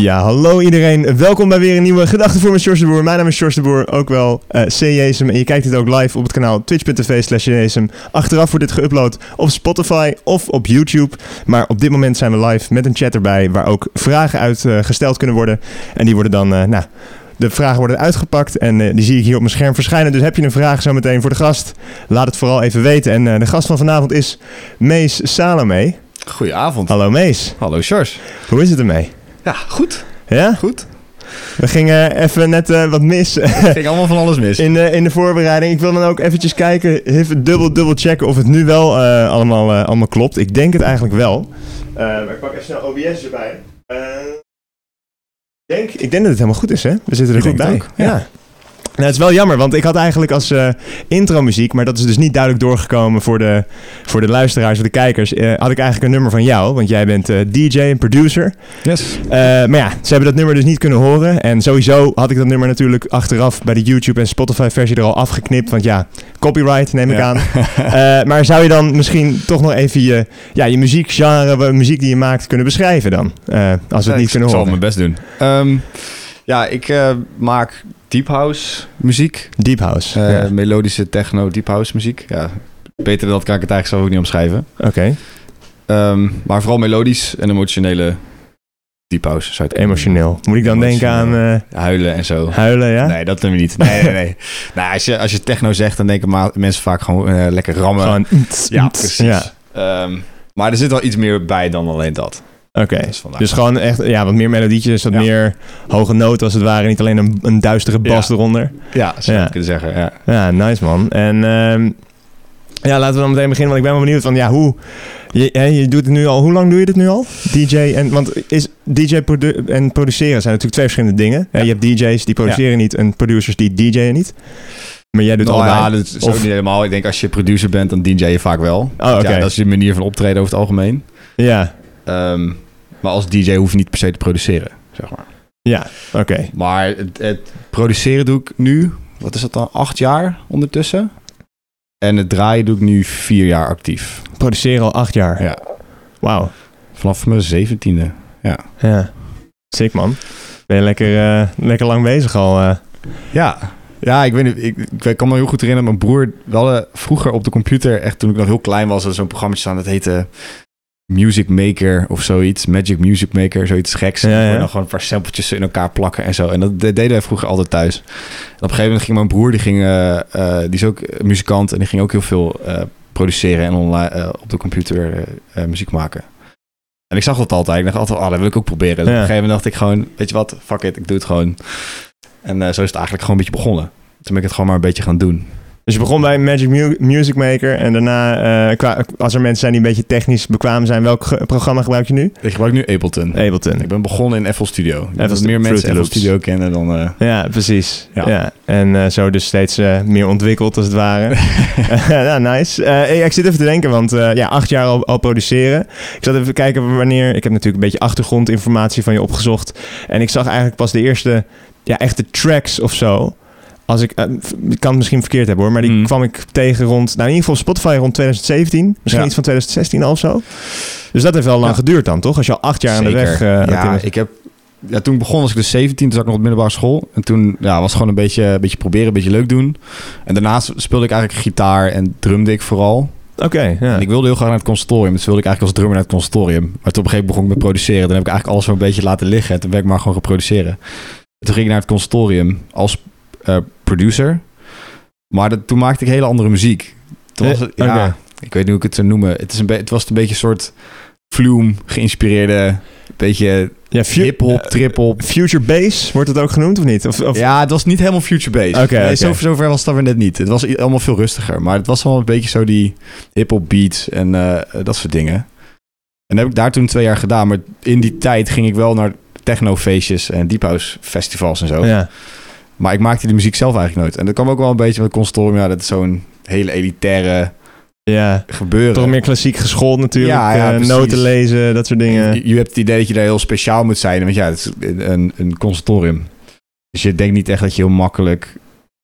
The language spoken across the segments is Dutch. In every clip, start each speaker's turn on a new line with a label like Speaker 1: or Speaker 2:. Speaker 1: Ja, hallo iedereen. Welkom bij weer een nieuwe Gedachten voor met Sjors de Boer. Mijn naam is Sjors de Boer, ook wel eh CJSM. En je kijkt dit ook live op het kanaal twitch.tv slash CJSM. Achteraf wordt dit geüpload op Spotify of op YouTube. Maar op dit moment zijn we live met een chat erbij waar ook vragen uit eh, gesteld kunnen worden. En die worden dan, eh, nou, de vragen worden uitgepakt en eh, die zie ik hier op mijn scherm verschijnen. Dus heb je een vraag zo meteen voor de gast, laat het vooral even weten. En eh, de gast van vanavond is Mees Salome.
Speaker 2: Goedenavond.
Speaker 1: Hallo Mees,
Speaker 2: Hallo, Sjors.
Speaker 1: hoe is het ermee?
Speaker 2: Ja, goed.
Speaker 1: Ja?
Speaker 2: Goed.
Speaker 1: We gingen even net eh, wat mis
Speaker 2: Het ging allemaal van alles mis.
Speaker 1: in de, in de voorbereiding. Ik wil dan ook eventjes kijken, even dubbel, dubbel checken of het nu wel eh, allemaal, eh, allemaal klopt. Ik denk het eigenlijk wel. Eh, maar ik pak even snel OBS erbij. Eh, ik, denk, ik denk dat het helemaal goed is, hè? We zitten er
Speaker 2: Ik
Speaker 1: goed
Speaker 2: denk
Speaker 1: bij.
Speaker 2: het ook, ja.
Speaker 1: Nou, het is wel jammer, want ik had eigenlijk als eh intro-muziek, maar dat is dus niet duidelijk doorgekomen voor de, voor de luisteraars of de kijkers, eh, had ik eigenlijk een nummer van jou, want jij bent eh, DJ en producer.
Speaker 2: Yes.
Speaker 1: Eh, maar ja, ze hebben dat nummer dus niet kunnen horen. En sowieso had ik dat nummer natuurlijk achteraf bij de YouTube en Spotify versie er al afgeknipt. Want ja, copyright neem ik
Speaker 2: Ja.
Speaker 1: aan. Eh, maar zou je dan misschien toch nog even je, ja, je muziekgenre, wa- muziek die je maakt, kunnen beschrijven dan? Eh, als we het niet kunnen
Speaker 2: Ik zal
Speaker 1: horen.
Speaker 2: mijn best doen. Ehm, ja, ik eh, maak deep house muziek.
Speaker 1: Deep House.
Speaker 2: Eh,
Speaker 1: Ja,
Speaker 2: Melodische techno deep house muziek. Ja, beter dan dat kan ik het eigenlijk zelf ook niet omschrijven.
Speaker 1: Oké,
Speaker 2: Ehm, maar vooral melodisch en emotionele deep house. Zou je het-
Speaker 1: emotioneel. Moet ik dan denken aan
Speaker 2: Emotioneel.
Speaker 1: eh,
Speaker 2: Huilen en zo.
Speaker 1: huilen, ja?
Speaker 2: Nee, dat doen we niet. Nee, nee, nee. nou, als, je, als je techno zegt, dan denken ma- mensen vaak gewoon eh, lekker rammen.
Speaker 1: Gewoon...
Speaker 2: Ja, precies.
Speaker 1: Ja,
Speaker 2: Ehm, maar er zit wel iets meer bij dan alleen dat.
Speaker 1: oké.
Speaker 2: Dus vandaar.
Speaker 1: Dus gewoon echt ja, wat meer melodietjes, wat
Speaker 2: Ja.
Speaker 1: meer hoge noten als het ware. Niet alleen een, een duistere bas eronder.
Speaker 2: ja, zou
Speaker 1: Ja.
Speaker 2: ik kunnen zeggen. Ja.
Speaker 1: Ja, nice man. En ehm, ja, laten we dan meteen beginnen, want ik ben wel benieuwd van ja, hoe. Je, hè, je doet het nu al. Hoe lang doe je dit nu al? DJ en want is DJ produ- en produceren zijn natuurlijk twee verschillende dingen. Hè,
Speaker 2: Ja.
Speaker 1: Je hebt DJ's die produceren niet en producers die DJ'en niet. Maar jij doet
Speaker 2: Nou
Speaker 1: allebei.
Speaker 2: ja, dat is ook
Speaker 1: Of-
Speaker 2: niet helemaal. Ik denk als je producer bent, dan DJ je vaak wel.
Speaker 1: Oh, oké.
Speaker 2: ja, dat is je manier van optreden over het algemeen.
Speaker 1: Ja,
Speaker 2: Ehm, maar als DJ hoef je niet per se te produceren, zeg maar.
Speaker 1: ja, oké.
Speaker 2: Maar het, het produceren doe ik nu, wat is dat dan, acht jaar ondertussen. En het draaien doe ik nu vier jaar actief.
Speaker 1: Produceren al acht jaar.
Speaker 2: Ja.
Speaker 1: Wauw.
Speaker 2: Vanaf mijn zeventiende.
Speaker 1: Ja. Sick man. Ben je lekker, eh, lekker lang bezig al. eh.
Speaker 2: Ja. Ja, ik, weet niet, ik, ik kan me heel goed herinneren. Mijn broer, we hadden vroeger op de computer, echt toen ik nog heel klein was, had zo'n programma staan. Dat heette Music Maker of zoiets. Magic Music Maker, zoiets geks.
Speaker 1: Ja,
Speaker 2: En
Speaker 1: ja.
Speaker 2: dan gewoon een paar sampletjes in elkaar plakken en zo. En dat de- deden wij vroeger altijd thuis. En op een gegeven moment ging mijn broer, die, ging, eh, eh, die is ook eh, muzikant en die ging ook heel veel eh, produceren en online, eh, op de computer eh, eh, muziek maken. En ik zag dat altijd. Ik dacht altijd, ah, dat wil ik ook proberen. Dus
Speaker 1: Ja.
Speaker 2: op een gegeven moment dacht ik gewoon, weet je wat, fuck it, ik doe het gewoon. En eh, zo is het eigenlijk gewoon een beetje begonnen. Toen ben ik het gewoon maar een beetje gaan doen.
Speaker 1: Dus je begon bij Magic Mu- Music Maker en daarna, eh, qua, als er mensen zijn die een beetje technisch bekwaam zijn, welk ge- programma gebruik je nu?
Speaker 2: Ik gebruik nu Ableton.
Speaker 1: Ableton.
Speaker 2: Ik ben begonnen in FL Studio. Ik denk
Speaker 1: FL
Speaker 2: dat meer mensen
Speaker 1: Fruity
Speaker 2: FL
Speaker 1: Loops.
Speaker 2: Studio kennen dan... eh,
Speaker 1: Ja, precies. Ja.
Speaker 2: Ja.
Speaker 1: En eh, zo dus steeds eh, meer ontwikkeld als het ware. ja, nice. Eh, ik zit even te denken, want eh, ja, acht jaar al, al produceren. Ik zat even kijken wanneer... Ik heb natuurlijk een beetje achtergrondinformatie van je opgezocht. En ik zag eigenlijk pas de eerste ja, echte tracks of zo. Als ik, eh, f- ik kan het misschien verkeerd hebben hoor, maar die
Speaker 2: Mm.
Speaker 1: kwam ik tegen rond... Nou, in ieder geval op Spotify rond 2017. Misschien
Speaker 2: Ja.
Speaker 1: iets van 2016 al of zo. Dus dat heeft wel lang
Speaker 2: Ja.
Speaker 1: geduurd dan, toch? Als je al acht jaar aan de weg...
Speaker 2: Zeker.
Speaker 1: eh, aan het in
Speaker 2: ja,
Speaker 1: bent.
Speaker 2: ik heb, ja, toen ik begon was ik dus 17, toen zat ik nog op de middelbare school. En toen ja, was het gewoon een beetje, een beetje proberen, een beetje leuk doen. En daarnaast speelde ik eigenlijk gitaar en drumde ik vooral.
Speaker 1: Oké, ja.
Speaker 2: En ik wilde heel graag naar het conservatorium. Dus wilde ik eigenlijk als drummer naar het conservatorium. Maar toen op een gegeven moment begon ik met produceren. Dan heb ik eigenlijk alles zo'n beetje laten liggen. En toen ben ik maar gewoon gaan produceren. Toen ging ik naar het conservatorium als eh, producer. Maar dat, toen maakte ik hele andere muziek. Toen was het,
Speaker 1: Eh,
Speaker 2: ja,
Speaker 1: oké.
Speaker 2: ik weet niet hoe ik het zou noemen. Het, is een be- het was een beetje een soort flume geïnspireerde... Beetje
Speaker 1: Ja, fu-
Speaker 2: hip-hop, trip-hop.
Speaker 1: Future Bass wordt het ook genoemd of niet? Of, of...
Speaker 2: Ja, het was niet helemaal future-based.
Speaker 1: Oké,
Speaker 2: nee,
Speaker 1: oké.
Speaker 2: zo- Zover was het dan weer net niet. Het was i- allemaal veel rustiger. Maar het was wel een beetje zo die hip-hop beats en eh, dat soort dingen. En dat heb ik daar toen twee jaar gedaan. Maar in die tijd ging ik wel naar technofeestjes en deep house festivals en zo.
Speaker 1: Ja.
Speaker 2: Maar ik maakte die muziek zelf eigenlijk nooit. En dat kwam ook wel een beetje met Constorium. Ja, dat is zo'n hele elitaire
Speaker 1: ja.
Speaker 2: gebeuren.
Speaker 1: Toch meer klassiek geschoold natuurlijk.
Speaker 2: Ja, ja,
Speaker 1: eh,
Speaker 2: precies.
Speaker 1: noten lezen, dat soort dingen.
Speaker 2: Je, je hebt het idee dat je daar heel speciaal moet zijn. Want ja, het is een, een conservatorium. Dus je denkt niet echt dat je heel makkelijk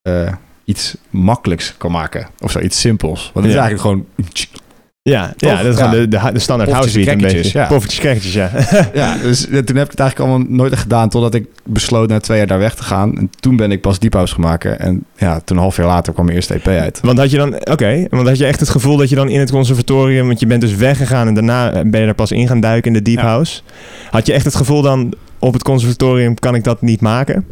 Speaker 2: eh, iets makkelijks kan maken. Of zo, iets simpels. Want het
Speaker 1: Ja.
Speaker 2: is eigenlijk gewoon...
Speaker 1: Ja,
Speaker 2: Toch?
Speaker 1: ja dat is gewoon
Speaker 2: Ja.
Speaker 1: de, de, ha- de standaard
Speaker 2: Poffertjes
Speaker 1: house beat een
Speaker 2: en
Speaker 1: beetje.
Speaker 2: crackertjes,
Speaker 1: Ja.
Speaker 2: ja.
Speaker 1: Poffertjes, crackertjes, ja.
Speaker 2: Ja, dus eh, toen heb ik het eigenlijk allemaal nooit echt gedaan... totdat ik besloot na twee jaar daar weg te gaan. En toen ben ik pas Deep House gaan maken. En ja, toen een half jaar later kwam mijn eerste EP uit.
Speaker 1: Want had je dan, oké, want had je echt het gevoel dat je dan in het conservatorium, want je bent dus weggegaan en daarna eh, ben je er pas in gaan duiken in de deep
Speaker 2: Ja.
Speaker 1: house. Had je echt het gevoel dan op het conservatorium kan ik dat niet maken?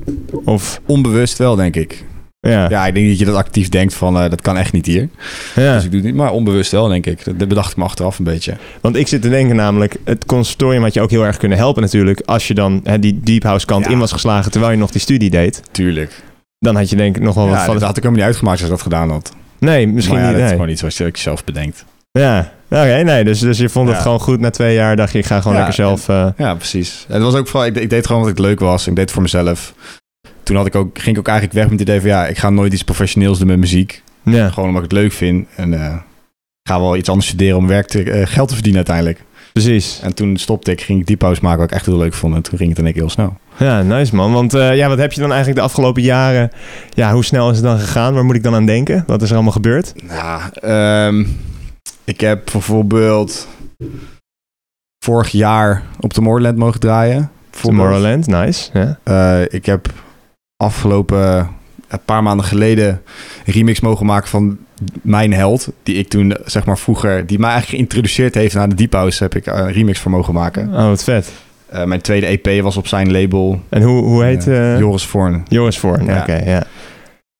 Speaker 1: Of
Speaker 2: Onbewust wel, denk ik.
Speaker 1: ja, ja,
Speaker 2: Ja, ik denk dat je dat actief denkt van... eh, dat kan echt niet hier. Dus ik doe het niet. Maar onbewust wel, denk ik. Dat dat bedacht ik me achteraf een beetje.
Speaker 1: want ik zit te denken namelijk, het conservatorium had je ook heel erg kunnen helpen natuurlijk als je dan hè, die deep house kant
Speaker 2: Ja.
Speaker 1: in was geslagen terwijl je nog die studie deed.
Speaker 2: Tuurlijk.
Speaker 1: Dan had je denk ik nog wel wat
Speaker 2: ja,
Speaker 1: van.
Speaker 2: dat had ik helemaal niet uitgemaakt als ik dat gedaan had.
Speaker 1: Nee, misschien
Speaker 2: maar ja,
Speaker 1: niet.
Speaker 2: dat is
Speaker 1: nee.
Speaker 2: gewoon iets wat je, wat je zelf bedenkt.
Speaker 1: Ja, oké, nee, dus, dus je vond het
Speaker 2: Ja.
Speaker 1: gewoon goed na twee jaar, dacht je, ik ga gewoon
Speaker 2: Ja,
Speaker 1: lekker zelf. eh,
Speaker 2: Ja, precies. En het was ook vooral, ik, ik deed gewoon wat ik leuk was. Ik deed het voor mezelf. Toen had ik ook, ging ik ook eigenlijk weg met het idee van... ja, ik ga nooit iets professioneels doen met muziek.
Speaker 1: ja.
Speaker 2: Gewoon omdat ik het leuk vind. En eh, ga wel iets anders studeren om werk te, eh, geld te verdienen uiteindelijk.
Speaker 1: precies.
Speaker 2: En toen stopte ik, ging ik die pauze maken wat ik echt heel leuk vond. En toen ging het in één keer heel snel.
Speaker 1: Ja, nice man. Want eh, ja, wat heb je dan eigenlijk de afgelopen jaren... Ja, hoe snel is het dan gegaan? Waar moet ik dan aan denken? Wat is er allemaal gebeurd?
Speaker 2: Nou, ehm, ik heb bijvoorbeeld vorig jaar op Tomorrowland mogen draaien. Bijvoorbeeld.
Speaker 1: Tomorrowland, nice. Ja.
Speaker 2: Eh, ik heb afgelopen eh, een paar maanden geleden een remix mogen maken van mijn held. Die ik toen, zeg maar vroeger, die mij eigenlijk geïntroduceerd heeft naar de Deep House, heb ik eh, een remix voor mogen maken.
Speaker 1: Oh, wat vet.
Speaker 2: Eh, mijn tweede EP was op zijn label,
Speaker 1: En hoe, hoe heet...
Speaker 2: eh,
Speaker 1: eh
Speaker 2: Joris Voorn.
Speaker 1: Joris voor.
Speaker 2: Ja.
Speaker 1: Oké, ja.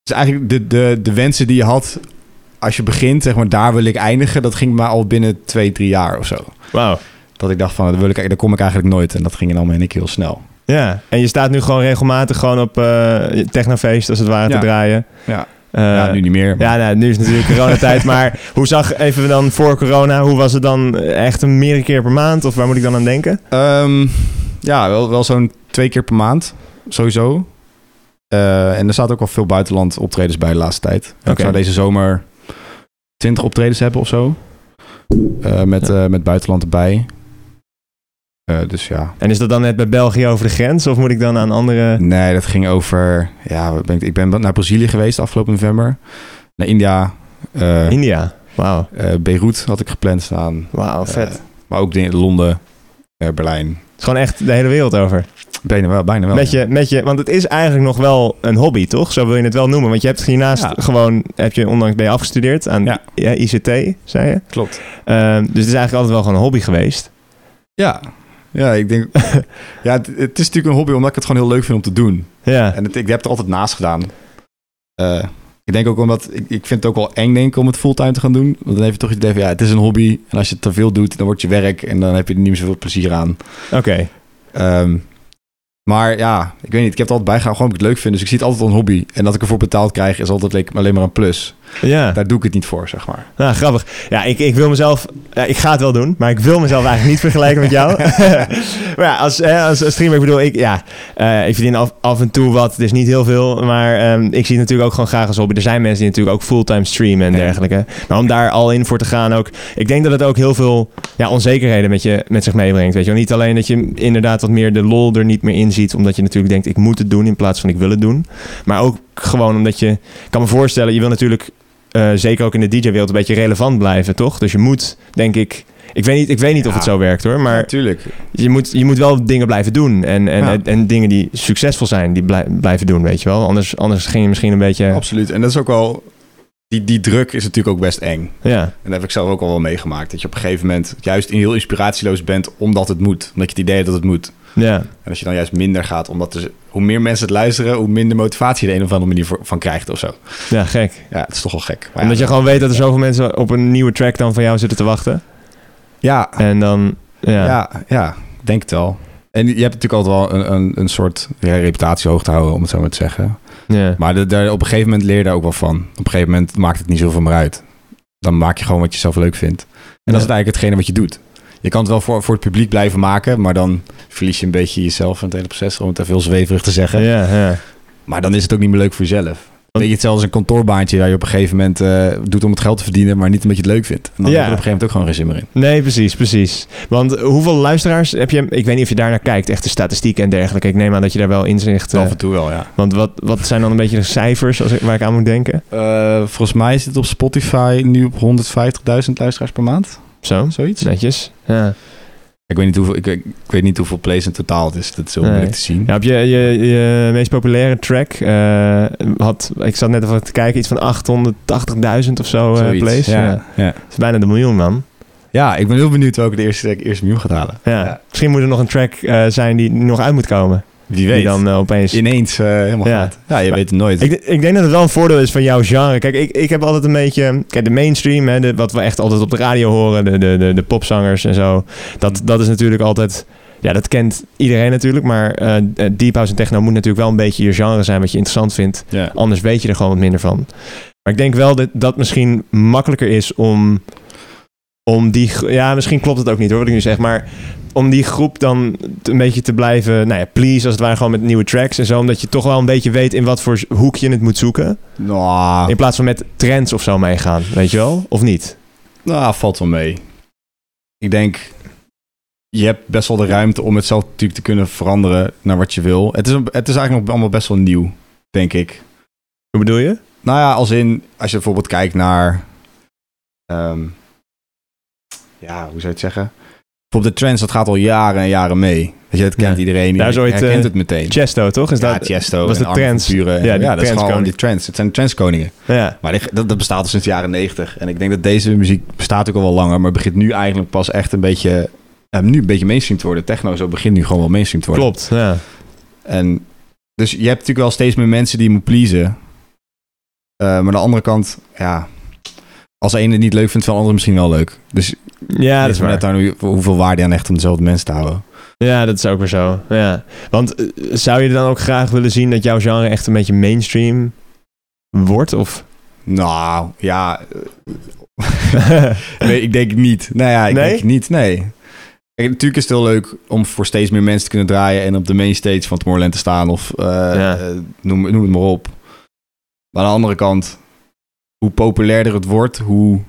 Speaker 2: Dus eigenlijk de, de, de wensen die je had als je begint, zeg maar, daar wil ik eindigen. Dat ging maar al binnen twee, drie jaar of zo.
Speaker 1: Wauw.
Speaker 2: Dat ik dacht van, daar, wil ik, daar kom ik eigenlijk nooit. En dat ging dan in één keer heel snel.
Speaker 1: Ja, en je staat nu gewoon regelmatig gewoon op eh technofeest, als het ware,
Speaker 2: Ja.
Speaker 1: te draaien.
Speaker 2: Ja.
Speaker 1: Eh,
Speaker 2: ja, nu niet meer. maar-
Speaker 1: Ja, nou, nu is het natuurlijk coronatijd, maar hoe zag even dan voor corona, hoe was het dan eh, echt een meerdere keer per maand? Of waar moet ik dan aan denken?
Speaker 2: Ehm, ja, wel, wel zo'n twee keer per maand, sowieso. Eh, en er zaten ook wel veel buitenland optredens bij de laatste tijd. Ik
Speaker 1: Oké.
Speaker 2: zou deze zomer 20 optredens hebben of zo. Eh, met, eh, met buitenland erbij. Eh, dus ja.
Speaker 1: En is dat dan net bij België over de grens? Of moet ik dan aan andere...
Speaker 2: Nee, dat ging over... Ja, wat ben ik, ik ben naar Brazilië geweest afgelopen november. Naar India. eh
Speaker 1: India. Wauw.
Speaker 2: eh, Beirut had ik gepland staan.
Speaker 1: Wauw, vet.
Speaker 2: Eh, maar ook dingen- Londen, eh, Berlijn.
Speaker 1: Het is gewoon echt de hele wereld over.
Speaker 2: Bijna wel, bijna wel.
Speaker 1: met, je, met je, want het is eigenlijk nog wel een hobby, toch? Zo wil je het wel noemen. Want je hebt hiernaast
Speaker 2: Ja.
Speaker 1: gewoon, heb je onlangs ben je afgestudeerd aan eh,
Speaker 2: Ja.
Speaker 1: ja, ICT, zei je.
Speaker 2: Klopt.
Speaker 1: Ehm, dus het is eigenlijk altijd wel gewoon een hobby geweest.
Speaker 2: Ja. Ja, ik denk... ja, het, het is natuurlijk een hobby omdat ik het gewoon heel leuk vind om te doen.
Speaker 1: Ja,
Speaker 2: En het, ik heb het er altijd naast gedaan. Eh, ik denk ook omdat... Ik, ik vind het ook wel eng, denk ik, om het fulltime te gaan doen. Want dan heb je toch het idee van... Ja, het is een hobby. En als je het te veel doet, dan wordt je werk. En dan heb je er niet meer zoveel plezier aan.
Speaker 1: oké.
Speaker 2: Ehm, maar ja, ik weet niet. Ik heb het altijd bijgehouden gewoon omdat ik het leuk vind. Dus ik zie het altijd als een hobby. En dat ik ervoor betaald krijg is altijd like, alleen maar een plus.
Speaker 1: Ja,
Speaker 2: Daar doe ik het niet voor, zeg maar.
Speaker 1: nou, grappig. Ja, ik, ik wil mezelf... ja, ik ga het wel doen, maar ik wil mezelf eigenlijk niet vergelijken met jou. maar ja, als, hè, als, als streamer, ik bedoel, ik, ja, eh, ik verdien af, af en toe wat. Het is niet heel veel, maar ehm, ik zie het natuurlijk ook gewoon graag als hobby. Er zijn mensen die natuurlijk ook fulltime streamen en
Speaker 2: Ja.
Speaker 1: dergelijke. Maar om daar al in voor te gaan ook... Ik denk dat het ook heel veel ja, onzekerheden met, je, met zich meebrengt. Weet je wel? Niet alleen dat je inderdaad wat meer de lol er niet meer in ziet... omdat je natuurlijk denkt, ik moet het doen in plaats van ik wil het doen. Maar ook gewoon omdat je... Ik kan me voorstellen, je wil natuurlijk... eh, zeker ook in de DJ-wereld een beetje relevant blijven, toch? Dus je moet, denk ik... Ik weet niet, ik weet niet of
Speaker 2: Ja.
Speaker 1: het zo werkt hoor, maar
Speaker 2: Natuurlijk.
Speaker 1: je moet, je moet wel dingen blijven doen. En, en,
Speaker 2: Ja.
Speaker 1: en, en dingen die succesvol zijn, die blij- blijven doen, weet je wel. Anders, anders ging je misschien een beetje...
Speaker 2: Absoluut. En dat is ook wel... Die, die druk is natuurlijk ook best eng.
Speaker 1: Ja,
Speaker 2: En dat heb ik zelf ook al wel meegemaakt. Dat je op een gegeven moment juist heel inspiratieloos bent omdat het moet. Omdat je het idee hebt dat het moet.
Speaker 1: ja,
Speaker 2: En als je dan juist minder gaat, omdat er, hoe meer mensen het luisteren, hoe minder motivatie je er een of andere manier voor- van krijgt of zo.
Speaker 1: ja, gek.
Speaker 2: Ja, het is toch wel gek. Maar ja,
Speaker 1: Omdat je gewoon weet dat er zoveel mensen op een nieuwe track dan van jou zitten te wachten.
Speaker 2: ja,
Speaker 1: En dan... Ja,
Speaker 2: ja.
Speaker 1: ja.
Speaker 2: ja, ik denk het wel. En je hebt natuurlijk altijd wel een, een, een soort ja, reputatie hoog te houden, om het zo maar te zeggen. Maar de, daar- op een gegeven moment leer je daar ook wel van. Op een gegeven moment maakt het niet zoveel meer uit. Dan maak je gewoon wat je zelf leuk vindt. En dat is het eigenlijk hetgene wat je doet. Je kan het wel voor, voor het publiek blijven maken, maar dan verlies je een beetje jezelf in het hele proces, om het even heel zweverig te zeggen.
Speaker 1: Ja, ja.
Speaker 2: Maar dan is het ook niet meer leuk voor jezelf. Weet je, hetzelfde als een kantoorbaantje waar je op een gegeven moment eh, doet om het geld te verdienen, maar niet omdat je het leuk vindt. En dan
Speaker 1: Ja.
Speaker 2: heb je er op een gegeven moment ook gewoon geen zin meer in.
Speaker 1: Nee, precies, precies. Want eh, hoeveel luisteraars heb je... Ik weet niet of je daarnaar kijkt, echt de statistieken en dergelijke. Ik neem aan dat je daar wel inzicht... eh
Speaker 2: Af en toe wel, ja.
Speaker 1: want wat, wat zijn dan een beetje de cijfers als ik, waar ik aan moet denken?
Speaker 2: Eh, volgens mij zit het op Spotify nu op 150.000 luisteraars per maand,
Speaker 1: Zo,
Speaker 2: zoiets.
Speaker 1: netjes. Ja.
Speaker 2: Ik, weet niet hoeveel, ik, ik, ik weet niet hoeveel plays in totaal het is, dat is heel
Speaker 1: Nee.
Speaker 2: moeilijk te zien.
Speaker 1: Ja, op je, je, je meest populaire track eh, had... Ik zat net even te kijken, iets van 880.000 of zo eh,
Speaker 2: Zoiets,
Speaker 1: plays. Ja.
Speaker 2: Ja. Ja.
Speaker 1: Dat is bijna de miljoen, man.
Speaker 2: Ja, ik ben heel benieuwd welke de eerste, de eerste miljoen gaat halen.
Speaker 1: Ja.
Speaker 2: Ja.
Speaker 1: Misschien moet er nog een track eh, zijn die nog uit moet komen.
Speaker 2: Wie
Speaker 1: Die
Speaker 2: weet.
Speaker 1: dan eh, opeens...
Speaker 2: Ineens eh, helemaal
Speaker 1: Ja.
Speaker 2: gaat. Ja, je weet het nooit.
Speaker 1: Ik, d- ik denk dat het wel een voordeel is van jouw genre. Kijk, ik, ik heb altijd een beetje... Kijk, de mainstream, hè, de- wat we echt altijd op de radio horen, de, de, de, de popzangers en zo. Dat, dat is natuurlijk altijd... Ja, dat kent iedereen natuurlijk, maar eh eh, deep house en techno moet natuurlijk wel een beetje je genre zijn wat je interessant vindt.
Speaker 2: ja.
Speaker 1: Anders weet je er gewoon wat minder van. Maar ik denk wel dat dat misschien makkelijker is om, om die... gro- Ja, misschien klopt het ook niet hoor, wat ik nu zeg, maar... Om die groep dan t- een beetje te blijven, nou ja, please, als het ware gewoon met nieuwe tracks en zo. Omdat je toch wel een beetje weet in wat voor z- hoek je het moet zoeken.
Speaker 2: Nou,
Speaker 1: In plaats van met trends of zo meegaan, weet je wel? Of niet?
Speaker 2: nou, valt wel mee. Ik denk, je hebt best wel de ruimte om het zelf natuurlijk te kunnen veranderen naar wat je wil. Het is, een- het is eigenlijk nog allemaal best wel nieuw, denk ik.
Speaker 1: Hoe bedoel je?
Speaker 2: Nou ja, als in, als je bijvoorbeeld kijkt naar... ehm, ja, hoe zou je het zeggen? Bijvoorbeeld de trends, dat gaat al jaren en jaren mee. Weet je, dat kent
Speaker 1: Ja.
Speaker 2: iedereen.
Speaker 1: Daar is
Speaker 2: iedereen
Speaker 1: ooit, eh,
Speaker 2: herkent het meteen.
Speaker 1: Chesto, toch? Is
Speaker 2: ja,
Speaker 1: dat,
Speaker 2: Tiesto
Speaker 1: was
Speaker 2: en
Speaker 1: de
Speaker 2: Armin van
Speaker 1: trends.
Speaker 2: Buuren en-
Speaker 1: Ja,
Speaker 2: Ja,
Speaker 1: die
Speaker 2: dat is gewoon
Speaker 1: trendskoning.
Speaker 2: die trends. Het zijn de trendskoningen.
Speaker 1: ja.
Speaker 2: Maar die- dat, dat bestaat al sinds de jaren 90. En ik denk dat deze muziek bestaat ook al wel langer, maar begint nu eigenlijk pas echt een beetje... eh, nu een beetje mainstream te worden. Techno zo begint nu gewoon wel mainstream te worden.
Speaker 1: klopt. Ja.
Speaker 2: En dus je hebt natuurlijk wel steeds meer mensen die je moet pleasen. Eh, maar aan de andere kant, ja. Als de ene het niet leuk vindt, vindt de andere misschien wel leuk. Dus
Speaker 1: ja, dat is waar.
Speaker 2: net aan hoe- hoeveel waarde je aan echt om dezelfde mensen te houden.
Speaker 1: Ja, dat is ook weer zo. Ja. Want eh, zou je dan ook graag willen zien dat jouw genre echt een beetje mainstream wordt? Of?
Speaker 2: Nou, ja. eh, nee, ik denk niet. Nou ja, ik
Speaker 1: Nee?
Speaker 2: denk niet. Nee. Kijk, natuurlijk is het heel leuk om voor steeds meer mensen te kunnen draaien en op de main stage van Tomorrowland te staan of eh,
Speaker 1: Ja.
Speaker 2: eh, noem, noem het maar op. Maar aan de andere kant, hoe populairder het wordt, hoe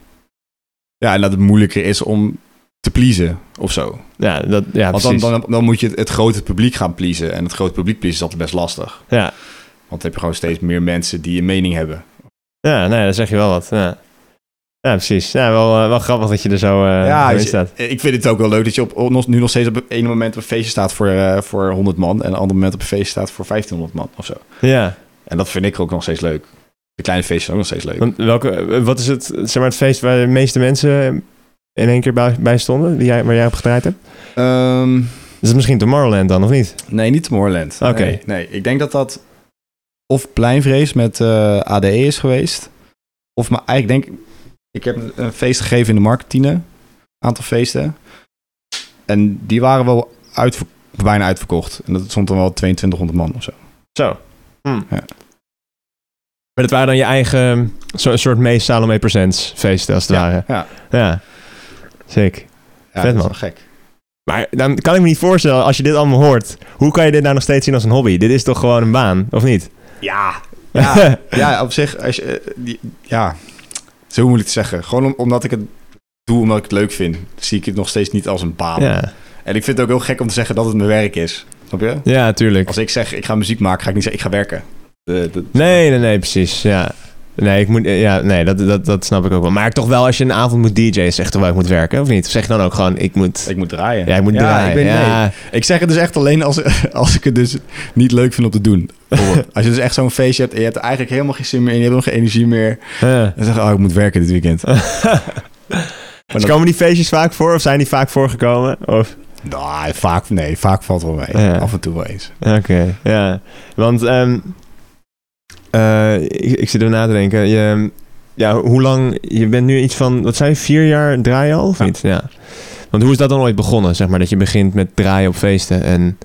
Speaker 2: ja, en dat het moeilijker is om te pleasen of zo.
Speaker 1: ja, dat, ja
Speaker 2: Want dan,
Speaker 1: precies.
Speaker 2: dan, dan moet je het, het grote publiek gaan pleasen en het grote publiek pleasen is altijd best lastig.
Speaker 1: Ja.
Speaker 2: Want dan heb je gewoon steeds meer mensen die een mening hebben.
Speaker 1: ja, nee, dan zeg je wel wat. Ja, ja precies. Ja, wel, eh, wel grappig dat je er zo eh,
Speaker 2: ja,
Speaker 1: zo in
Speaker 2: dus
Speaker 1: staat.
Speaker 2: ik vind het ook wel leuk dat je op, op- nog- nu nog steeds op het ene moment op een feestje staat voor, eh, voor 100 man. En op een ander moment op een feestje staat voor 1500 man of zo.
Speaker 1: Ja,
Speaker 2: En dat vind ik ook nog steeds leuk. De kleine feestjes zijn ook nog steeds leuk.
Speaker 1: want welke, eh, wat is het, zeg maar, het feest waar de meeste mensen in één keer bij, bij stonden, die jij, waar jij op gedraaid hebt?
Speaker 2: Ehm,
Speaker 1: Is het misschien Tomorrowland dan, of niet?
Speaker 2: nee, niet Tomorrowland.
Speaker 1: Oké.
Speaker 2: Nee, nee, ik denk dat dat of pleinvrees met eh, ADE is geweest. Of maar ik denk, ik heb een- een feest gegeven in de Marketine. Een aantal feesten. En die waren wel uitver- bijna uitverkocht. En dat stond dan wel 2200 man of zo.
Speaker 1: Zo. Hm.
Speaker 2: Ja.
Speaker 1: Maar dat waren dan je eigen zo, een soort meest Salome Presents feesten, als het ware.
Speaker 2: ja.
Speaker 1: Ja. Sick.
Speaker 2: Ja,
Speaker 1: Vet,
Speaker 2: dat is
Speaker 1: man.
Speaker 2: wel gek.
Speaker 1: Maar dan kan ik me niet voorstellen, als je dit allemaal hoort, hoe kan je dit nou nog steeds zien als een hobby? Dit is toch gewoon een baan, of niet?
Speaker 2: Ja. Ja, ja op zich. Als je, eh, die- ja, het is heel moeilijk te zeggen. Gewoon om- omdat ik het doe, omdat ik het leuk vind, zie ik het nog steeds niet als een baan.
Speaker 1: ja.
Speaker 2: En ik vind het ook heel gek om te zeggen dat het mijn werk is. Snap je?
Speaker 1: ja, tuurlijk.
Speaker 2: Als ik zeg, ik ga muziek maken, ga ik niet zeggen, ik ga werken. Eh, dat-
Speaker 1: Nee, nee, nee, precies. Ja. Nee, ik moet, eh, ja, nee dat, dat, dat snap ik ook wel. Maar toch wel, als je een avond moet DJ's, zegt toch wel, ik moet werken, of niet? Of zeg je dan ook gewoon, ik moet,
Speaker 2: Ik moet draaien.
Speaker 1: ja, ik moet draaien.
Speaker 2: Ik, ben- nee.
Speaker 1: ja.
Speaker 2: ik zeg het dus echt alleen als, als ik het dus niet leuk vind om te doen. Bijvoorbeeld, als je dus echt zo'n feestje hebt en je hebt er eigenlijk helemaal geen zin meer in, je hebt nog geen energie meer.
Speaker 1: Ja.
Speaker 2: Dan zeg je, oh, ik moet werken dit weekend.
Speaker 1: Dus komen die feestjes vaak voor, of zijn die vaak voorgekomen? Of...
Speaker 2: Nou, vaak, nee, vaak valt wel mee.
Speaker 1: Ja.
Speaker 2: Af en toe wel eens.
Speaker 1: Oké, ja. Want ehm, eh, ik, ik zit er na te denken. Je, ja, ho- hoe lang... Je bent nu iets van... Wat zei je? Vier jaar draaien al? Of
Speaker 2: Ja.
Speaker 1: niet? Ja. Want hoe is dat dan ooit begonnen? Zeg maar dat je begint met draaien op feesten en...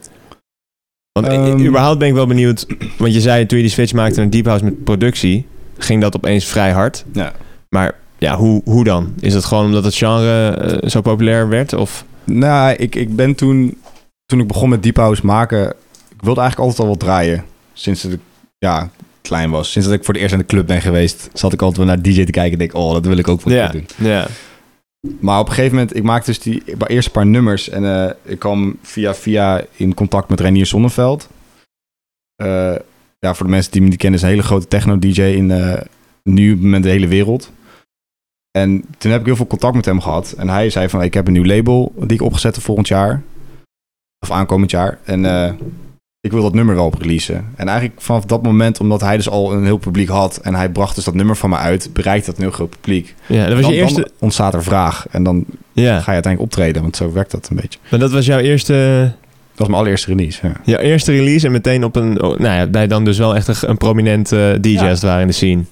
Speaker 1: Want i-
Speaker 2: Ehm.
Speaker 1: überhaupt ben ik wel benieuwd... Want je zei toen je die switch maakte naar Deep House met productie... Ging dat opeens vrij hard.
Speaker 2: Ja.
Speaker 1: Maar ja, hoe, hoe dan? Is dat gewoon omdat het genre eh, zo populair werd? Of...
Speaker 2: Nou, ik, ik ben toen, toen ik begon met Deep House maken, ik wilde eigenlijk altijd al wat draaien. Sinds dat ik, ja, klein was. Sinds dat ik voor het eerst aan de club ben geweest, zat ik altijd wel naar DJ te kijken en denk, oh, dat wil ik ook voor de
Speaker 1: Ja,
Speaker 2: club doen.
Speaker 1: ja.
Speaker 2: Maar op een gegeven moment, ik maakte dus die pa- eerste paar nummers en eh, ik kwam via via in contact met Reinier Zonneveld. Eh, ja, voor de mensen die me niet kennen, is een hele grote techno-dj in eh, nu op het moment de hele wereld. En toen heb ik heel veel contact met hem gehad. En hij zei van, ik heb een nieuw label die ik opgezet heb volgend jaar. Of aankomend jaar. En eh, ik wil dat nummer wel op releasen. En eigenlijk vanaf dat moment, omdat hij dus al een heel publiek had... en hij bracht dus dat nummer van me uit, bereikt dat een heel groot publiek.
Speaker 1: ja, dat was
Speaker 2: Dan,
Speaker 1: je
Speaker 2: dan
Speaker 1: eerste...
Speaker 2: ontstaat er vraag en dan
Speaker 1: Ja,
Speaker 2: ga je uiteindelijk optreden, want zo werkt dat een beetje.
Speaker 1: maar dat was jouw eerste,
Speaker 2: Dat was mijn allereerste release. Ja.
Speaker 1: jouw eerste release en meteen op een... oh, nou ja, bij dan dus wel echt een, een prominente DJ
Speaker 2: Ja.
Speaker 1: als het ware in de scene.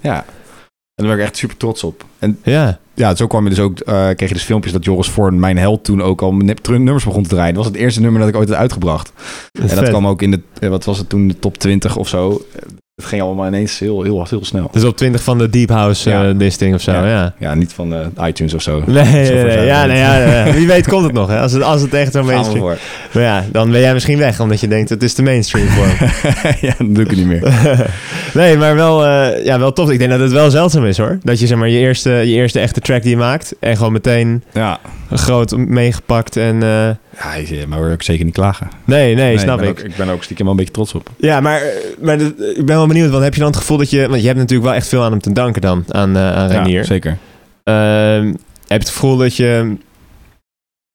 Speaker 2: En daar ben ik echt super trots op. En
Speaker 1: Ja,
Speaker 2: ja, zo kwam je dus ook, eh, kreeg je dus filmpjes dat Joris Voorn, mijn held, toen ook al nep- tru- nummers begon te draaien. Dat was het eerste nummer dat ik ooit had uitgebracht. en dat
Speaker 1: vet.
Speaker 2: kwam ook in de, eh, wat was het toen, de top 20 of zo. Eh, Het ging allemaal ineens heel, heel, heel snel.
Speaker 1: Dus op 20 van de Deep House eh
Speaker 2: Ja.
Speaker 1: listing of zo,
Speaker 2: Ja.
Speaker 1: ja.
Speaker 2: Ja, niet van eh, iTunes of zo.
Speaker 1: Nee,
Speaker 2: Zo
Speaker 1: nee,
Speaker 2: ver
Speaker 1: nee.
Speaker 2: zijn we
Speaker 1: Ja,
Speaker 2: niet.
Speaker 1: nee, ja, ja. wie weet komt het nog. Hè? Als, het, als het echt zo'n
Speaker 2: Gaan we
Speaker 1: mainstream...
Speaker 2: voor.
Speaker 1: Maar ja, dan ben jij misschien weg, omdat je denkt het is de mainstream voor hem.
Speaker 2: ja, dat doe ik het niet meer.
Speaker 1: nee, maar wel, eh, ja, wel tof. Ik denk dat het wel zeldzaam is hoor. Dat je zeg maar je eerste, je eerste echte track die je maakt en gewoon meteen
Speaker 2: Ja,
Speaker 1: groot meegepakt en... eh,
Speaker 2: ja je- maar hoor ik zeker niet klagen.
Speaker 1: nee, nee, snap
Speaker 2: ben
Speaker 1: ik.
Speaker 2: ook- ik ben er ook stiekem wel een beetje trots op.
Speaker 1: Ja, maar, eh, maar dat- ik ben wel benieuwd, want heb je dan het gevoel dat je... Want je hebt natuurlijk wel echt veel aan hem te danken dan, aan, eh aan Reinier.
Speaker 2: Ja, zeker.
Speaker 1: Ehm, heb je het gevoel dat je...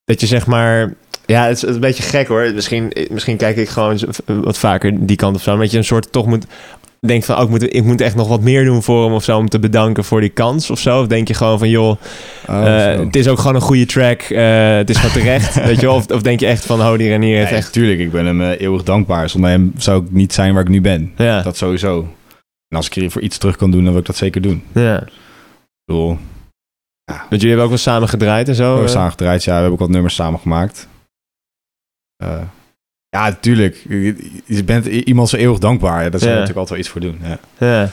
Speaker 1: Dat je zeg maar... Ja, het is, het is een beetje gek hoor. Misschien, misschien kijk ik gewoon z- wat vaker die kant op zo. Maar dat je een soort toch moet... Denkt van, oh, ik, moet, ik moet echt nog wat meer doen voor hem of zo... om te bedanken voor die kans of zo. Of denk je gewoon van, joh,
Speaker 2: Oh,
Speaker 1: eh,
Speaker 2: zo.
Speaker 1: het is ook gewoon een goede track. eh, het is gewoon terecht, weet je wel. Of, of denk je echt van, oh, die Renier heeft
Speaker 2: Ja,
Speaker 1: echt...
Speaker 2: Tuurlijk, ik ben hem eh, eeuwig dankbaar. Zonder hem zou ik niet zijn waar ik nu ben.
Speaker 1: Ja,
Speaker 2: Dat sowieso. En als ik hier voor iets terug kan doen, dan wil ik dat zeker doen. Ik
Speaker 1: ja.
Speaker 2: bedoel,
Speaker 1: Oh, Want jullie hebben ook wel samen gedraaid en
Speaker 2: we
Speaker 1: zo.
Speaker 2: hebben
Speaker 1: eh?
Speaker 2: samen gedraaid. Ja, we hebben ook wat nummers samen gemaakt. Eh, ja, tuurlijk. Je, je bent i- iemand zo eeuwig dankbaar. Ja, Daar zou je
Speaker 1: Ja.
Speaker 2: natuurlijk altijd wel iets voor doen. Ja.
Speaker 1: Ja.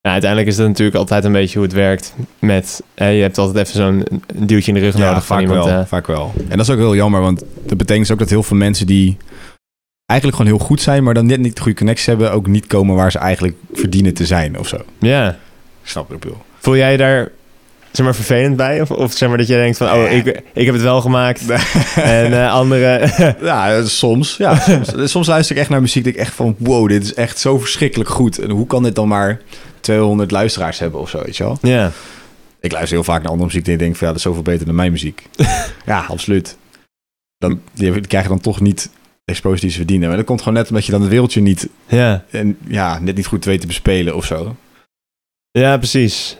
Speaker 1: Ja, uiteindelijk is dat natuurlijk altijd een beetje hoe het werkt. Met, hè, je hebt altijd even zo'n duwtje in de rug nodig van
Speaker 2: vaak,
Speaker 1: iemand. eh.
Speaker 2: wel,
Speaker 1: hè.
Speaker 2: vaak wel. En dat is ook heel jammer, want dat betekent dus ook dat heel veel mensen die eigenlijk gewoon heel goed zijn, maar dan net niet de goede connecties hebben, ook niet komen waar ze eigenlijk verdienen te zijn of zo.
Speaker 1: Ja.
Speaker 2: Snap je, ik bedoel.
Speaker 1: Voel jij je daar zeg maar, vervelend bij? Of, of zeg maar dat je denkt van, oh, ik, ik heb het wel gemaakt. En eh, anderen...
Speaker 2: Ja, eh, soms. Ja, soms, soms luister ik echt naar muziek dat ik echt van... wow, dit is echt zo verschrikkelijk goed. En hoe kan dit dan maar 200 luisteraars hebben of zo, weet je wel?
Speaker 1: ja.
Speaker 2: Ik luister heel vaak naar andere muziek en ik denk van... ja, dat is zoveel beter dan mijn muziek. ja, absoluut. Dan, die, hebben- die krijgen dan toch niet de exposure die ze verdienen. Maar dat komt gewoon net omdat je dan het wereldje niet...
Speaker 1: Ja.
Speaker 2: En, ja, net niet goed weet te bespelen of zo.
Speaker 1: ja, precies.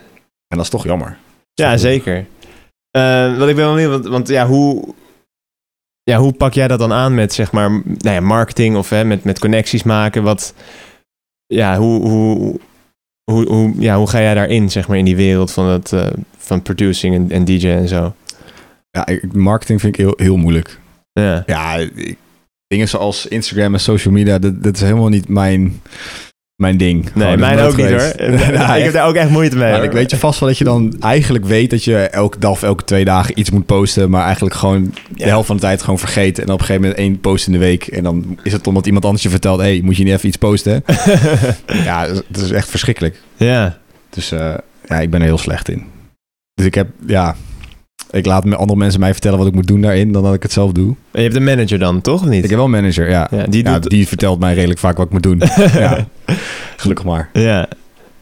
Speaker 2: En dat is toch jammer.
Speaker 1: Ja, zeker. Eh, want ik ben wel benieuwd, want, want ja, hoe... Ja, hoe pak jij dat dan aan met zeg maar, nou ja, marketing of hè, met, met connecties maken? Wat, ja, hoe, hoe, hoe, hoe- ja, hoe ga jij daarin, zeg maar, in die wereld van, het, eh, van producing en, en DJ en zo?
Speaker 2: Ja, ik- marketing vind ik heel, heel moeilijk.
Speaker 1: Ja,
Speaker 2: Ja, ik- dingen zoals Instagram en social media, dat, dat is helemaal niet mijn, mijn ding. Gewoon,
Speaker 1: nee,
Speaker 2: dat is
Speaker 1: mij
Speaker 2: nooit
Speaker 1: ook niet hoor.
Speaker 2: geweest.
Speaker 1: Eh,
Speaker 2: Ja,
Speaker 1: ik heb
Speaker 2: echt.
Speaker 1: daar ook echt moeite mee.
Speaker 2: Maar
Speaker 1: hoor.
Speaker 2: ik weet je vast wel dat je dan eigenlijk weet dat je elke dag of elke twee dagen iets moet posten, maar eigenlijk gewoon de helft van de tijd gewoon vergeet. En op een gegeven moment één post in de week. En dan is het omdat iemand anders je vertelt, hé, hey, moet je niet even iets posten? ja, dat is echt verschrikkelijk.
Speaker 1: ja,
Speaker 2: Dus eh, ja, ik ben er heel slecht in. Dus ik heb, ja, ik laat me- andere mensen mij vertellen wat ik moet doen daarin, dan dat ik het zelf doe.
Speaker 1: En je hebt een manager dan, toch? Of niet?
Speaker 2: Ik heb wel een manager, ja.
Speaker 1: Ja, die
Speaker 2: Ja,
Speaker 1: doet...
Speaker 2: die vertelt mij redelijk vaak wat ik moet doen. ja. Gelukkig maar.
Speaker 1: Ja.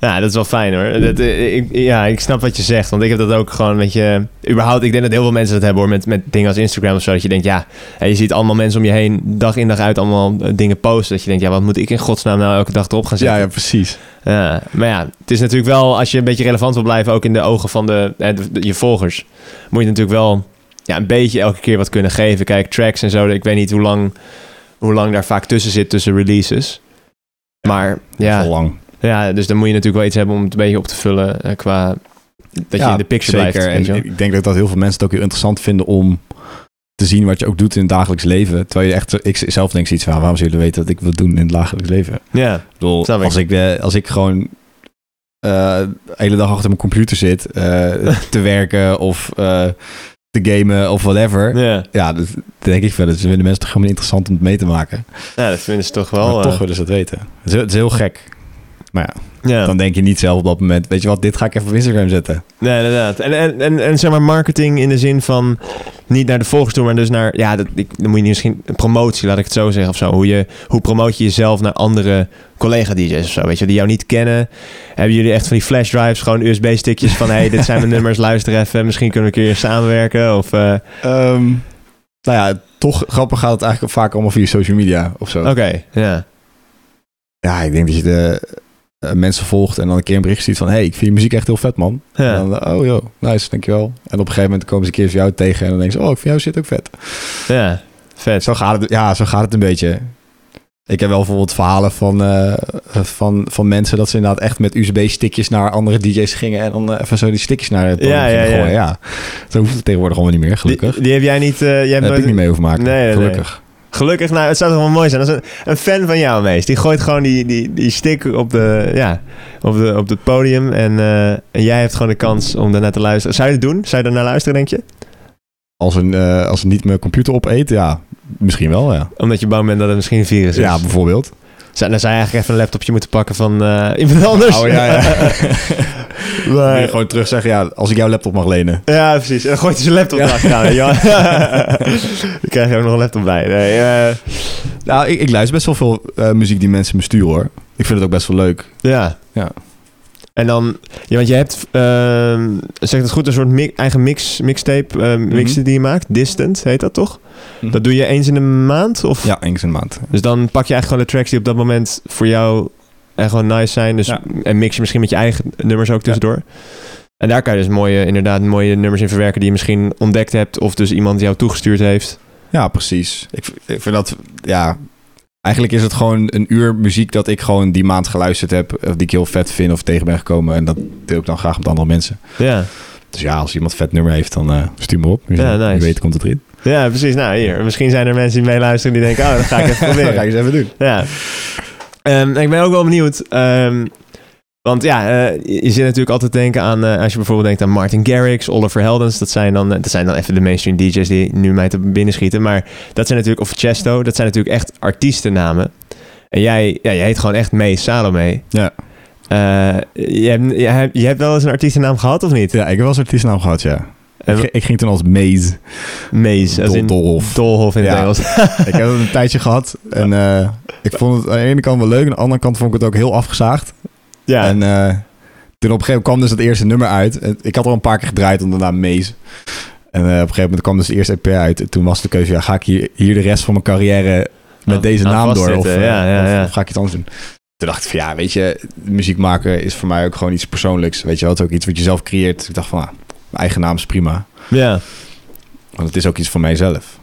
Speaker 1: Ja, dat is wel fijn hoor. Dat, eh, ik, ja, ik snap wat je zegt. Want ik heb dat ook gewoon, weet je... Überhaupt, ik denk dat heel veel mensen dat hebben hoor. Met, met dingen als Instagram of zo. Dat je denkt, ja... hè, Je ziet allemaal mensen om je heen, dag in dag uit, allemaal eh, dingen posten. Dat je denkt, ja, wat moet ik in godsnaam nou elke dag erop gaan zetten?
Speaker 2: ja, precies.
Speaker 1: Ja. maar ja, het is natuurlijk wel... Als je een beetje relevant wil blijven, ook in de ogen van de, hè, de- de- je volgers... Moet je natuurlijk wel ja, een beetje elke keer wat kunnen geven. Kijk, tracks en zo. Ik weet niet hoe lang, hoe lang daar vaak tussen zit, tussen releases. Maar ja...
Speaker 2: Al lang.
Speaker 1: Ja, dus dan moet je natuurlijk wel iets hebben om het een beetje op te vullen eh, qua dat je in de picture
Speaker 2: zeker.
Speaker 1: blijft. weet je
Speaker 2: En
Speaker 1: wel.
Speaker 2: ik denk dat, dat heel veel mensen het ook heel interessant vinden om te zien wat je ook doet in het dagelijks leven. Terwijl je echt, ik zelf denk zoiets van, waarom zullen jullie weten wat ik wil doen in het dagelijks leven? Ik
Speaker 1: Ja,
Speaker 2: bedoel,
Speaker 1: Snap ik.
Speaker 2: als ik, de, als ik gewoon eh, de hele dag achter mijn computer zit eh, te werken of eh, te gamen of whatever.
Speaker 1: ja.
Speaker 2: Ja, dat denk ik wel. Dat vinden mensen toch helemaal niet interessant om het mee te maken.
Speaker 1: ja, dat vinden ze toch
Speaker 2: maar
Speaker 1: wel. eh,
Speaker 2: toch willen ze dat weten. Het is, heel- het is heel gek. Maar
Speaker 1: Ja.
Speaker 2: ja, dan denk je niet zelf op dat moment, weet je wat, dit ga ik even op Instagram zetten.
Speaker 1: Nee, inderdaad. En, en, en, en zeg maar marketing in de zin van niet naar de volgers toe, maar dus naar, ja, dat, ik, dan moet je misschien promotie, laat ik het zo zeggen of zo. Hoe, je, hoe promoot je jezelf naar andere collega-DJ's of zo, weet je, die jou niet kennen. Hebben jullie echt van die flash drives, gewoon USB-stickjes van, hey, dit zijn mijn nummers, luister even, misschien kunnen we een keer samenwerken of... eh,
Speaker 2: Ehm, nou ja, toch grappig gaat het eigenlijk vaak allemaal via social media of zo.
Speaker 1: Oké, ja.
Speaker 2: Ja, ik denk dat je de eh, mensen volgt en dan een keer een bericht ziet van... hey, ik vind je muziek echt heel vet, man.
Speaker 1: ja.
Speaker 2: En dan, oh joh, nice, dankjewel. En op een gegeven moment komen ze een keer voor jou tegen... en dan denken ze, oh, ik vind jouw shit ook vet.
Speaker 1: Ja, vet.
Speaker 2: Zo gaat het, ja, zo gaat het een beetje. Ik heb wel bijvoorbeeld verhalen van, eh, van, van mensen... dat ze inderdaad echt met USB-stickjes naar andere DJ's gingen... en dan eh, even zo die stickjes naar het podium
Speaker 1: Ja, ja,
Speaker 2: gingen
Speaker 1: ja.
Speaker 2: gooien. Ja. Zo hoeft het tegenwoordig allemaal niet meer, gelukkig.
Speaker 1: Die, die heb jij niet... eh, jij hebt
Speaker 2: Daar heb ik
Speaker 1: nooit-
Speaker 2: niet mee hoeven maken,
Speaker 1: Nee, nee, nee.
Speaker 2: gelukkig.
Speaker 1: Gelukkig, nou, het zou toch wel mooi zijn. Als een, een fan van jou, meest, die gooit gewoon die, die, die stick op, de, ja, op, de, op het podium. En, eh, en jij hebt gewoon de kans om daarnaar te luisteren. Zou je het doen? Zou je daarnaar luisteren, denk je?
Speaker 2: Als, een, eh, als het niet mijn computer opeet, ja, misschien wel, ja.
Speaker 1: Omdat je bang bent dat het misschien een virus is.
Speaker 2: Ja, bijvoorbeeld.
Speaker 1: Zou, dan zou je eigenlijk even een laptopje moeten pakken van eh, iemand anders.
Speaker 2: Oh, ja, ja.
Speaker 1: Maar-
Speaker 2: Wil je gewoon terug zeggen, ja, als ik jouw laptop mag lenen.
Speaker 1: ja, precies. En dan gooit hij zijn laptop achteraan. Ja. dan krijg je ook nog een laptop bij. Nee, eh,
Speaker 2: Nou, ik, ik luister best wel veel eh, muziek die mensen me sturen hoor. Ik vind het ook best wel leuk.
Speaker 1: Ja.
Speaker 2: Ja.
Speaker 1: En dan, ja, want je hebt, ehm, zeg ik het goed, een soort mi- eigen mix, mixtape, ehm, mixen die je maakt. Distant heet dat toch?
Speaker 2: Mhm.
Speaker 1: Dat doe je eens in de maand? Of?
Speaker 2: Ja, eens een maand.
Speaker 1: Dus dan pak je eigenlijk gewoon de tracks die op dat moment voor jou echt gewoon nice zijn. Dus,
Speaker 2: Ja.
Speaker 1: En mix je misschien met je eigen nummers ook tussendoor. En daar kan je dus mooie, inderdaad mooie nummers in verwerken die je misschien ontdekt hebt. Of dus iemand jou toegestuurd heeft.
Speaker 2: Ja, precies. Ik, ik vind dat, ja... Eigenlijk is het gewoon een uur muziek dat ik gewoon die maand geluisterd heb. Of die ik heel vet vind of tegen ben gekomen. En dat deel ik dan graag met andere mensen.
Speaker 1: Ja,
Speaker 2: Dus ja, als iemand een vet nummer heeft, dan eh stuur me op. Wie-
Speaker 1: Ja, nice.
Speaker 2: Wie weet komt het erin.
Speaker 1: ja precies. Nou hier, misschien zijn er mensen die meeluisteren die
Speaker 2: ah,
Speaker 1: denken, oh, dat ga ik even proberen.
Speaker 2: eens even doen.
Speaker 1: Ja. Ehm, ik ben ook wel benieuwd. ehm, want ja, eh, je je zit natuurlijk altijd te denken aan... eh, als je bijvoorbeeld denkt aan Martin Garrix, Oliver Heldens. Dat zijn dan, eh, dat zijn dan even de mainstream DJ's die nu mij te binnen schieten. Maar dat zijn natuurlijk... Of Chesto, dat zijn natuurlijk echt artiestennamen. En jij, ja, jij heet gewoon echt Mee Salome.
Speaker 2: Ja.
Speaker 1: Eh, je, hebt, je, hebt, je hebt wel eens een artiestennaam gehad, of niet?
Speaker 2: Ja, ik heb wel eens een artiestnaam gehad, ja.
Speaker 1: En-
Speaker 2: Ik, ging- ik ging toen als Maze.
Speaker 1: Mees, als in
Speaker 2: Dolhof.
Speaker 1: Dolhof in het
Speaker 2: Ja.
Speaker 1: Engels.
Speaker 2: Ik heb het een tijdje gehad. En eh, ik vond het aan de ene kant wel leuk. En aan de andere kant vond ik het ook heel afgezaagd.
Speaker 1: ja.
Speaker 2: En eh, toen op een gegeven moment kwam dus dat eerste nummer uit. En ik had al een paar keer gedraaid onder de naam Maze. En eh, op een gegeven moment kwam dus de eerste EP uit. En toen was de keuze, ja, ga ik hier, hier de rest van mijn carrière met
Speaker 1: Aan-
Speaker 2: deze
Speaker 1: aan
Speaker 2: naam door? Of,
Speaker 1: vastzitten,
Speaker 2: eh,
Speaker 1: ja, ja,
Speaker 2: of-
Speaker 1: ja.
Speaker 2: of ga ik iets anders doen? Toen dacht ik van, ja, weet je, muziek maken is voor mij ook gewoon iets persoonlijks. Weet je wel, het is ook iets wat je zelf creëert. Ik dacht van, ah, mijn eigen naam is prima.
Speaker 1: ja.
Speaker 2: Want het is ook iets van mijzelf.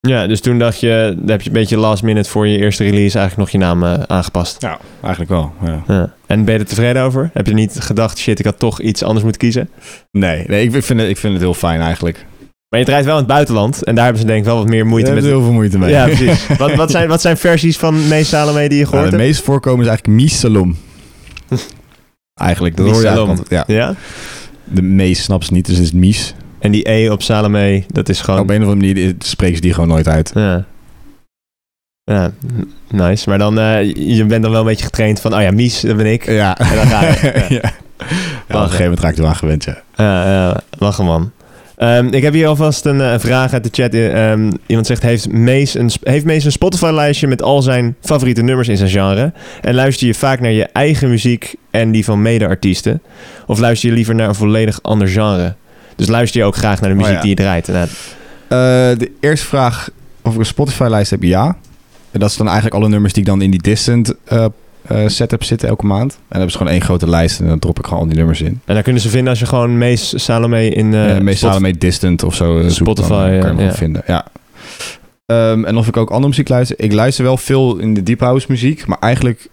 Speaker 1: Ja, dus toen dacht je, daar heb je een beetje last minute voor je eerste release eigenlijk nog je naam eh, aangepast.
Speaker 2: Ja, eigenlijk wel, ja.
Speaker 1: Ja. En ben je er tevreden over? Heb je niet gedacht, shit, ik had toch iets anders moeten kiezen?
Speaker 2: Nee, nee ik, vind het, ik vind het heel fijn eigenlijk.
Speaker 1: Maar je draait wel in het buitenland en daar hebben ze denk ik wel wat meer moeite
Speaker 2: Daar
Speaker 1: met.
Speaker 2: hebben ze heel veel moeite mee.
Speaker 1: Ja, precies. wat, wat, zijn, wat zijn versies van Mees Salome die je
Speaker 2: Nou,
Speaker 1: gehoord
Speaker 2: de
Speaker 1: hebt?
Speaker 2: meest voorkomen is eigenlijk Misalom. eigenlijk, dat hoor je
Speaker 1: Misalom.
Speaker 2: eigenlijk altijd,
Speaker 1: Ja.
Speaker 2: Ja, de meest snapt ze niet, dus het is Mies.
Speaker 1: En die E op Salome, dat is
Speaker 2: Op
Speaker 1: gewoon...
Speaker 2: een of andere manier is- spreken ze die gewoon nooit uit.
Speaker 1: Ja. ja, n- nice. Maar dan, eh, je bent dan wel een beetje getraind van, oh ja, Mies, dat ben ik.
Speaker 2: Ja.
Speaker 1: En dan ga je. Ja.
Speaker 2: ja. Ja, op een gegeven moment raak ik er wel aan gewend, ja.
Speaker 1: Ja, ja, Eh, lachen man. Ehm, ik heb hier alvast een eh, vraag uit de chat. Eh, ehm, iemand zegt, heeft Mees, een, sp- heeft Mees een Spotify-lijstje met al zijn favoriete nummers in zijn genre? En luister je vaak naar je eigen muziek en die van mede-artiesten? Of luister je liever naar een volledig ander genre? Dus luister je ook graag naar de
Speaker 2: Oh,
Speaker 1: muziek
Speaker 2: ja.
Speaker 1: die je draait? Nou,
Speaker 2: Eh, de eerste vraag of ik een Spotify-lijst heb, ja. En dat is dan eigenlijk alle nummers die ik dan in die Distant eh, eh, setup zitten elke maand. En dan hebben ze gewoon één grote lijst en dan drop ik gewoon al die nummers in.
Speaker 1: en daar kunnen ze vinden als je gewoon Mees Salome in... eh,
Speaker 2: Eh meestal
Speaker 1: Spotify-
Speaker 2: mee Distant of zo. eh, zoekt,
Speaker 1: Spotify,
Speaker 2: dan, eh,
Speaker 1: ja,
Speaker 2: kan je hem
Speaker 1: ja.
Speaker 2: wel vinden. Ja. Ehm, en of ik ook andere muziek luister. Ik luister wel veel in de deep house muziek, maar eigenlijk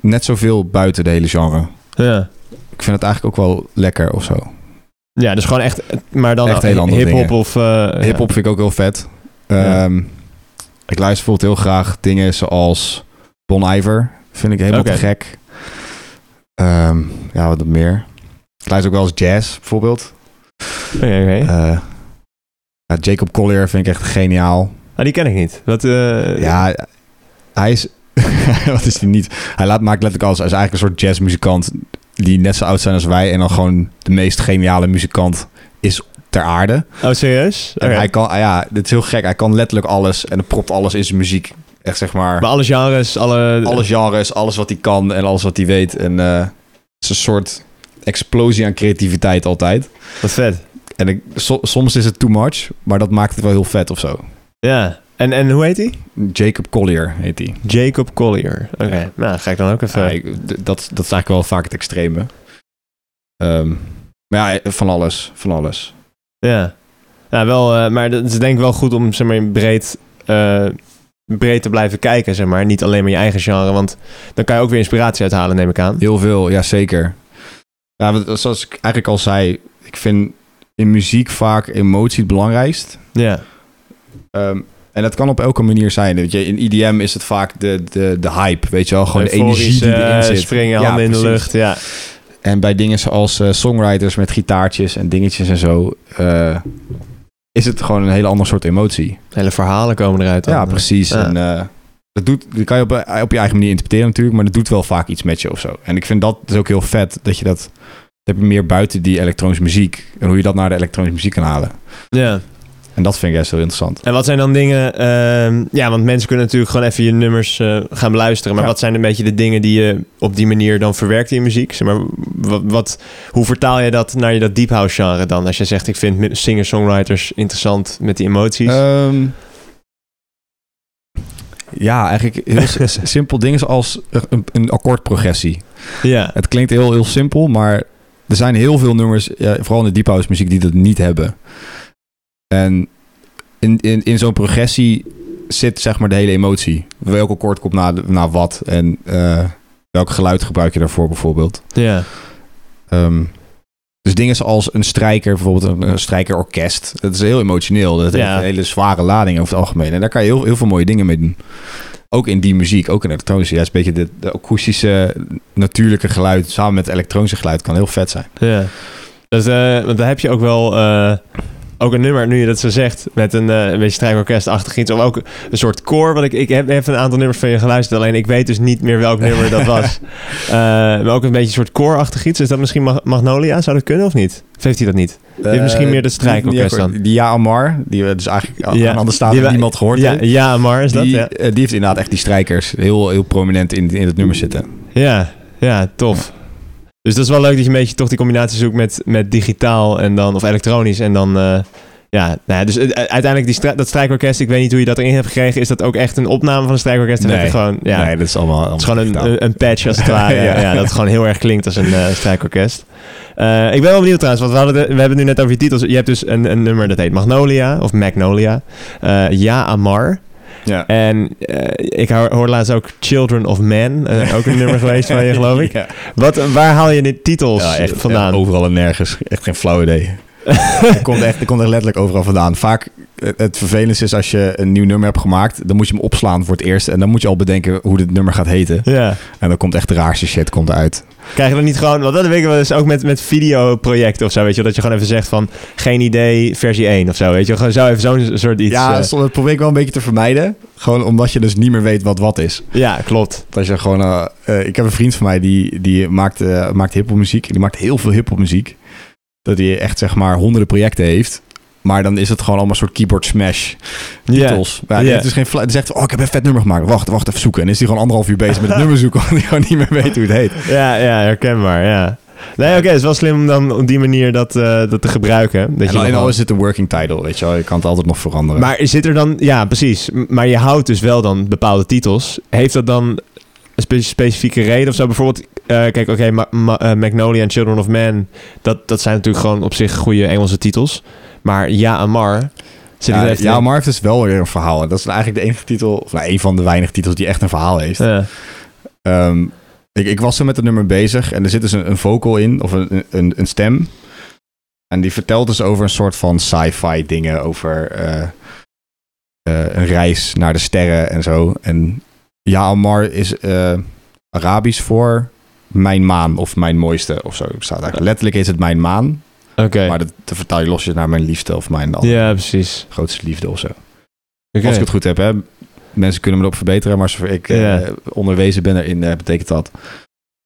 Speaker 2: net zoveel buiten de hele genre.
Speaker 1: Ja.
Speaker 2: Ik vind het eigenlijk ook wel lekker of zo.
Speaker 1: ja, dus gewoon echt... Maar dan
Speaker 2: Echt hele andere
Speaker 1: hip-hop
Speaker 2: dingen.
Speaker 1: of... eh,
Speaker 2: Hip-hop vind ik ook heel vet.
Speaker 1: Ja.
Speaker 2: Ehm, Ik luister bijvoorbeeld heel graag dingen zoals Bon Iver. Vind ik helemaal
Speaker 1: Oké.
Speaker 2: te gek. Ehm, ja, wat meer. Ik luister ook wel eens jazz bijvoorbeeld.
Speaker 1: Ja. Oké, oké.
Speaker 2: Eh, ja, Jacob Collier vind ik echt geniaal.
Speaker 1: Ah, die ken ik niet. Wat, eh,
Speaker 2: Ja, hij is. Wat is die niet? Hij laat, maakt letterlijk alles. Hij is eigenlijk een soort jazzmuzikant die net zo oud zijn als wij en dan gewoon de meest geniale muzikant is ter aarde.
Speaker 3: Oh, serieus?
Speaker 2: En
Speaker 3: Oké.
Speaker 2: hij kan, ah ja, dit is heel gek. Hij kan letterlijk alles en dan propt alles in zijn muziek. Echt zeg maar,
Speaker 3: Maar alle genres, alle...
Speaker 2: alle genres, alles wat hij kan en alles wat hij weet. En eh, het is een soort explosie aan creativiteit altijd.
Speaker 1: Wat vet.
Speaker 2: En ik, so- soms is het too much, maar dat maakt het wel heel vet of zo.
Speaker 1: Ja. En, en hoe heet hij?
Speaker 2: Jacob Collier heet hij.
Speaker 1: Jacob Collier. Oké,
Speaker 2: Ja.
Speaker 1: nou ga ik dan ook even...
Speaker 2: Ja, ik- d- dat, dat is eigenlijk wel vaak het extreme. Ehm, maar ja, van alles, van alles.
Speaker 1: Ja. Ja, wel, eh, maar dat is denk ik wel goed om zeg maar, breed, eh, breed te blijven kijken, zeg maar. Niet alleen maar je eigen genre, want dan kan je ook weer inspiratie uithalen, neem ik aan.
Speaker 2: Heel veel, ja zeker. Ja, want zoals ik eigenlijk al zei, ik vind in muziek vaak emotie het belangrijkst.
Speaker 1: Ja.
Speaker 2: Ehm, en dat kan op elke manier zijn. Weet je, in IDM is het vaak de, de, de hype, weet je wel? Gewoon de energie die
Speaker 1: Euforisch,
Speaker 2: erin
Speaker 1: eh,
Speaker 2: zit.
Speaker 1: springen,
Speaker 2: Ja,
Speaker 1: handen in de
Speaker 2: precies.
Speaker 1: lucht, ja.
Speaker 2: En bij dingen zoals eh, songwriters met gitaartjes en dingetjes en zo... eh, is het gewoon een hele andere soort emotie.
Speaker 1: Hele verhalen komen eruit dan.
Speaker 2: ja, precies.
Speaker 1: ja.
Speaker 2: En, eh, dat, doet, dat kan je op, eh, op je eigen manier interpreteren natuurlijk... maar dat doet wel vaak iets met je of zo. En ik vind dat dus ook heel vet, dat je dat... Dat heb je meer buiten die elektronische muziek... en hoe je dat naar de elektronische muziek kan halen.
Speaker 1: Ja.
Speaker 2: En dat vind ik best heel interessant.
Speaker 1: En wat zijn dan dingen... ehm, ja, want mensen kunnen natuurlijk gewoon even je nummers eh, gaan beluisteren. Maar
Speaker 2: Ja.
Speaker 1: wat zijn een beetje de dingen die je op die manier dan verwerkt in je muziek? Zeg maar, wat, wat, hoe vertaal je dat naar je dat deep house genre dan? Als je zegt, ik vind mi- singer-songwriters interessant met die emoties.
Speaker 2: Ehm, ja, eigenlijk heel si- si- simpel dingen zoals een, een akkoordprogressie.
Speaker 1: ja.
Speaker 2: Het klinkt heel, heel simpel, maar er zijn heel veel nummers, ja, vooral in de deep house muziek, die dat niet hebben. En in, in, in zo'n progressie zit zeg maar de hele emotie. Welk akkoord komt na, na wat en eh, welk geluid gebruik je daarvoor bijvoorbeeld.
Speaker 1: Ja.
Speaker 2: Ehm, dus dingen zoals een strijker, bijvoorbeeld een, een strijkerorkest. Dat is heel emotioneel. Dat
Speaker 1: Ja.
Speaker 2: heeft een hele zware lading over het algemeen. En daar kan je heel, heel veel mooie dingen mee doen. Ook in die muziek, ook in elektronische. Ja, het is een beetje de, de akoestische, natuurlijke geluid samen met het elektronische geluid kan heel vet zijn.
Speaker 1: ja. Dus, eh, want daar heb je ook wel eh, ook een nummer, nu je dat zo zegt, met een, eh, een beetje strijkorkestachtig iets. Of ook een soort koor. Want ik, ik heb even een aantal nummers van je geluisterd, alleen ik weet dus niet meer welk nummer dat was. Eh, maar ook een beetje een soort koorachtig iets. Is dat misschien Mag- Magnolia? Zou dat kunnen of niet? Of heeft hij dat niet? is misschien meer de strijkorkest
Speaker 2: Eh, die- Die, die Ja Amar, die we dus eigenlijk aan
Speaker 1: Ja.
Speaker 2: aan andere
Speaker 1: Die
Speaker 2: staten
Speaker 1: we-
Speaker 2: niemand gehoord
Speaker 1: Ja,
Speaker 2: heeft.
Speaker 1: ja, maar is dat?
Speaker 2: Die,
Speaker 1: Ja.
Speaker 2: eh, die heeft inderdaad echt die strijkers heel, heel prominent in, in het nummer zitten.
Speaker 1: Ja, ja, tof. Dus dat is wel leuk dat je een beetje toch die combinatie zoekt met, met digitaal en dan, of elektronisch en dan, eh, ja, nou ja, dus eh, uiteindelijk die strij- dat strijkorkest, ik weet niet hoe je dat erin hebt gekregen, is dat ook echt een opname van een strijkorkest? En
Speaker 2: Nee.
Speaker 1: heb je gewoon, ja,
Speaker 2: Nee, dat is allemaal, allemaal
Speaker 1: het is gewoon
Speaker 2: digitaal.
Speaker 1: een, een, een patch als het ware, ja,
Speaker 2: Ja.
Speaker 1: dat het gewoon heel erg klinkt als een eh, strijkorkest. Eh, ik ben wel benieuwd trouwens, want we, hadden de- we hebben het nu net over je titels. Je hebt dus een, een nummer dat heet Magnolia, of Magnolia, eh, Ja Amar.
Speaker 2: ja.
Speaker 1: En eh, ik hoor, hoor laatst ook Children of Men. eh, ook een nummer geweest van je, geloof ik.
Speaker 2: Ja.
Speaker 1: Wat, waar haal je de titels
Speaker 2: Ja, echt
Speaker 1: vandaan?
Speaker 2: ja, oh. overal en nergens. Echt geen flauw idee. Het komt echt, het komt echt letterlijk overal vandaan. Vaak eh, het vervelendste is als je een nieuw nummer hebt gemaakt, dan moet je hem opslaan voor het eerst. En dan moet je al bedenken hoe dit nummer gaat heten.
Speaker 1: ja.
Speaker 2: En dan komt echt de raarste shit komt eruit.
Speaker 1: Krijgen we niet gewoon... Want dat weet ik wel eens ook met, met videoprojecten of zo, weet je. wel, Dat je gewoon even zegt van... Geen idee, versie 1 of zo, weet je. wel. Gewoon zo even zo'n soort iets.
Speaker 2: ja,
Speaker 1: eh,
Speaker 2: soms- dat probeer ik wel een beetje te vermijden. Gewoon omdat je dus niet meer weet wat wat is.
Speaker 1: ja klopt.
Speaker 2: Want Als je gewoon, eh, eh, ik heb een vriend van mij die, die maakt, eh maakt hiphopmuziek. Die maakt heel veel hiphopmuziek. Dat hij echt zeg maar honderden projecten heeft. Maar dan is het gewoon allemaal een soort keyboard smash.
Speaker 1: Ja.
Speaker 2: titels. Ja,
Speaker 1: Ja.
Speaker 2: Het is geen fla- het is echt, oh, ik heb een vet nummer gemaakt. Wacht, wacht, even zoeken. En is hij gewoon anderhalf uur bezig met het nummer zoeken, omdat hij gewoon niet meer weet hoe het heet.
Speaker 1: ja, ja, herkenbaar, ja. Nee, oké, het is wel slim om dan op die manier dat, eh, dat te gebruiken. Dat
Speaker 2: en
Speaker 1: je
Speaker 2: al,
Speaker 1: nog
Speaker 2: en al
Speaker 1: wel-
Speaker 2: is het een working title, weet je wel. Je kan het altijd nog veranderen.
Speaker 1: Maar zit er dan, ja, precies. M- Maar je houdt dus wel dan bepaalde titels. Heeft dat dan een spe- specifieke reden of zo? Bijvoorbeeld, eh, kijk, oké, Ma- Ma- eh, Magnolia en Children of Men, dat, dat zijn natuurlijk gewoon op zich goede Engelse titels. Maar Ja Amar zit
Speaker 2: ja,
Speaker 1: er echt
Speaker 2: ja,
Speaker 1: in.
Speaker 2: Marv is dus wel weer een verhaal. En dat is eigenlijk de enige titel, of nou, een van de weinige titels die echt een verhaal heeft.
Speaker 1: Ja.
Speaker 2: Ehm, ik, ik was zo met het nummer bezig en er zit dus een, een vocal in, of een, een, een stem. En die vertelt dus over een soort van sci-fi dingen, over eh, eh, een reis naar de sterren en zo. En ja, Amar is eh, Arabisch voor mijn maan of mijn mooiste of zo. Staat eigenlijk. Letterlijk is het mijn maan,
Speaker 1: Oké.
Speaker 2: maar dat, dat vertaal je losjes naar mijn liefde of mijn
Speaker 1: Ja, precies.
Speaker 2: grootste liefde of zo.
Speaker 1: Oké.
Speaker 2: Als ik het goed heb, hè. mensen kunnen me erop verbeteren, maar zover ik eh,
Speaker 1: Ja.
Speaker 2: onderwezen ben erin, eh, betekent dat.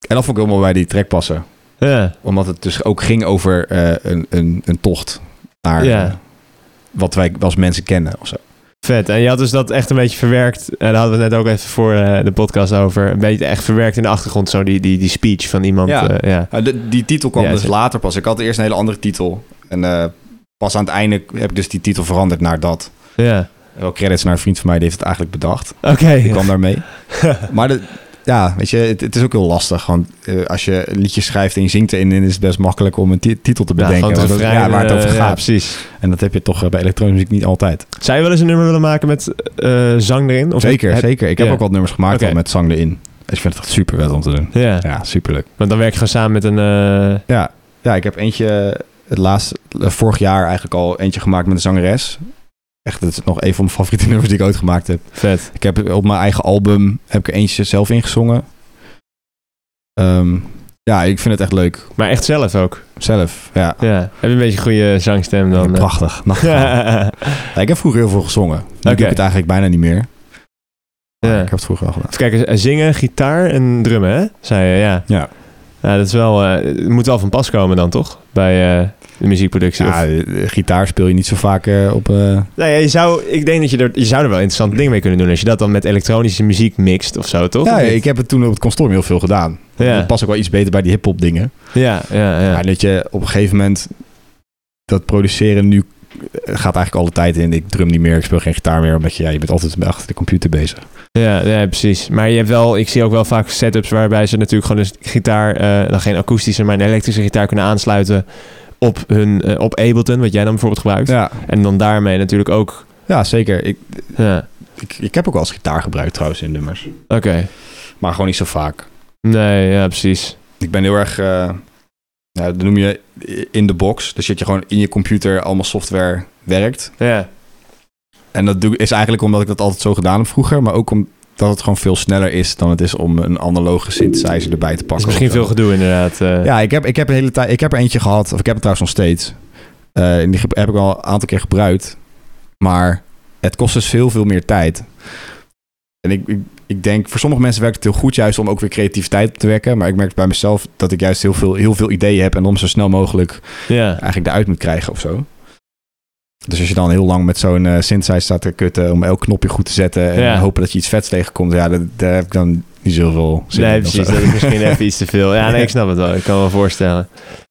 Speaker 2: En dat vond ik helemaal bij die track passen.
Speaker 1: Ja.
Speaker 2: Omdat het dus ook ging over eh, een, een, een tocht naar
Speaker 1: Ja.
Speaker 2: eh, wat wij als mensen kennen of zo.
Speaker 1: Vet. En je had dus dat echt een beetje verwerkt. En daar hadden we het net ook even voor eh, de podcast over. Een beetje echt verwerkt in de achtergrond. Zo die, die, die speech van iemand.
Speaker 2: Ja.
Speaker 1: eh, ja.
Speaker 2: Nou, de- die titel kwam
Speaker 1: Ja,
Speaker 2: dus
Speaker 1: zeker.
Speaker 2: later pas. Ik had eerst een hele andere titel. En eh, pas aan het einde heb ik dus die titel veranderd naar dat.
Speaker 1: ja.
Speaker 2: Wel credits naar een vriend van mij, die heeft het eigenlijk bedacht.
Speaker 1: Oké.
Speaker 2: Die kwam daarmee. Maar de- ja, weet je, het, het is ook heel lastig. Want eh, als je liedjes schrijft en je zingt erin, dan is het best makkelijk om een ti- titel te
Speaker 1: Ja,
Speaker 2: bedenken.
Speaker 1: gewoon te
Speaker 2: want dat-
Speaker 1: vragen,
Speaker 2: ja, waar het over
Speaker 1: eh, ja,
Speaker 2: gaat.
Speaker 1: precies.
Speaker 2: En dat heb je toch eh, bij elektronische muziek niet altijd.
Speaker 1: Zou je wel eens een nummer willen maken met eh, zang erin? Of
Speaker 2: zeker,
Speaker 1: heb-
Speaker 2: zeker. Ik heb
Speaker 1: ja.
Speaker 2: ook wat nummers gemaakt
Speaker 1: Oké.
Speaker 2: al met zang erin. Dus ik vind het echt super vet om te doen.
Speaker 1: Ja.
Speaker 2: Ja, super leuk.
Speaker 1: Want dan werk je gewoon samen met een... eh,
Speaker 2: Ja, ja ik heb eentje eh, het laatste, eh, vorig jaar eigenlijk al eentje gemaakt met een zangeres. Echt, dat is nog een van mijn favoriete nummers die ik ooit gemaakt heb.
Speaker 1: vet.
Speaker 2: Ik heb op mijn eigen album heb ik er eentje zelf ingezongen. Ehm, ja, ik vind het echt leuk.
Speaker 1: Maar echt zelf ook.
Speaker 2: Zelf, ja.
Speaker 1: Ja. Heb je een beetje een goede zangstem dan?
Speaker 2: Ja,
Speaker 1: eh?
Speaker 2: prachtig. Nachtegaal.
Speaker 1: ja.
Speaker 2: Ja, ik heb vroeger heel veel gezongen. Nu doe
Speaker 1: Oké.
Speaker 2: ik het eigenlijk bijna niet meer. Maar
Speaker 1: Ja.
Speaker 2: Ik heb het vroeger wel gedaan.
Speaker 1: Even kijken, eh, zingen, gitaar en drummen, hè? Zei je, ja.
Speaker 2: Ja.
Speaker 1: Nou, dat is wel... eh, het moet wel van pas komen dan, toch? Bij eh, de muziekproductie. of-
Speaker 2: Ja, eh, gitaar speel je niet zo vaak eh, op... eh,
Speaker 1: Nou ja, je zou, ik denk dat je er, je zou er wel interessante dingen mee kunnen doen. Als je dat dan met elektronische muziek mixt of zo, toch?
Speaker 2: Ja, ik heb het toen op het consortium heel veel gedaan.
Speaker 1: ja.
Speaker 2: Dat past ook wel iets beter bij die hip-hop dingen.
Speaker 1: ja, ja, ja.
Speaker 2: Maar dat je op een gegeven moment dat produceren nu eh, gaat eigenlijk alle tijd in. Ik drum niet meer, ik speel geen gitaar meer, omdat je, ja, je bent altijd achter de computer bezig.
Speaker 1: Ja, ja, precies. Maar je hebt wel, ik zie ook wel vaak setups waarbij ze natuurlijk gewoon een gitaar, eh, dan geen akoestische, maar een elektrische gitaar kunnen aansluiten op hun, eh, op Ableton, wat jij dan bijvoorbeeld gebruikt.
Speaker 2: Ja,
Speaker 1: En dan daarmee natuurlijk ook.
Speaker 2: ja zeker. Ik,
Speaker 1: Ja,
Speaker 2: ik, ik heb ook wel eens gitaar gebruikt trouwens in nummers,
Speaker 1: oké.
Speaker 2: maar gewoon niet zo vaak.
Speaker 1: Nee, ja, precies.
Speaker 2: Ik ben heel erg, eh nou, dat noem je in de box. Dus dat je gewoon in je computer allemaal software werkt.
Speaker 1: Ja,
Speaker 2: En dat doe, is eigenlijk omdat ik dat altijd zo gedaan heb vroeger, maar ook omdat het gewoon veel sneller is dan het is om een analoge synthesizer erbij te pakken.
Speaker 1: is misschien
Speaker 2: of zo.
Speaker 1: veel gedoe inderdaad. eh.
Speaker 2: Ja, ik heb, ik heb een hele tijd. Ik heb er eentje gehad. Of ik heb het trouwens nog steeds. Eh, en die ge- heb ik al een aantal keer gebruikt. Maar het kost dus veel, veel meer tijd. En ik, ik, ik denk, voor sommige mensen werkt het heel goed juist om ook weer creativiteit op te wekken. Maar ik merk bij mezelf dat ik juist heel veel, heel veel ideeën heb en om zo snel mogelijk
Speaker 1: ja.
Speaker 2: eigenlijk eruit moet krijgen of zo. Dus als je dan heel lang met zo'n eh synthesizer staat te kutten om elk knopje goed te zetten en
Speaker 1: Ja.
Speaker 2: hopen dat je iets vets tegenkomt, ja, dat- daar heb ik dan niet zoveel zin
Speaker 1: nee,
Speaker 2: in of
Speaker 1: precies.
Speaker 2: zo.
Speaker 1: Dat is misschien even iets te veel. Ja, nee, ik snap het wel. Ik kan me wel voorstellen.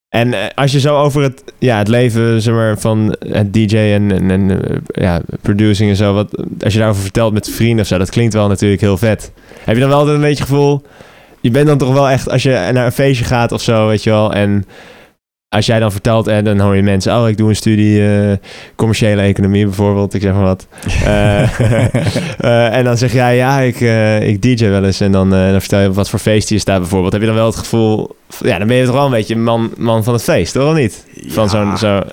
Speaker 1: En eh, als je zo over het, ja, het leven zeg maar, van het DJ en, en, en eh, ja, producing en zo, wat, als je daarover vertelt met vrienden of zo, dat klinkt wel natuurlijk heel vet. Heb je dan wel altijd een beetje het gevoel, je bent dan toch wel echt, als je naar een feestje gaat of zo, weet je wel, en als jij dan vertelt en dan hoor je mensen, oh, ik doe een studie eh, commerciële economie bijvoorbeeld, ik zeg maar wat. Eh, eh, en dan zeg jij, ja, ik, eh, ik DJ wel eens. En dan, eh, dan vertel je op wat voor feest je staat bijvoorbeeld. Heb je dan wel het gevoel... Ja, dan ben je toch wel een beetje man, man van het feest, toch? Of niet? Van
Speaker 2: Ja.
Speaker 1: zo'n... Zo,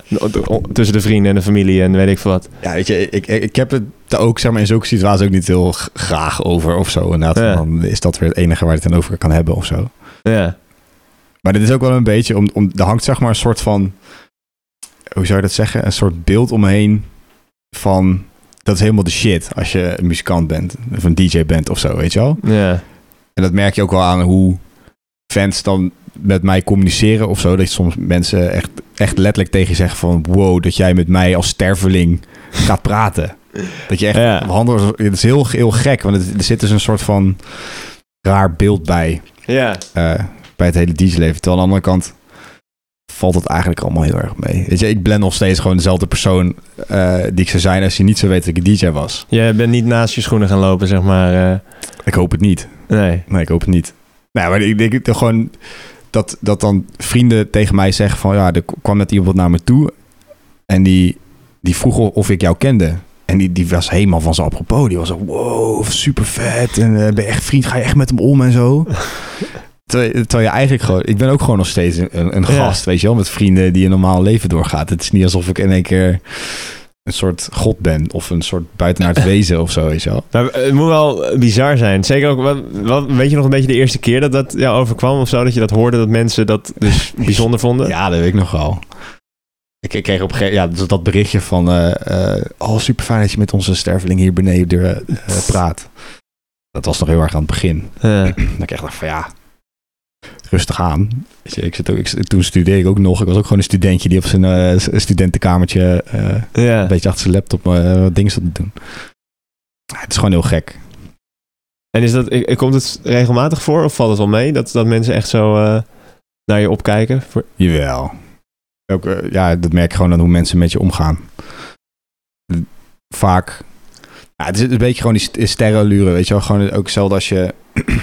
Speaker 1: tussen de vrienden en de familie en weet ik veel wat.
Speaker 2: Ja, weet je, ik, ik, ik heb het daar ook zeg maar, in zulke situaties ook niet heel g- graag over of zo. Inderdaad,
Speaker 1: Ja.
Speaker 2: dan is dat weer het enige waar je het dan over kan hebben of zo.
Speaker 1: Ja.
Speaker 2: Maar dit is ook wel een beetje, om, om, er hangt zeg maar een soort van, hoe zou je dat zeggen? Een soort beeld omheen van, dat is helemaal de shit als je een muzikant bent of een DJ bent of zo, weet je wel?
Speaker 1: Ja.
Speaker 2: En dat merk je ook wel aan hoe fans dan met mij communiceren of zo. Dat je soms mensen echt, echt letterlijk tegen je zeggen van... wow, dat jij met mij als sterveling gaat praten. Dat je echt
Speaker 1: Ja.
Speaker 2: handelt... als- Het is heel, heel gek, want het, er zit dus een soort van raar beeld bij...
Speaker 1: Ja.
Speaker 2: eh, bij het hele DJ-leven. Terwijl aan de andere kant valt het eigenlijk allemaal heel erg mee. Weet je, ik ben nog steeds gewoon dezelfde persoon eh, die ik zou zijn... als je niet zou weten dat ik een DJ was.
Speaker 1: Je bent niet naast je schoenen gaan lopen, zeg maar. eh.
Speaker 2: Ik hoop het niet.
Speaker 1: nee.
Speaker 2: Nee, ik hoop het niet. Nou, maar ik denk toch gewoon dat, dat dan vrienden tegen mij zeggen van... ja, er kwam net iemand naar me toe en die, die vroeg of ik jou kende. En die, die was helemaal van zijn apropos. Die was zo, wow, super vet. En eh, ben je echt vriend, ga je echt met hem om en zo. Terwijl, terwijl je eigenlijk gewoon... Ik ben ook gewoon nog steeds een, een
Speaker 1: Ja.
Speaker 2: gast, weet je wel. Met vrienden die een normaal leven doorgaat. Het is niet alsof ik in één keer een soort god ben. Of een soort buitenaard wezen of zo, weet je wel.
Speaker 1: Maar eh, het moet wel bizar zijn. Zeker ook, wat, wat- weet je nog een beetje de eerste keer dat dat jou overkwam of zo? Dat je dat hoorde, dat mensen dat dus bijzonder vonden?
Speaker 2: Ja, dat weet ik nog wel. Ik, ik kreeg op een gegeven moment ja, dus dat berichtje van... eh, eh, oh, super fijn dat je met onze sterveling hier beneden eh, praat. Dat was nog heel erg aan het begin.
Speaker 1: Eh,
Speaker 2: Dan kreeg ik van ja, rustig aan. Weet je, ik zit ook, ik, toen studeerde ik ook nog. Ik was ook gewoon een studentje die op zijn eh, s- studentenkamertje eh,
Speaker 1: ja.
Speaker 2: een beetje achter zijn laptop eh, wat dingen zat te doen. Ja, het is gewoon heel gek.
Speaker 1: En is dat, eh, komt het regelmatig voor of valt het wel mee dat, dat mensen echt zo eh, naar je opkijken? Voor,
Speaker 2: Jawel. Ook, eh, ja, dat merk je gewoon aan hoe mensen met je omgaan. Vaak. Ja, het is een beetje gewoon die st- sterrenallure, weet je wel. Gewoon ook hetzelfde als je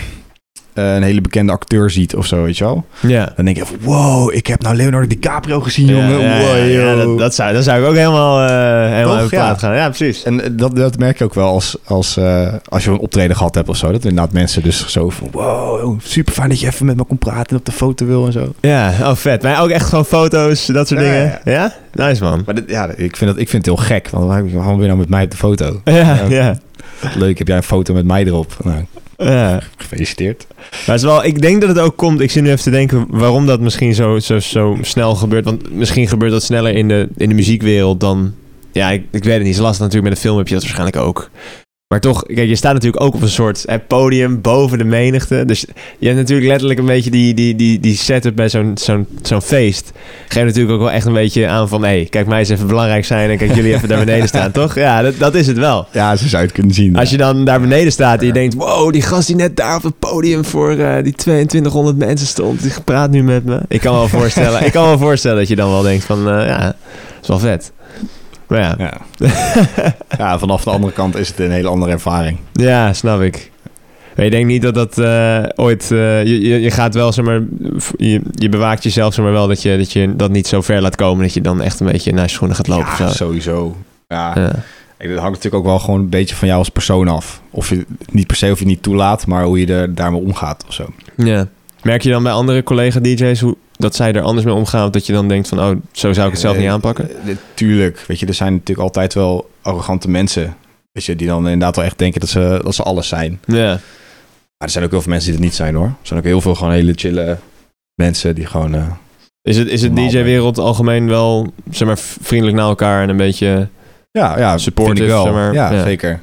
Speaker 2: eh, een hele bekende acteur ziet of zo, weet je wel.
Speaker 1: ja.
Speaker 2: Dan denk je even, wow, ik heb nou Leonardo DiCaprio gezien,
Speaker 1: Ja,
Speaker 2: jongen.
Speaker 1: ja,
Speaker 2: Wow,
Speaker 1: ja, ja,
Speaker 2: yo.
Speaker 1: dat, dat zou, dat zou ik ook helemaal, eh helemaal
Speaker 2: Toch?
Speaker 1: uit de plaat
Speaker 2: Ja.
Speaker 1: gaan. Ja, precies.
Speaker 2: En eh, dat, dat merk je ook wel als, als, eh, als je een optreden gehad hebt of zo. Dat inderdaad mensen dus zo van, wow, super fijn dat je even met me kon praten en op de foto wil en zo.
Speaker 1: Ja, oh vet. Maar ook echt gewoon foto's, dat soort
Speaker 2: Ja,
Speaker 1: dingen. Ja, Nice man.
Speaker 2: Maar dit- ja, ik vind, dat, ik vind het heel gek, want waarom waarom ben je nou met mij op de foto?
Speaker 1: Ja,
Speaker 2: Ja.
Speaker 1: ja.
Speaker 2: Leuk, heb jij een foto met mij erop? Nou,
Speaker 1: ja.
Speaker 2: gefeliciteerd.
Speaker 1: Maar het is wel, ik denk dat het ook komt. Ik zit nu even te denken waarom dat misschien zo, zo, zo snel gebeurt. Want misschien gebeurt dat sneller in de, in de muziekwereld dan. Ja, ik, ik weet het niet. Het is lastig natuurlijk. Met een film heb je dat waarschijnlijk ook. Maar toch, kijk, je staat natuurlijk ook op een soort hè, podium boven de menigte. Dus je hebt natuurlijk letterlijk een beetje die, die, die, die setup bij zo'n zo'n zo'n feest. Geeft natuurlijk ook wel echt een beetje aan van... hé, hey, kijk mij eens even belangrijk zijn en kijk jullie even daar beneden staan, toch? Ja, dat, dat is het wel.
Speaker 2: Ja, zo zou je het kunnen zien.
Speaker 1: Als je dan daar beneden staat en je denkt... wow, die gast die net daar op het podium voor eh, die 2200 mensen stond... die praat nu met me. Ik kan wel voorstellen, ik kan wel voorstellen dat je dan wel denkt van... eh, ja, dat is wel vet. Maar ja,
Speaker 2: Ja. ja, vanaf de andere kant is het een hele andere ervaring.
Speaker 1: ja snap ik. Maar ik denk niet dat dat eh, ooit... eh, je, je, je gaat wel, zeg maar... Je, je bewaakt jezelf, zeg maar wel... Dat je, dat je dat niet zo ver laat komen... dat je dan echt een beetje naar je schoenen gaat lopen. of
Speaker 2: ja,
Speaker 1: zo.
Speaker 2: sowieso. Ja,
Speaker 1: Ja.
Speaker 2: Ik- Dat hangt natuurlijk ook wel gewoon een beetje van jou als persoon af. Of je niet per se of je het niet toelaat, maar hoe je er daarmee omgaat of zo.
Speaker 1: Ja. Merk je dan bij andere collega-dj's hoe, dat zij er anders mee omgaan? Of dat je dan denkt van, oh, zo zou ik het zelf niet
Speaker 2: Eh,
Speaker 1: aanpakken?
Speaker 2: eh, Tuurlijk, weet je, er zijn natuurlijk altijd wel arrogante mensen. Weet je, die dan inderdaad wel echt denken dat ze, dat ze alles zijn.
Speaker 1: Ja.
Speaker 2: Maar er zijn ook heel veel mensen die dat niet zijn hoor. Er zijn ook heel veel gewoon hele chille mensen die gewoon... eh,
Speaker 1: Is het, is het
Speaker 2: Normaal
Speaker 1: DJ-wereld algemeen wel, zeg maar, v- vriendelijk naar elkaar en een beetje...
Speaker 2: ja, ja,
Speaker 1: Supportive,
Speaker 2: vind ik wel.
Speaker 1: zeg maar.
Speaker 2: Ja,
Speaker 1: Ja.
Speaker 2: zeker.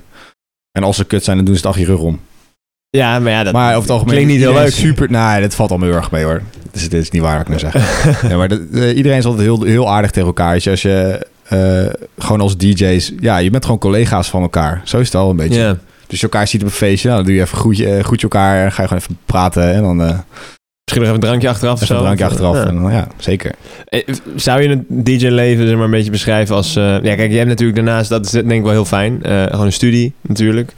Speaker 2: En als ze kut zijn, dan doen ze het achter je rug om.
Speaker 1: Ja, maar ja, dat
Speaker 2: maar over het algemeen...
Speaker 1: klinkt niet heel
Speaker 2: iedereen
Speaker 1: leuk.
Speaker 2: is Super, nee, dat valt allemaal heel erg mee hoor. Dus het is niet waar wat ik nou zeg. Ja, maar dat- eh, iedereen is altijd heel, heel aardig tegen elkaar. Dus als je eh, gewoon als DJ's, ja, je bent gewoon collega's van elkaar. Zo is het al een beetje.
Speaker 1: ja.
Speaker 2: Dus je elkaar ziet op een feestje, nou, dan doe je even groetje, eh, groet je elkaar, en ga je gewoon even praten en dan eh even
Speaker 1: Misschien nog even een drankje achteraf of zo.
Speaker 2: een drankje
Speaker 1: Of,
Speaker 2: achteraf.
Speaker 1: ja.
Speaker 2: En dan, ja, zeker.
Speaker 1: Eh, Zou je het DJ-leven zeg maar een beetje beschrijven als... eh, ja, kijk, je hebt natuurlijk daarnaast, dat is denk ik wel heel fijn. eh, gewoon een studie natuurlijk.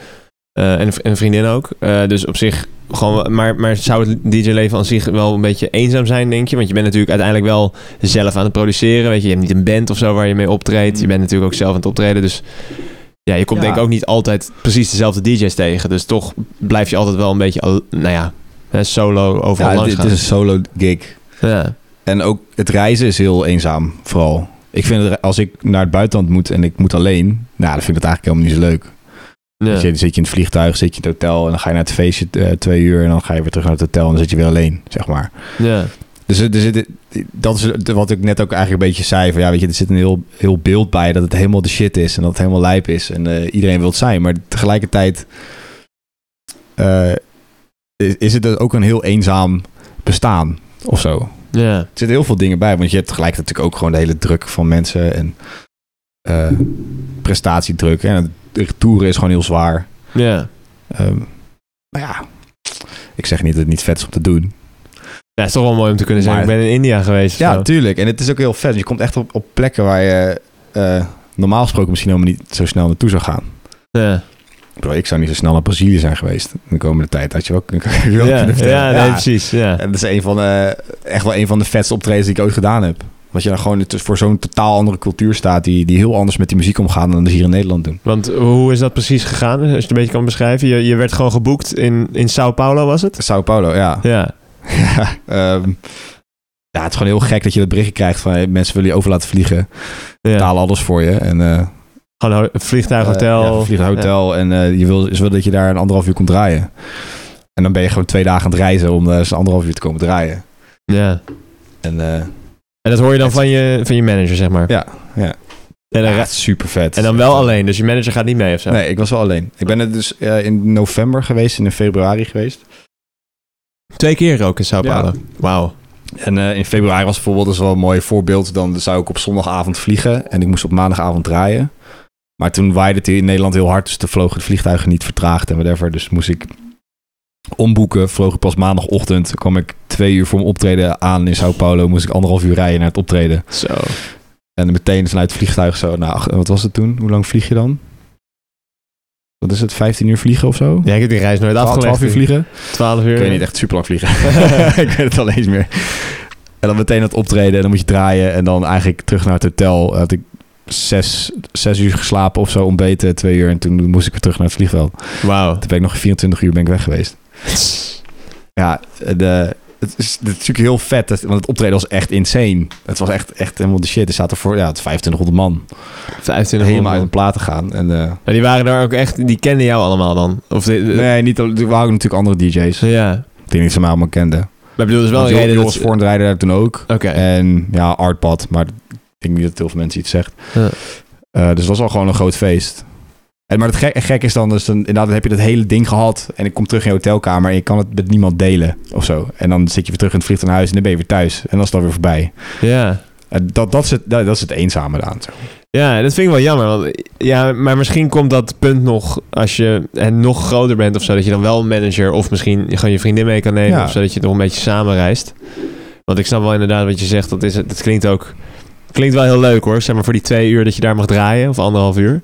Speaker 1: Eh, en, een v- en een vriendin ook. Eh, dus op zich gewoon... wel- Maar, maar zou het DJ-leven aan zich wel een beetje eenzaam zijn, denk je? Want je bent natuurlijk uiteindelijk wel zelf aan het produceren. Weet je, je hebt niet een band of zo waar je mee optreedt. Je bent natuurlijk ook zelf aan het optreden. Dus ja, je komt
Speaker 2: Ja.
Speaker 1: denk ik ook niet altijd precies dezelfde DJ's tegen. Dus toch blijf je altijd wel een beetje... al- Nou ja, hè, solo overal
Speaker 2: Ja,
Speaker 1: langs
Speaker 2: dit, dit
Speaker 1: gaan.
Speaker 2: is een solo gig.
Speaker 1: Ja.
Speaker 2: En ook het reizen is heel eenzaam, vooral. Ik vind het, als ik naar het buitenland moet en ik moet alleen, nou, dan vind ik dat eigenlijk helemaal niet zo leuk.
Speaker 1: Ja.
Speaker 2: Dus je, dan zit je in het vliegtuig, zit je in het hotel en dan ga je naar het feestje eh, twee uur en dan ga je weer terug naar het hotel en dan zit je weer alleen, zeg maar.
Speaker 1: ja.
Speaker 2: Dus, er- er zit- dat is het- wat ik net ook eigenlijk een beetje zei. Van, ja, weet je, er zit een heel, heel beeld bij dat het helemaal de shit is. En dat het helemaal lijp is. En eh, iedereen wil het zijn. Maar tegelijkertijd eh, is, is het dus ook een heel eenzaam bestaan of zo.
Speaker 1: ja.
Speaker 2: Er zitten heel veel dingen bij. Want je hebt tegelijkertijd natuurlijk ook gewoon de hele druk van mensen. En eh, prestatiedruk. En het toeren is gewoon heel zwaar.
Speaker 1: Ja.
Speaker 2: Ehm, maar ja, ik zeg niet dat het niet vet is om te doen.
Speaker 1: Ja, het is toch wel mooi om te kunnen zeggen.
Speaker 2: Maar-
Speaker 1: ik ben in India geweest. of
Speaker 2: Ja,
Speaker 1: zo.
Speaker 2: tuurlijk. En het is ook heel vet. want Je komt echt op, op plekken waar je eh, normaal gesproken misschien helemaal niet zo snel naartoe zou gaan.
Speaker 1: ja.
Speaker 2: Ik bedoel, ik zou niet zo snel naar Brazilië zijn geweest de komende tijd. Had je wel, kun- kun je wel
Speaker 1: Ja,
Speaker 2: kunnen vertellen.
Speaker 1: ja, nee, precies. Ja.
Speaker 2: En dat is een van de, echt wel een van de vetste optredens die ik ooit gedaan heb. Want je dan gewoon dus voor zo'n totaal andere cultuur staat die, die heel anders met die muziek omgaan dan ze hier in Nederland doen.
Speaker 1: Want hoe is dat precies gegaan? Als je het een beetje kan beschrijven. Je, je werd gewoon geboekt in, in Sao Paulo, was het?
Speaker 2: Sao Paulo, ja.
Speaker 1: Ja.
Speaker 2: Ja, ehm, ja, het is gewoon heel gek dat je dat berichtje krijgt van hey, mensen willen je over laten vliegen.
Speaker 1: ja.
Speaker 2: Betalen alles voor je. En eh,
Speaker 1: Gewoon ho- vliegtuighotel.
Speaker 2: Nou, Eh, ja, vlieghotel. En eh, je wil, is wel dat je daar een anderhalf uur komt draaien. En dan ben je gewoon twee dagen aan het reizen om eh, zo'n anderhalf uur te komen draaien.
Speaker 1: Ja.
Speaker 2: En eh,
Speaker 1: En dat hoor je dan van je, van je manager, zeg maar.
Speaker 2: Ja, ja.
Speaker 1: En dan,
Speaker 2: Ja, super vet.
Speaker 1: en dan wel alleen, dus je manager gaat niet mee of zo.
Speaker 2: Nee, ik was wel alleen. Ik ben er dus eh, in november geweest en in februari geweest.
Speaker 1: Twee keer ook in Sao
Speaker 2: Ja.
Speaker 1: Paulo. Wauw.
Speaker 2: En eh, in februari was bijvoorbeeld dat is wel een mooi voorbeeld. Dan zou ik op zondagavond vliegen en ik moest op maandagavond draaien. Maar toen waaide het hier in Nederland heel hard, dus de vlogen de vliegtuigen niet vertraagd en whatever. Dus moest ik omboeken, vloog ik pas maandagochtend. kwam ik twee uur voor mijn optreden aan in Sao Paulo. Moest ik anderhalf uur rijden naar het optreden.
Speaker 1: Zo.
Speaker 2: En meteen vanuit het vliegtuig zo. Nou, ach, wat was het toen? Hoe lang vlieg je dan? Wat is het? 15 uur vliegen of zo?
Speaker 1: Ja, ik heb die reis nooit
Speaker 2: 12,
Speaker 1: afgelegd.
Speaker 2: 12 uur vliegen?
Speaker 1: 12 uur.
Speaker 2: Ik weet niet echt super lang vliegen. ik weet het al eens meer. En dan meteen dat optreden en dan moet je draaien. En dan eigenlijk terug naar het hotel. Had ik zes, zes uur geslapen of zo, ontbeten, twee uur. En toen moest ik weer terug naar het vliegveld.
Speaker 1: Wauw.
Speaker 2: Toen ben ik nog 24 uur ben ik weg geweest. Ja, Eh, de, het, is, het is natuurlijk heel vet, dat- want het optreden was echt insane. Het was echt, echt helemaal de shit. Er zaten voor ja, het 2500 man
Speaker 1: 25
Speaker 2: helemaal uit
Speaker 1: man.
Speaker 2: hun platen gaan. En, eh,
Speaker 1: Maar die waren daar ook echt, die kenden jou allemaal dan. Of die-
Speaker 2: nee, niet, al- er waren ook natuurlijk andere DJ's. Ik
Speaker 1: Ja. Maar
Speaker 2: denk niet ze mij allemaal kenden.
Speaker 1: ik bedoel, dat is wel
Speaker 2: Wel
Speaker 1: een reden dat...
Speaker 2: Joris
Speaker 1: ze- Oké.
Speaker 2: Voorn draaide daar toen ook. En ja, Artpad, maar ik denk niet dat heel veel mensen iets zegt.
Speaker 1: Ja.
Speaker 2: Eh, dus het was al gewoon een groot feest. En, maar het gek, gek is dan, dus dan, inderdaad dan heb je dat hele ding gehad en ik kom terug in je hotelkamer en je kan het met niemand delen of zo. En dan zit je weer terug in het vliegtuig naar huis en dan ben je weer thuis en dan is het alweer voorbij.
Speaker 1: Ja.
Speaker 2: En dat, dat, is het, dat, dat is het eenzame eraan. Zo.
Speaker 1: Ja, dat vind ik wel jammer. Want, ja, maar misschien komt dat punt nog als je en nog groter bent of zo. Dat je dan wel een manager of misschien gewoon je vriendin mee kan nemen.
Speaker 2: Ja.
Speaker 1: Of zo, dat je nog een beetje samen reist. Want ik snap wel inderdaad wat je zegt. Dat, is, dat klinkt ook klinkt wel heel leuk hoor. Zeg maar voor die twee uur dat je daar mag draaien. Of anderhalf uur.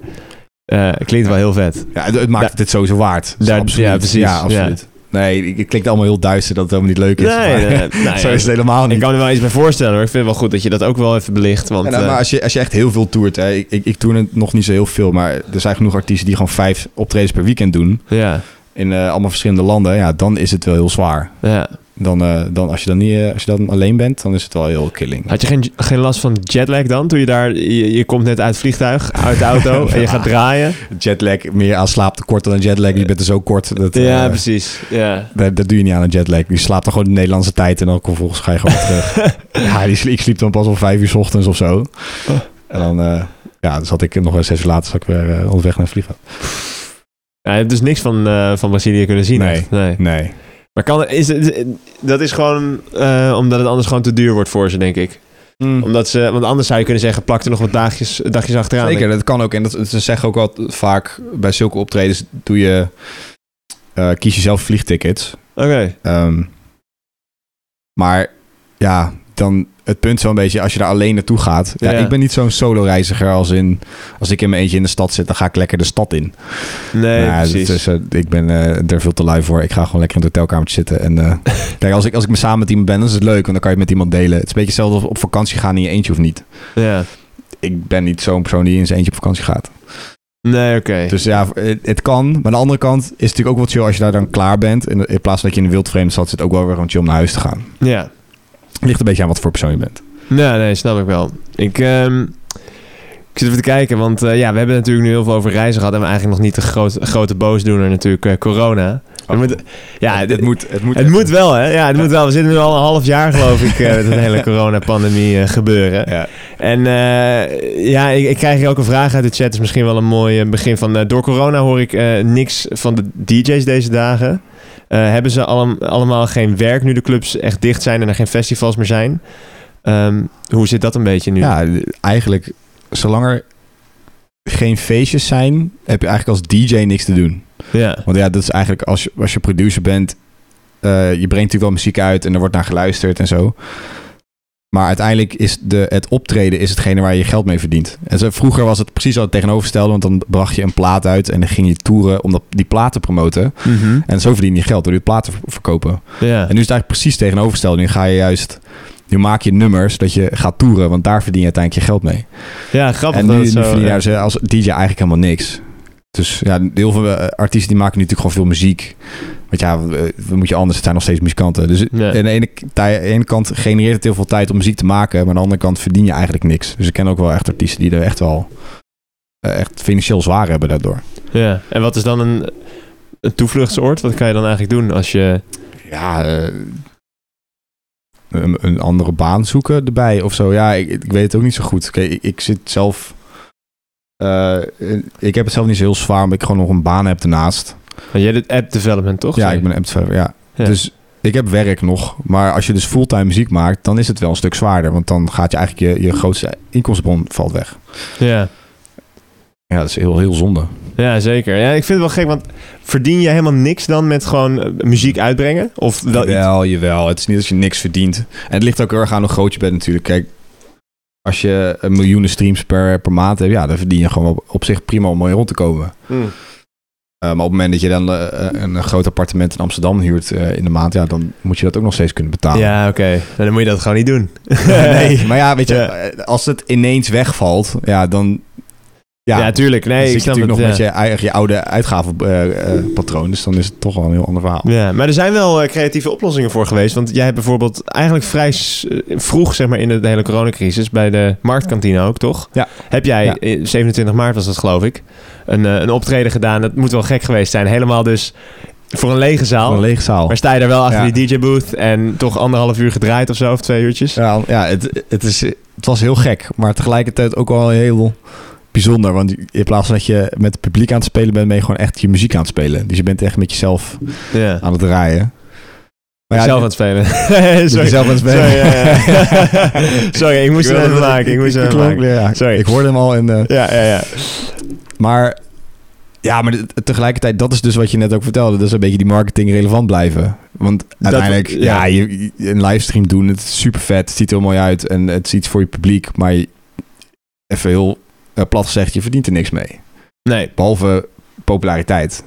Speaker 1: Eh, klinkt wel heel vet.
Speaker 2: Ja, het, het maakt
Speaker 1: Daar-
Speaker 2: het dit sowieso waard. Dus
Speaker 1: daar-
Speaker 2: absoluut.
Speaker 1: ja, precies.
Speaker 2: Ja, absoluut. Nee, ik- het klinkt allemaal heel duister dat het helemaal niet leuk is.
Speaker 1: Nee,
Speaker 2: maar-
Speaker 1: nee, nee, nee.
Speaker 2: zo is het helemaal niet.
Speaker 1: Ik kan me er wel iets bij voorstellen hoor. Ik vind het wel goed dat je dat ook wel even belicht. Want
Speaker 2: Ja, nou,
Speaker 1: eh,
Speaker 2: maar als je, als je echt heel veel toert, hè, ik, ik, ik toer het nog niet zo heel veel, maar er zijn genoeg artiesten die gewoon vijf optredens per weekend doen
Speaker 1: ja,
Speaker 2: in eh, allemaal verschillende landen. Ja, dan is het wel heel zwaar.
Speaker 1: ja.
Speaker 2: Dan, eh, dan, als, je dan niet, eh, als je dan alleen bent, dan is het wel heel killing.
Speaker 1: Had je geen, geen last van jetlag dan? Toen je daar, je, je komt net uit het vliegtuig, uit de auto en je gaat draaien.
Speaker 2: Jetlag, meer aan slaaptekort dan een jetlag. Je bent er zo kort. Dat, eh,
Speaker 1: Ja, precies. Ja.
Speaker 2: dat, dat doe je niet aan een jetlag. Je slaapt dan gewoon de Nederlandse tijd en dan vervolgens ga je gewoon terug. ja, die, slie- ik sliep dan pas om vijf uur 's ochtends of zo.
Speaker 1: Oh.
Speaker 2: En dan, eh, ja, dan zat ik nog wel zes uur later zat ik weer eh, onderweg naar het vliegveld.
Speaker 1: Ja, je hebt dus niks van, eh, van Brazilië kunnen zien.
Speaker 2: Nee.
Speaker 1: echt. nee.
Speaker 2: Nee.
Speaker 1: Maar kan, is, het- dat is gewoon eh, omdat het anders gewoon te duur wordt voor ze, denk ik.
Speaker 2: Hm.
Speaker 1: Omdat ze, want anders zou je kunnen zeggen, plak er nog wat dagjes, dagjes achteraan.
Speaker 2: Zeker, dat kan ook. En dat, ze zeggen ook wel vaak bij zulke optredens doe je, eh, kies je zelf vliegtickets.
Speaker 1: Oké.
Speaker 2: Ehm, maar ja, dan het punt zo'n beetje als je daar alleen naartoe gaat. Ja,
Speaker 1: Ja.
Speaker 2: Ik ben niet zo'n solo reiziger als in als ik in mijn eentje in de stad zit, dan ga ik lekker de stad in.
Speaker 1: Nee,
Speaker 2: Nou ja, dat
Speaker 1: precies.
Speaker 2: is, eh, ik ben eh, daar veel te lui voor. Ik ga gewoon lekker in het hotelkamertje zitten. En eh, kijk, als ik, als ik samen met iemand ben, dan is het leuk, want dan kan je het met iemand delen. Het is een beetje hetzelfde als op vakantie gaan in je eentje of niet.
Speaker 1: Ja.
Speaker 2: Ik ben niet zo'n persoon die in zijn eentje op vakantie gaat.
Speaker 1: Nee, oké.
Speaker 2: Dus ja, het, het kan. Maar aan de andere kant is het natuurlijk ook wel chill als je daar dan klaar bent. En in plaats van dat je in een wildvreemde stad zit, ook wel weer gewoon chill om naar huis te gaan.
Speaker 1: Ja.
Speaker 2: Ligt een beetje aan wat voor persoon je bent.
Speaker 1: Nee, nee, snap ik wel. Ik, ehm, ik zit even te kijken, want eh, ja, we hebben natuurlijk nu heel veel over reizen gehad. En we eigenlijk nog niet de groot, grote boosdoener natuurlijk, eh, corona. We moeten- ja,
Speaker 2: het,
Speaker 1: dit-
Speaker 2: moet, het moet.
Speaker 1: Het moet wel, hè? Ja, het moet wel. We zitten nu al een half jaar, geloof ik, eh, met het hele coronapandemie eh, gebeuren.
Speaker 2: Ja.
Speaker 1: En eh, ja, ik, ik krijg hier ook een vraag uit de chat. is misschien wel een mooi eh, begin van... eh, door corona hoor ik eh, niks van de DJ's deze dagen. Eh, hebben ze allem- allemaal geen werk nu de clubs echt dicht zijn... en er geen festivals meer zijn? Ehm, hoe zit dat een beetje nu?
Speaker 2: Ja, eigenlijk, zolang er geen feestjes zijn, heb je eigenlijk als DJ niks te doen.
Speaker 1: ja.
Speaker 2: Want ja, dat is eigenlijk als je, als je producer bent, eh, je brengt natuurlijk wel muziek uit en er wordt naar geluisterd en zo. Maar uiteindelijk is de, het optreden is hetgene waar je je geld mee verdient. En zo, vroeger was het precies al het tegenovergestelde, want dan bracht je een plaat uit en dan ging je toeren om dat, die plaat te promoten.
Speaker 1: Mhm.
Speaker 2: En zo verdien je geld door die plaat te ver- verkopen.
Speaker 1: ja.
Speaker 2: En nu is het eigenlijk precies het tegenovergestelde. Nu ga je juist, nu maak je nummers dat je gaat toeren, want daar verdien je uiteindelijk je geld mee.
Speaker 1: ja, grappig
Speaker 2: En nu,
Speaker 1: dat
Speaker 2: nu
Speaker 1: het zo... eh,
Speaker 2: verdien je daar als DJ eigenlijk helemaal niks. Dus ja, heel veel eh, artiesten die maken nu natuurlijk gewoon veel muziek. Want ja, eh, wat moet je anders? Het zijn nog steeds muzikanten. Dus
Speaker 1: Ja.
Speaker 2: aan, de ene, k- tij- aan de ene kant genereert het heel veel tijd om muziek te maken. Maar aan de andere kant verdien je eigenlijk niks. Dus ik ken ook wel echt artiesten die er echt wel eh, echt financieel zwaar hebben daardoor.
Speaker 1: ja. En wat is dan een, een toevluchtsoord? Wat kan je dan eigenlijk doen als je...
Speaker 2: Ja, eh, een, een andere baan zoeken erbij of zo. Ja, ik, ik weet het ook niet zo goed. Kijk, ik, ik zit zelf... eh, ik heb het zelf niet zo heel zwaar, omdat ik gewoon nog een baan heb daarnaast.
Speaker 1: Want jij doet app development, toch?
Speaker 2: Ja, ik ben app developer, ja.
Speaker 1: Ja.
Speaker 2: Dus ik heb werk nog. Maar als je dus fulltime muziek maakt, dan is het wel een stuk zwaarder. Want dan gaat je eigenlijk je, je grootste inkomstenbron valt weg.
Speaker 1: Ja.
Speaker 2: Ja, dat is heel, heel zonde.
Speaker 1: ja, zeker. Ja, ik vind het wel gek, want verdien je helemaal niks dan met gewoon eh, muziek uitbrengen? Of wel iets?
Speaker 2: Jawel, jawel. Het is niet dat je niks verdient. En het ligt ook heel erg aan hoe groot je bent natuurlijk. Kijk, als je een miljoenen streams per, per maand hebt, ja, dan verdien je gewoon op, op zich prima om mooi rond te komen.
Speaker 1: Hm.
Speaker 2: Eh, maar op het moment dat je dan eh, een, een groot appartement in Amsterdam huurt eh, in de maand, ja, dan moet je dat ook nog steeds kunnen betalen.
Speaker 1: Ja, oké. Nou, Dan moet je dat gewoon niet doen.
Speaker 2: nee, maar ja, weet je,
Speaker 1: Ja.
Speaker 2: eh, als het ineens wegvalt, ja, dan...
Speaker 1: Ja,
Speaker 2: Ja, dan
Speaker 1: tuurlijk. Nee,
Speaker 2: zit
Speaker 1: ik
Speaker 2: je
Speaker 1: snap
Speaker 2: natuurlijk nog
Speaker 1: het, ja.
Speaker 2: met je, eigen, je oude uitgavenpatroon, dus dan is het toch wel een heel ander verhaal.
Speaker 1: Ja, maar er zijn wel eh, creatieve oplossingen voor geweest. Want jij hebt bijvoorbeeld eigenlijk vrij s- eh, vroeg, zeg maar, in de hele coronacrisis, bij de marktkantine ook, toch?
Speaker 2: Ja.
Speaker 1: Heb jij,
Speaker 2: Ja.
Speaker 1: eh, 27 maart was dat geloof ik, een, eh, een optreden gedaan. Dat moet wel gek geweest zijn. Helemaal dus voor een lege zaal.
Speaker 2: Gewoon Een lege zaal.
Speaker 1: Maar sta je daar wel achter
Speaker 2: Ja.
Speaker 1: die DJ-booth en toch anderhalf uur gedraaid of zo, of twee uurtjes?
Speaker 2: Ja, ja het, het, is, het was heel gek, maar tegelijkertijd ook wel heel bijzonder. Want in plaats van dat je met het publiek aan het spelen bent, ben je gewoon echt je muziek aan het spelen. Dus je bent echt met jezelf
Speaker 1: Ja.
Speaker 2: aan het draaien. Maar
Speaker 1: Zelf aan
Speaker 2: dit-
Speaker 1: het spelen.
Speaker 2: dit
Speaker 1: Sorry.
Speaker 2: is zelf aan het spelen.
Speaker 1: Sorry, ja, ja. Sorry, ik moest
Speaker 2: wil
Speaker 1: het even
Speaker 2: dat-
Speaker 1: maken, ik moest het even
Speaker 2: klonk-
Speaker 1: maken.
Speaker 2: ja,
Speaker 1: Sorry.
Speaker 2: Ik hoorde hem al en... eh,
Speaker 1: Ja, ja, ja.
Speaker 2: Maar ja, maar dit- tegelijkertijd, dat is dus wat je net ook vertelde. Dat is een beetje die marketing relevant blijven. Want uiteindelijk,
Speaker 1: ja.
Speaker 2: ja, je, je- een livestream doen, het is super vet. Het ziet er heel mooi uit en het is iets voor je publiek. Maar je- even heel eh, plat gezegd, je verdient er niks mee.
Speaker 1: Nee,
Speaker 2: Behalve populariteit.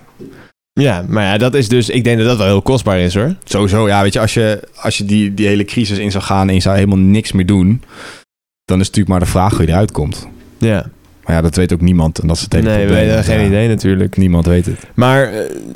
Speaker 1: ja, maar ja, dat is dus, ik denk dat dat wel heel kostbaar is hoor.
Speaker 2: Sowieso, ja, weet je, als je, als je die, die hele crisis in zou gaan en je zou helemaal niks meer doen, dan is het natuurlijk maar de vraag hoe je eruit komt.
Speaker 1: Ja.
Speaker 2: Maar ja, dat weet ook niemand. En dat is het hele
Speaker 1: Nee, we
Speaker 2: probleem.
Speaker 1: hebben daar geen
Speaker 2: Ja,
Speaker 1: idee natuurlijk.
Speaker 2: Niemand weet het.
Speaker 1: Maar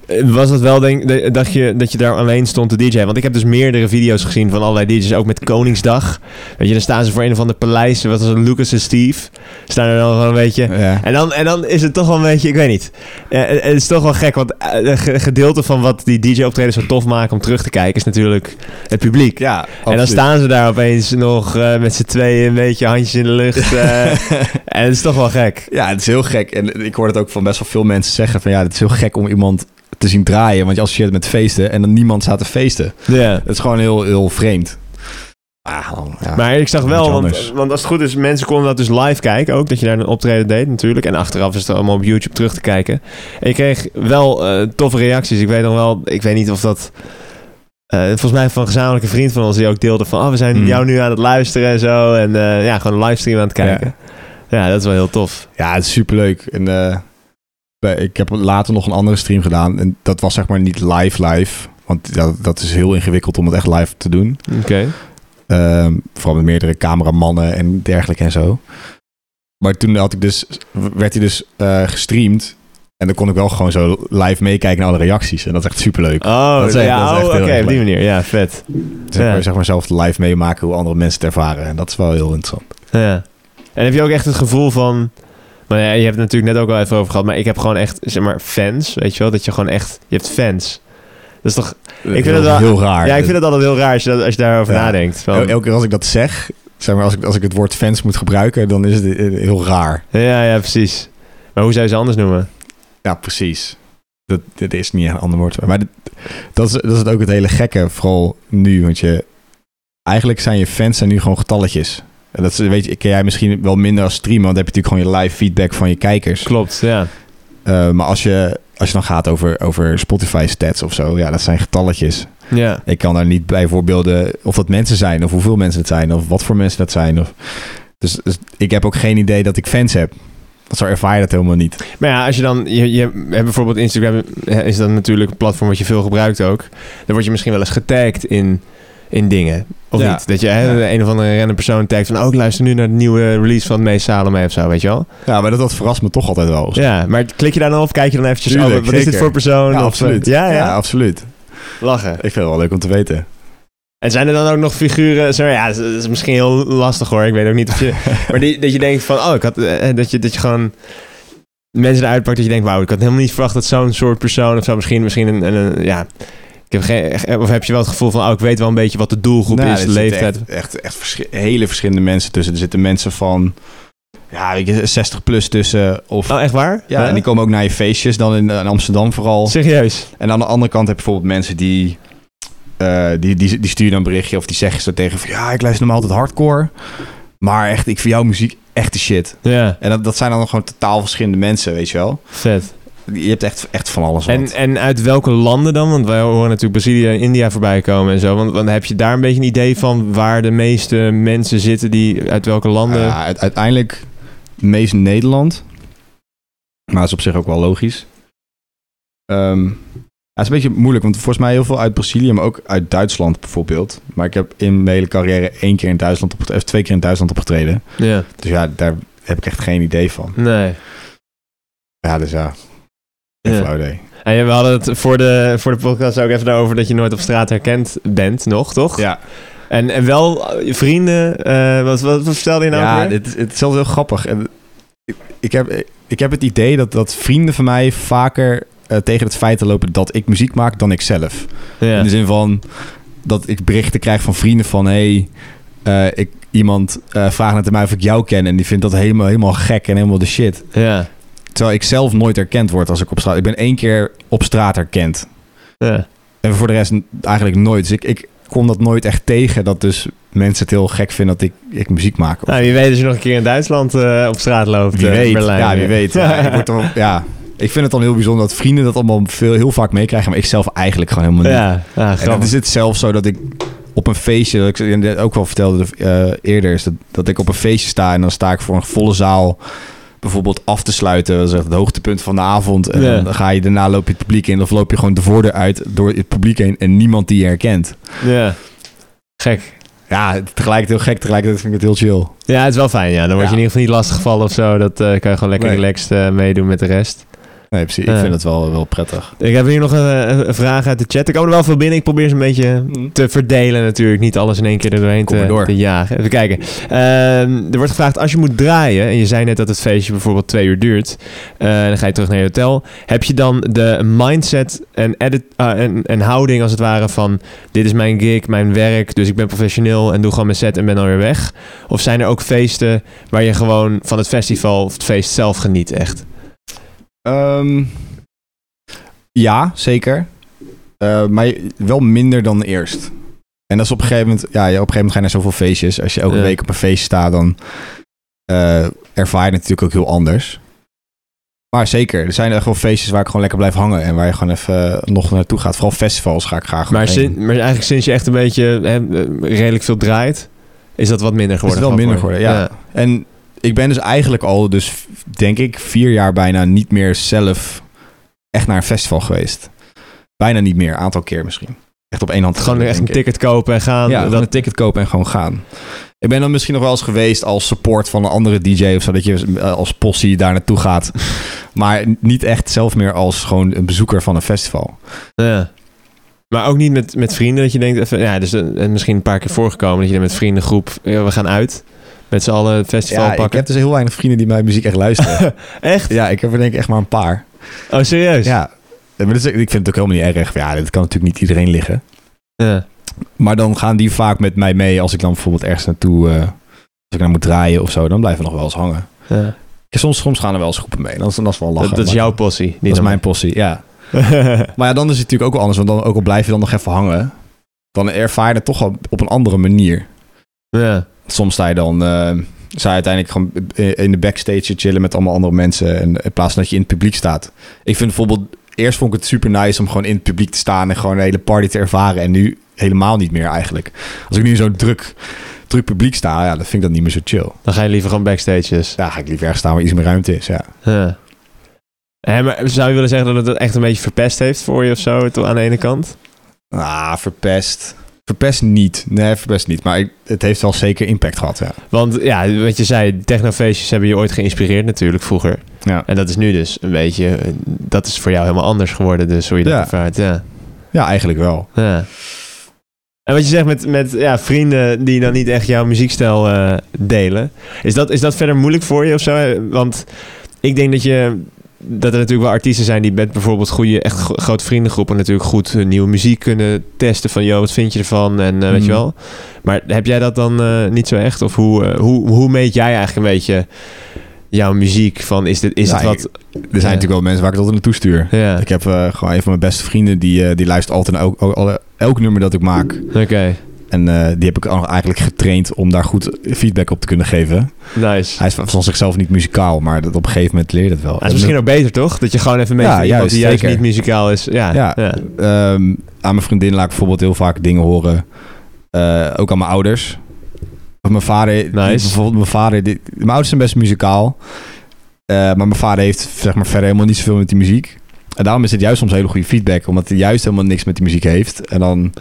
Speaker 1: eh, was het wel, denk de- dacht je, dat je daar alleen stond te DJ? Want ik heb dus meerdere video's gezien van allerlei DJ's, ook met Koningsdag. Weet je, dan staan ze voor een of ander paleis, wat was het, Lucas en Steve. Staan er dan gewoon een beetje...
Speaker 2: Ja.
Speaker 1: En dan, en dan is het toch wel een beetje, ik weet niet. Eh, eh, het is toch wel gek, want eh, een ge- gedeelte van wat die DJ-optredens zo tof maken om terug te kijken, is natuurlijk het publiek.
Speaker 2: ja
Speaker 1: En dan
Speaker 2: absoluut.
Speaker 1: staan ze daar opeens nog eh, met z'n tweeën, een beetje handjes in de lucht. eh. en het is toch wel gek.
Speaker 2: Dus, Ja, het is heel gek. En ik hoor het ook van best wel veel mensen zeggen van ja, het is heel gek om iemand te zien draaien. Want je associeert het met feesten en dan niemand staat te feesten.
Speaker 1: Ja.
Speaker 2: Het is gewoon heel, heel vreemd. Ah, ja.
Speaker 1: Maar ik zag wel,
Speaker 2: Iets
Speaker 1: want,
Speaker 2: anders.
Speaker 1: want als het goed is, mensen konden dat dus live kijken ook. Dat je daar een optreden deed natuurlijk. En achteraf is het allemaal op YouTube terug te kijken. En je kreeg wel eh, toffe reacties. Ik weet nog wel, ik weet niet of dat... eh, volgens mij van een gezamenlijke vriend van ons die ook deelde van... Oh, we zijn
Speaker 2: Mm.
Speaker 1: jou nu aan het luisteren en zo. En eh, ja, gewoon een livestream aan het kijken. Ja. dat is wel heel tof.
Speaker 2: ja, het is superleuk. En eh, bij- ik heb later nog een andere stream gedaan. En dat was zeg maar niet live live. Want dat, dat is heel ingewikkeld om het echt live te doen.
Speaker 1: Oké.
Speaker 2: Ehm, vooral met meerdere cameramannen en dergelijke en zo. Maar toen had ik dus, werd hij dus eh, gestreamd. En dan kon ik wel gewoon zo live meekijken naar alle reacties. En dat is echt superleuk. Dus
Speaker 1: Oh,
Speaker 2: Dat is echt- dat
Speaker 1: ja,
Speaker 2: is
Speaker 1: oh,
Speaker 2: echt
Speaker 1: oké,
Speaker 2: heel erg
Speaker 1: op die
Speaker 2: leuk.
Speaker 1: manier. Ja, vet.
Speaker 2: Zeg
Speaker 1: Ja.
Speaker 2: maar, zeg maar zelf live meemaken hoe andere mensen het ervaren. En dat is wel heel interessant.
Speaker 1: Ja. En heb je ook echt het gevoel van... Maar ja, je hebt het natuurlijk net ook al even over gehad, maar ik heb gewoon echt, zeg maar, fans, weet je wel? Dat je gewoon echt, je hebt fans. Dat is toch... vind
Speaker 2: heel,
Speaker 1: het wel-
Speaker 2: heel raar.
Speaker 1: Ja, ik vind het altijd heel raar als je, dat, als je daarover
Speaker 2: Ja.
Speaker 1: nadenkt. Van-
Speaker 2: El- Elke keer als ik dat zeg, zeg maar, als ik, als ik het woord fans moet gebruiken, dan is het eh, heel raar.
Speaker 1: ja, ja, precies. Maar hoe zou je ze anders noemen?
Speaker 2: Ja, precies. Dat, dit is niet echt een ander woord. Maar dit- dat, is, dat is het ook het hele gekke, vooral nu. Want je, eigenlijk zijn je fans zijn nu gewoon getalletjes. En dat is, weet je, ken jij misschien wel minder als streamer, want dan heb je natuurlijk gewoon je live feedback van je kijkers.
Speaker 1: Klopt, ja.
Speaker 2: Eh, maar als je, als je dan gaat over, over Spotify stats of zo, ja, dat zijn getalletjes.
Speaker 1: Ja.
Speaker 2: Ik kan daar niet bij voorbeelden of dat mensen zijn, of hoeveel mensen het zijn, of wat voor mensen dat zijn. Of... Dus, dus ik heb ook geen idee dat ik fans heb. Want zo ervaar je dat helemaal niet.
Speaker 1: Maar ja, als je dan... Je, je hebt bijvoorbeeld Instagram, eh, is dat natuurlijk een platform wat je veel gebruikt ook. Dan word je misschien wel eens getagd in, in dingen. Of
Speaker 2: Ja.
Speaker 1: niet? Dat je hè,
Speaker 2: Ja.
Speaker 1: een of andere random persoon tagt van... Oh, ik luister nu naar de nieuwe release van Mees Salome of zo, weet je wel?
Speaker 2: Ja, maar dat, dat verrast me toch altijd wel.
Speaker 1: Ja, maar klik je daar dan op? Kijk je dan eventjes,
Speaker 2: Tuurlijk,
Speaker 1: oh, wat is dit
Speaker 2: zeker.
Speaker 1: voor persoon?
Speaker 2: Ja,
Speaker 1: Of,
Speaker 2: absoluut.
Speaker 1: eh, Ja, ja,
Speaker 2: absoluut.
Speaker 1: Lachen.
Speaker 2: Ik vind het wel leuk om te weten.
Speaker 1: En zijn er dan ook nog figuren... Sorry, ja, dat is- dat is misschien heel lastig hoor. Ik weet ook niet of je... maar die, dat je denkt van, oh, ik had... eh, dat, je, dat je gewoon mensen eruit pakt dat je denkt... Wauw, ik had helemaal niet verwacht dat zo'n soort persoon of zo... Misschien, misschien een, een, een- ja... Ik heb geen, eh, of heb je wel het gevoel van, oh, ik weet wel een beetje wat de doelgroep
Speaker 2: Nou,
Speaker 1: is, de
Speaker 2: er zitten
Speaker 1: leeftijd.
Speaker 2: Echt, echt, echt verschi- hele verschillende mensen tussen. Er zitten mensen van ja, weet je, 60 plus tussen. Of,
Speaker 1: Oh, echt waar?
Speaker 2: ja, En die komen ook naar je feestjes, dan in, eh, in Amsterdam vooral.
Speaker 1: Serieus?
Speaker 2: En aan de andere kant heb je bijvoorbeeld mensen die, eh, die, die, die sturen dan een berichtje of die zeggen zo tegen van ja, ik luister normaal altijd hardcore. Maar echt, ik vind jouw muziek echt de shit.
Speaker 1: Ja,
Speaker 2: En dat, dat zijn dan gewoon totaal verschillende mensen, weet je wel.
Speaker 1: vet.
Speaker 2: Je hebt echt, echt van alles wat.
Speaker 1: En, en uit welke landen dan? Want wij horen natuurlijk Brazilië en India voorbij komen en zo. Want, want heb je daar een beetje een idee van waar de meeste mensen zitten die uit welke landen...
Speaker 2: Ja, uit- uiteindelijk meest Nederland. Maar dat is op zich ook wel logisch. Ehm, ja, het is een beetje moeilijk, want volgens mij heel veel uit Brazilië, maar ook uit Duitsland bijvoorbeeld. Maar ik heb in mijn hele carrière één keer in Duitsland opgetreden, of twee keer in Duitsland opgetreden.
Speaker 1: ja.
Speaker 2: Dus ja, daar heb ik echt geen idee van.
Speaker 1: Nee.
Speaker 2: Ja, dus ja, geen
Speaker 1: Ja.
Speaker 2: flauw idee.
Speaker 1: En ja, we hadden het voor de, voor de podcast ook even daarover dat je nooit op straat herkend bent, nog, toch?
Speaker 2: Ja,
Speaker 1: En, en wel eh, vrienden, eh, wat, wat, wat vertelde je nou
Speaker 2: ja
Speaker 1: ook weer?
Speaker 2: dit, is- het is altijd heel grappig. En ik, ik, heb, ik heb het idee dat, dat vrienden van mij vaker eh, tegen het feit lopen dat ik muziek maak dan ik zelf. In de
Speaker 1: Ja.
Speaker 2: zin van dat ik berichten krijg van vrienden van... Hey, eh, ik, iemand eh, vraagt net aan mij of ik jou ken... en die vindt dat helemaal, helemaal gek en helemaal de shit.
Speaker 1: Ja.
Speaker 2: Terwijl ik zelf nooit herkend word als ik op straat... Ik ben één keer op straat herkend.
Speaker 1: Ja.
Speaker 2: En voor de rest n- eigenlijk nooit. Dus ik, ik kom dat nooit echt tegen... dat dus mensen het heel gek vinden dat ik, ik muziek maak.
Speaker 1: Nou, wie weet als je nog een keer in Duitsland eh, op straat loopt.
Speaker 2: Wie
Speaker 1: eh,
Speaker 2: weet,
Speaker 1: Berlijn.
Speaker 2: ja, wie weet. Ja, ik, word dan- ja. ik vind het dan heel bijzonder dat vrienden dat allemaal veel, heel vaak meekrijgen... maar ik zelf eigenlijk gewoon helemaal niet.
Speaker 1: Ja, ja,
Speaker 2: En dan
Speaker 1: grappig.
Speaker 2: is het zelfs zo dat ik op een feestje, dat ik ze net ook wel vertelde eh, eerder, is dat, dat ik op een feestje sta en dan sta ik voor een volle zaal bijvoorbeeld af te sluiten. Dat is echt het hoogtepunt van de avond. En
Speaker 1: Ja.
Speaker 2: dan ga je daarna loop je het publiek in of loop je gewoon de voordeur uit door het publiek heen en niemand die je herkent.
Speaker 1: Ja. Gek.
Speaker 2: Ja, tegelijkertijd heel gek, tegelijkertijd vind ik het heel chill.
Speaker 1: Ja, het is wel fijn, ja. Dan word je in
Speaker 2: Ja.
Speaker 1: ieder geval niet lastiggevallen of zo. Dat eh, kan je gewoon lekker
Speaker 2: Nee.
Speaker 1: relaxed eh, meedoen met de rest.
Speaker 2: Nee, precies.
Speaker 1: Ja.
Speaker 2: Ik vind het wel, wel prettig.
Speaker 1: Ik heb hier nog een, eh, een vraag uit de chat. Er komen er wel veel binnen. Ik probeer ze een beetje te verdelen natuurlijk. Niet alles in één keer er doorheen
Speaker 2: Kom maar
Speaker 1: te,
Speaker 2: door.
Speaker 1: te jagen. Even kijken. Ehm, er wordt gevraagd, als je moet draaien... en je zei net dat het feestje bijvoorbeeld twee uur duurt... eh, dan ga je terug naar je hotel. Heb je dan de mindset en, edit, ah, en, en houding als het ware van... dit is mijn gig, mijn werk, dus ik ben professioneel... en doe gewoon mijn set en ben alweer weg? Of zijn er ook feesten waar je gewoon van het festival... of het feest zelf geniet echt?
Speaker 2: Ehm, ja, zeker. Eh, maar je- wel minder dan eerst. En dat is op een gegeven moment... Ja, ja, op een gegeven moment ga je naar zoveel feestjes. Als je elke
Speaker 1: Ja.
Speaker 2: week op een feest staat, dan eh, ervaar je het natuurlijk ook heel anders. Maar zeker, er zijn echt wel feestjes waar ik gewoon lekker blijf hangen. En waar je gewoon even eh, nog naartoe gaat. Vooral festivals ga ik graag
Speaker 1: Maar,
Speaker 2: heen.
Speaker 1: sin- maar eigenlijk sinds je echt een beetje hè, eh, redelijk veel draait, is dat wat minder geworden.
Speaker 2: wel
Speaker 1: gewoon
Speaker 2: minder
Speaker 1: voor je?
Speaker 2: geworden, En ik ben dus eigenlijk al, dus v- denk ik, vier jaar bijna niet meer zelf echt naar een festival geweest. Bijna niet meer, een aantal keer misschien. Echt op één hand.
Speaker 1: Ja. Gewoon
Speaker 2: gedrukt,
Speaker 1: echt een
Speaker 2: denk ik.
Speaker 1: ticket kopen en gaan.
Speaker 2: Ja, dan
Speaker 1: dat,
Speaker 2: een ticket kopen en gewoon gaan. Ik ben dan misschien nog wel eens geweest als support van een andere DJ of zo, dat je eh, als possie daar naartoe gaat. maar niet echt zelf meer als gewoon een bezoeker van een festival.
Speaker 1: ja. Maar ook niet met, met vrienden, dat je denkt, even, ja, dus eh, en misschien een paar keer voorgekomen, dat je dan met vriendengroep, ja, we gaan uit, met z'n allen het festival
Speaker 2: Ja, ik
Speaker 1: pakken.
Speaker 2: heb dus heel weinig vrienden die mijn muziek echt luisteren.
Speaker 1: Echt?
Speaker 2: ja, ik heb er denk ik echt maar een paar. Dus
Speaker 1: Oh, serieus?
Speaker 2: Ja, maar dat is- ik vind het ook helemaal niet erg. Ja, dat kan natuurlijk niet iedereen liggen.
Speaker 1: Ja.
Speaker 2: Maar dan gaan die vaak met mij mee als ik dan bijvoorbeeld ergens naartoe... eh, als ik naar moet draaien of zo, dan blijven we nog wel eens hangen.
Speaker 1: Ja.
Speaker 2: Ja, soms, soms gaan er wel eens groepen mee. Dat is, dat is wel lachen.
Speaker 1: Dat, dat is
Speaker 2: maar-
Speaker 1: jouw possie, niet
Speaker 2: Dat is
Speaker 1: dan
Speaker 2: mijn possie, ja. Maar ja, dan is het natuurlijk ook wel anders. Want dan, ook al blijf je dan nog even hangen... dan ervaar je het toch wel op een andere manier.
Speaker 1: ja.
Speaker 2: Soms sta je dan... eh sta je uiteindelijk gewoon in de backstage te chillen met allemaal andere mensen... En, in plaats van dat je in het publiek staat. Ik vind bijvoorbeeld... Eerst vond ik het super nice om gewoon in het publiek te staan... en gewoon een hele party te ervaren. En nu helemaal niet meer eigenlijk. Als ik nu in zo'n druk, druk publiek sta... ja, dan vind ik dat niet meer zo chill.
Speaker 1: Dan ga je liever gewoon backstages.
Speaker 2: Daar ga ik liever ergens staan waar iets meer ruimte is, ja.
Speaker 1: Ja. Hè, maar zou je willen zeggen dat het dat echt een beetje verpest heeft voor je of zo, het- aan de ene kant?
Speaker 2: Ah, verpest. Verpest niet. Nee, verpest niet. Maar ik- het heeft wel zeker impact gehad, ja.
Speaker 1: Want ja, wat je zei, technofeestjes hebben je ooit geïnspireerd natuurlijk vroeger.
Speaker 2: Ja.
Speaker 1: En dat is nu dus een beetje, eh, dat is voor jou helemaal anders geworden, dus hoe je dat
Speaker 2: Ja.
Speaker 1: ervaart. Ja.
Speaker 2: Ja, eigenlijk wel.
Speaker 1: ja. En wat je zegt met, met ja, vrienden die dan niet echt jouw muziekstijl eh, delen. Is dat, is dat verder moeilijk voor je of zo? Want ik denk dat je dat er natuurlijk wel artiesten zijn die met bijvoorbeeld goede, echt gro- grote vriendengroepen natuurlijk goed hun nieuwe muziek kunnen testen. Van, joh, wat vind je ervan? En eh, weet
Speaker 2: Mm.
Speaker 1: je wel. Maar heb jij dat dan eh, niet zo echt? Of hoe, eh, hoe, hoe meet jij eigenlijk een beetje jouw muziek? Van, is dit, is
Speaker 2: Ja,
Speaker 1: het wat?
Speaker 2: Er zijn natuurlijk wel mensen waar ik dat naartoe stuur.
Speaker 1: Ja,
Speaker 2: Ik heb eh, gewoon een van mijn beste vrienden die, eh, die luistert altijd naar elk, elk, alle- elk nummer dat ik maak.
Speaker 1: oké.
Speaker 2: En eh, die heb ik al eigenlijk getraind om daar goed feedback op te kunnen geven.
Speaker 1: Nice.
Speaker 2: Hij is van van zichzelf niet muzikaal, maar dat op een gegeven moment leer je dat wel.
Speaker 1: Dat is misschien ook beter, toch? Dat je gewoon even mee
Speaker 2: Ja,
Speaker 1: ja, iemand
Speaker 2: juist,
Speaker 1: die juist
Speaker 2: zeker.
Speaker 1: niet muzikaal is. Ja,
Speaker 2: Ja.
Speaker 1: ja.
Speaker 2: Ehm, aan mijn vriendin laat ik bijvoorbeeld heel vaak dingen horen. Eh, ook aan mijn ouders. Of mijn vader. die- Bijvoorbeeld mijn vader. die- mijn ouders zijn best muzikaal. Eh, maar mijn vader heeft zeg maar, verder helemaal niet zoveel met die muziek. En daarom is het juist soms hele goede feedback. Omdat hij juist helemaal niks met die muziek heeft. En dan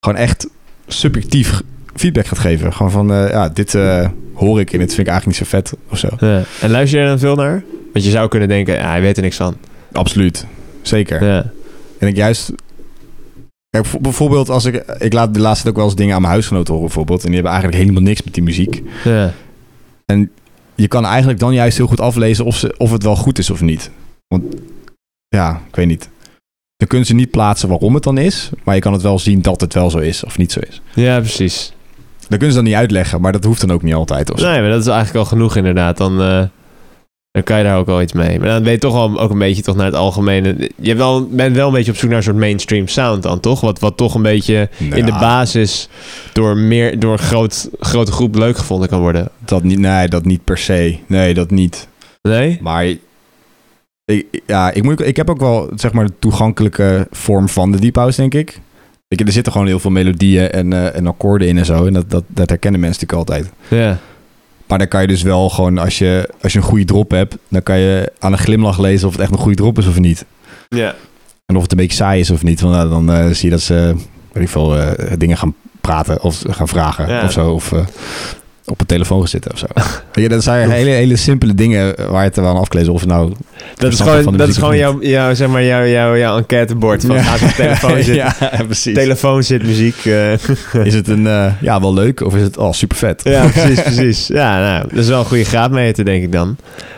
Speaker 2: gewoon echt subjectief feedback gaat geven. Gewoon van, eh, ja, dit eh, hoor ik en dit vind ik eigenlijk niet zo vet of zo.
Speaker 1: Ja. En luister je er dan veel naar? Want je zou kunnen denken, ja, hij weet er niks van.
Speaker 2: Absoluut. Zeker.
Speaker 1: Ja.
Speaker 2: En ik juist... Kijk, bijvo- bijvoorbeeld als ik... Ik laat de laatste tijd ook wel eens dingen aan mijn huisgenoten horen bijvoorbeeld. En die hebben eigenlijk helemaal niks met die muziek.
Speaker 1: Ja.
Speaker 2: Je kan eigenlijk dan juist heel goed aflezen of, ze, of het wel goed is of niet. Want ja, ik weet niet. Dan kunnen ze niet plaatsen waarom het dan is. Maar je kan het wel zien dat het wel zo is of niet zo is.
Speaker 1: ja, precies.
Speaker 2: Dan kunnen ze dan niet uitleggen. Maar dat hoeft dan ook niet altijd. Of zo.
Speaker 1: Nee, maar dat is eigenlijk al genoeg inderdaad. Dan, eh, dan kan je daar ook al iets mee. Maar dan ben je toch wel ook een beetje toch naar het algemene... Je hebt wel, bent wel een beetje op zoek naar een soort mainstream sound dan, toch? Wat, wat toch een beetje
Speaker 2: Nou,
Speaker 1: in de basis door, meer, door een groot, grote groep leuk gevonden kan worden.
Speaker 2: Dat niet, nee, dat niet per se. Nee, dat niet.
Speaker 1: Nee?
Speaker 2: Maar ik, ja, ik, moet, ik heb ook wel zeg maar de toegankelijke vorm van de deep house, denk ik. Weet je, er zitten gewoon heel veel melodieën en, eh, en akkoorden in en zo. En dat, dat, dat herkennen mensen natuurlijk altijd.
Speaker 1: Ja.
Speaker 2: Maar dan kan je dus wel gewoon, als je, als je een goede drop hebt, dan kan je aan een glimlach lezen of het echt een goede drop is of niet.
Speaker 1: Ja.
Speaker 2: En of het een beetje saai is of niet. Want nou, dan eh, zie je dat ze, weet ik veel, eh, dingen gaan praten of gaan vragen
Speaker 1: Ja.
Speaker 2: of zo. Of eh, op een telefoon gaan zitten of zo. Weet je, dat zijn hele, hele simpele dingen waar je het wel aan afklezen. Of het nou
Speaker 1: Dat is
Speaker 2: Verstand van
Speaker 1: gewoon,
Speaker 2: de
Speaker 1: dat is
Speaker 2: muziek
Speaker 1: gewoon
Speaker 2: of
Speaker 1: jouw, jouw, zeg maar, jouw, jouw, jouw enquêtebord. Van,
Speaker 2: Ja.
Speaker 1: Gaat op de telefoon zitten?
Speaker 2: ja, precies.
Speaker 1: Telefoon zit muziek. eh.
Speaker 2: Is het een, eh, ja, wel leuk of is het, oh, super vet.
Speaker 1: ja, precies, precies. Ja, nou, dat is wel een goede graadmeter, denk ik dan.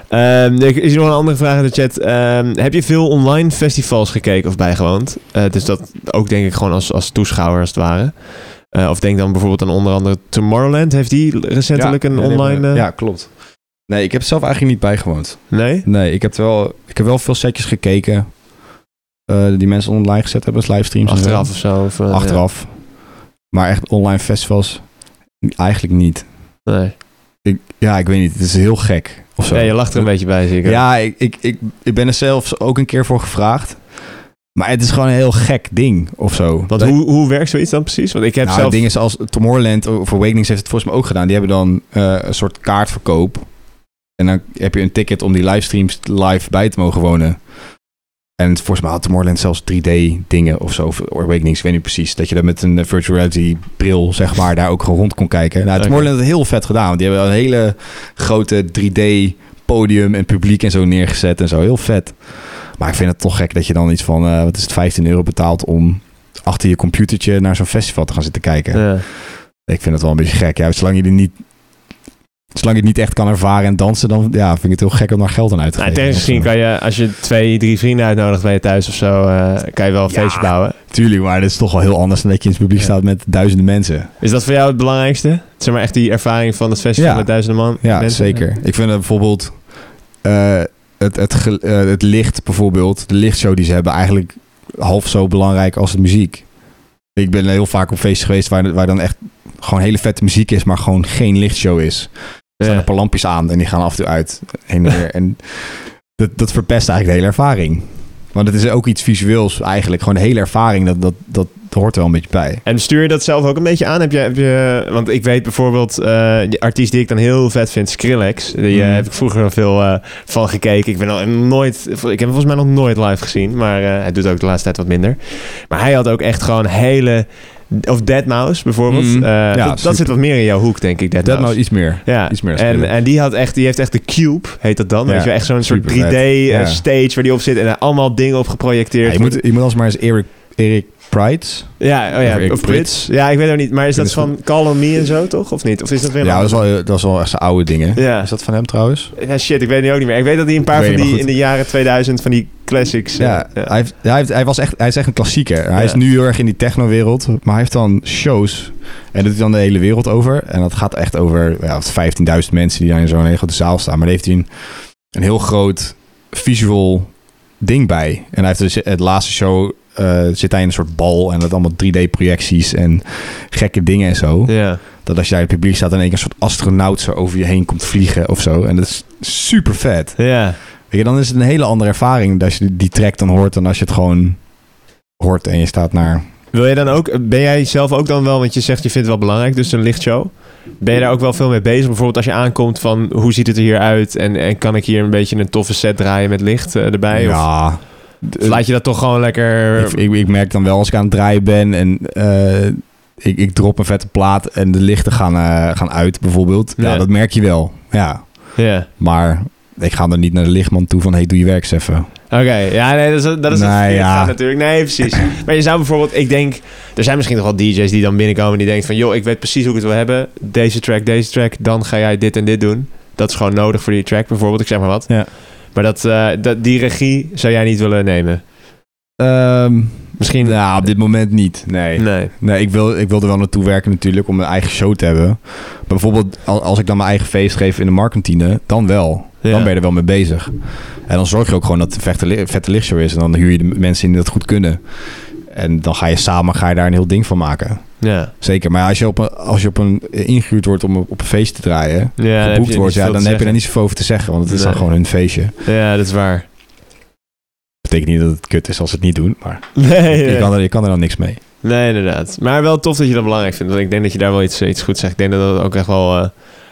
Speaker 1: Ehm, er is hier nog een andere vraag in de chat. Ehm, heb je veel online festivals gekeken of bijgewoond? Eh, dus dat ook denk ik gewoon als, als toeschouwer, als het ware. Eh, of denk dan bijvoorbeeld aan onder andere Tomorrowland. Heeft die recentelijk een online... eh,
Speaker 2: ja, klopt. Nee, ik heb zelf eigenlijk niet bijgewoond.
Speaker 1: Nee?
Speaker 2: Nee, ik heb wel, ik heb wel veel setjes gekeken. eh, die mensen online gezet hebben als livestreams. en zo.
Speaker 1: Achteraf of zo? Of, eh,
Speaker 2: Achteraf. Maar echt online festivals, eigenlijk niet.
Speaker 1: ja. Nee.
Speaker 2: Ik, ja, ik weet niet. Het is heel gek. Of zo.
Speaker 1: Ja, je lacht er een beetje bij, zeker.
Speaker 2: Ja, ik, ik, ik, ik ben er zelfs ook een keer voor gevraagd. Maar het is gewoon een heel gek ding of zo.
Speaker 1: Want hoe, hoe werkt zoiets dan precies? Want ik heb
Speaker 2: nou,
Speaker 1: zelf...
Speaker 2: dingen zoals Tomorrowland of Awakenings heeft het volgens mij ook gedaan. Die hebben dan eh, een soort kaartverkoop. En dan heb je een ticket om die livestreams live bij te mogen wonen. En volgens mij had Tomorrowland zelfs 3D-dingen of zo. Of Awakenings, ik weet niet precies. Dat je daar met een eh, virtual reality-bril, zeg maar, daar ook gewoon rond kon kijken. Nou,
Speaker 1: Oké.
Speaker 2: Tomorrowland had het heel vet gedaan. Want die hebben een hele grote 3D-podium en publiek en zo neergezet en zo. Heel vet. Maar ik vind het toch gek dat je dan iets van, eh, wat is het, 15 euro betaalt om achter je computertje naar zo'n festival te gaan zitten kijken.
Speaker 1: Ja.
Speaker 2: Ik vind dat wel een beetje gek. Ja, zolang je die niet. Zolang je het niet echt kan ervaren en dansen, dan ja, vind ik het heel gek om daar geld aan uit te
Speaker 1: Nou,
Speaker 2: geven.
Speaker 1: tegen misschien kan je, als je twee, drie vrienden uitnodigt bij je thuis of zo, eh, kan je wel een
Speaker 2: Ja.
Speaker 1: feestje bouwen.
Speaker 2: Tuurlijk, maar dat is toch wel heel anders dan dat je in het publiek
Speaker 1: Ja.
Speaker 2: staat met duizenden mensen.
Speaker 1: Is dat voor jou het belangrijkste? Zeg maar echt die ervaring van het festival
Speaker 2: Ja.
Speaker 1: met duizenden man?
Speaker 2: Ja,
Speaker 1: mensen?
Speaker 2: zeker. Ik vind dat bijvoorbeeld eh, het, het, ge- eh, het licht bijvoorbeeld, de lichtshow die ze hebben, eigenlijk half zo belangrijk als de muziek. Ik ben heel vaak op feesten geweest waar, waar dan echt gewoon hele vette muziek is, maar gewoon geen lichtshow is. Er staan
Speaker 1: Ja.
Speaker 2: een paar lampjes aan en die gaan af en toe uit. Heen en weer. en dat, dat verpest eigenlijk de hele ervaring. Want het is ook iets visueels eigenlijk. Gewoon de hele ervaring, dat, dat, dat hoort er wel een beetje bij.
Speaker 1: En stuur je dat zelf ook een beetje aan? Heb je, heb je, want ik weet bijvoorbeeld, eh die artiest die ik dan heel vet vind, Skrillex. Die eh,
Speaker 2: Mhm.
Speaker 1: heb ik vroeger al veel eh, van gekeken. Ik, ben al nooit, ik heb hem volgens mij nog nooit live gezien. Maar eh, hij doet ook de laatste tijd wat minder. Maar hij had ook echt gewoon hele... Of Deadmau5 bijvoorbeeld.
Speaker 2: Mhm.
Speaker 1: Eh,
Speaker 2: Ja,
Speaker 1: dat,
Speaker 2: super.
Speaker 1: dat zit wat meer in jouw hoek, denk ik,
Speaker 2: Dat
Speaker 1: Deadmau5.
Speaker 2: nou iets meer.
Speaker 1: Ja,
Speaker 2: Iets meer
Speaker 1: en,
Speaker 2: spelen.
Speaker 1: en die, had echt, die heeft echt de Cube, heet dat dan.
Speaker 2: Ja,
Speaker 1: Weet je, wel, echt zo'n soort 3D
Speaker 2: supervet.
Speaker 1: eh,
Speaker 2: Ja.
Speaker 1: stage waar die op zit en er allemaal dingen op
Speaker 2: Ja,
Speaker 1: geprojecteerd.
Speaker 2: je, moet, je moet als maar eens Erik, Erik Prides.
Speaker 1: Ja, oh ja,
Speaker 2: Of ik
Speaker 1: of
Speaker 2: Brits.
Speaker 1: Brits. Ja, ik weet ook niet. Maar is dat
Speaker 2: Brits
Speaker 1: van Call on Me en zo, toch? Of niet? Of is dat weer... een
Speaker 2: Ja, dat is,
Speaker 1: ander?
Speaker 2: wel, dat is wel echt zijn oude dingen.
Speaker 1: Ja.
Speaker 2: Is dat van hem trouwens?
Speaker 1: ja, shit, ik weet het ook niet meer. Ik weet dat hij een paar
Speaker 2: Ik
Speaker 1: van
Speaker 2: weet niet,
Speaker 1: die in
Speaker 2: maar
Speaker 1: de jaren 2000 van die classics... eh,
Speaker 2: Ja,
Speaker 1: ja.
Speaker 2: Hij, heeft, hij, heeft, hij, was echt, hij is echt een klassieker. Hij
Speaker 1: Ja.
Speaker 2: is nu heel erg in die techno-wereld, maar hij heeft dan shows. En dat doet hij dan de hele wereld over. En dat gaat echt over ja, 15.000 mensen die daar in zo'n hele grote zaal staan. Maar daar heeft hij een, een heel groot visual ding bij. En hij heeft dus het laatste show eh, zit hij in een soort bal en dat allemaal 3D-projecties en gekke dingen en zo.
Speaker 1: Ja.
Speaker 2: Dat als je daar in het publiek staat en één keer een soort astronaut zo over je heen komt vliegen of zo. En dat is super vet.
Speaker 1: ja.
Speaker 2: Weet je, dan is het een hele andere ervaring als je die- die track dan hoort dan als je het gewoon hoort en je staat naar...
Speaker 1: Wil je dan ook, ben jij zelf ook dan wel, want je zegt je vindt het wel belangrijk, dus een lichtshow. Ben je daar ook wel veel mee bezig? Bijvoorbeeld als je aankomt van hoe ziet het er hier uit en, en kan ik hier een beetje een toffe set draaien met licht eh, erbij? Of
Speaker 2: ja,
Speaker 1: laat je dat toch gewoon lekker...
Speaker 2: ik, ik, ik merk dan wel als ik aan het draaien ben en eh, ik, ik drop een vette plaat en de lichten gaan, eh, gaan uit bijvoorbeeld. Ja.
Speaker 1: Ja.
Speaker 2: dat merk je wel. Ja,
Speaker 1: Ja.
Speaker 2: maar ik ga dan niet naar de lichtman toe van hey, doe je werk eens even.
Speaker 1: Oké, ja, nee, dat is, dat is het
Speaker 2: Nou
Speaker 1: verkeerd
Speaker 2: ja.
Speaker 1: gaan natuurlijk. Nee, precies. Maar je zou bijvoorbeeld, ik denk, er zijn misschien nog wel DJ's die dan binnenkomen en die denken van, joh, ik weet precies hoe ik het wil hebben. Deze track, deze track, dan ga jij dit en dit doen. Dat is gewoon nodig voor die track bijvoorbeeld, ik zeg maar wat.
Speaker 2: Ja.
Speaker 1: Maar dat, eh, dat, die regie zou jij niet willen nemen.
Speaker 2: Ehm,
Speaker 1: Misschien...
Speaker 2: nou, op dit moment niet. Nee.
Speaker 1: Nee.
Speaker 2: Nee, ik wil, ik wil er wel naartoe werken natuurlijk om een eigen show te hebben. Maar bijvoorbeeld al- als ik dan mijn eigen feest geef in de markantine, dan wel.
Speaker 1: Ja.
Speaker 2: Dan ben je er wel mee bezig. En dan zorg je ook gewoon dat het een vette, li- vette lichtshow is. En dan huur je de mensen in die dat goed kunnen. En dan ga je samen ga je daar een heel ding van maken.
Speaker 1: Ja.
Speaker 2: Zeker. Maar als je op een, als je op een eh, ingehuurd wordt om op een feest te draaien,
Speaker 1: ja dan heb
Speaker 2: geboekt
Speaker 1: je
Speaker 2: wordt,
Speaker 1: niet
Speaker 2: ja,
Speaker 1: veel
Speaker 2: dan
Speaker 1: te
Speaker 2: heb je daar
Speaker 1: zeggen.
Speaker 2: niet zoveel over te zeggen. Want het is dan
Speaker 1: Nee.
Speaker 2: gewoon hun feestje.
Speaker 1: Ja, dat is waar.
Speaker 2: Betekent niet dat het kut is als ze het niet doen. Maar
Speaker 1: Nee,
Speaker 2: je, kan er, je kan er dan niks mee.
Speaker 1: nee, inderdaad. Maar wel tof dat je dat belangrijk vindt. Want ik denk dat je daar wel iets, iets goed zegt. Ik denk dat dat ook echt wel eh,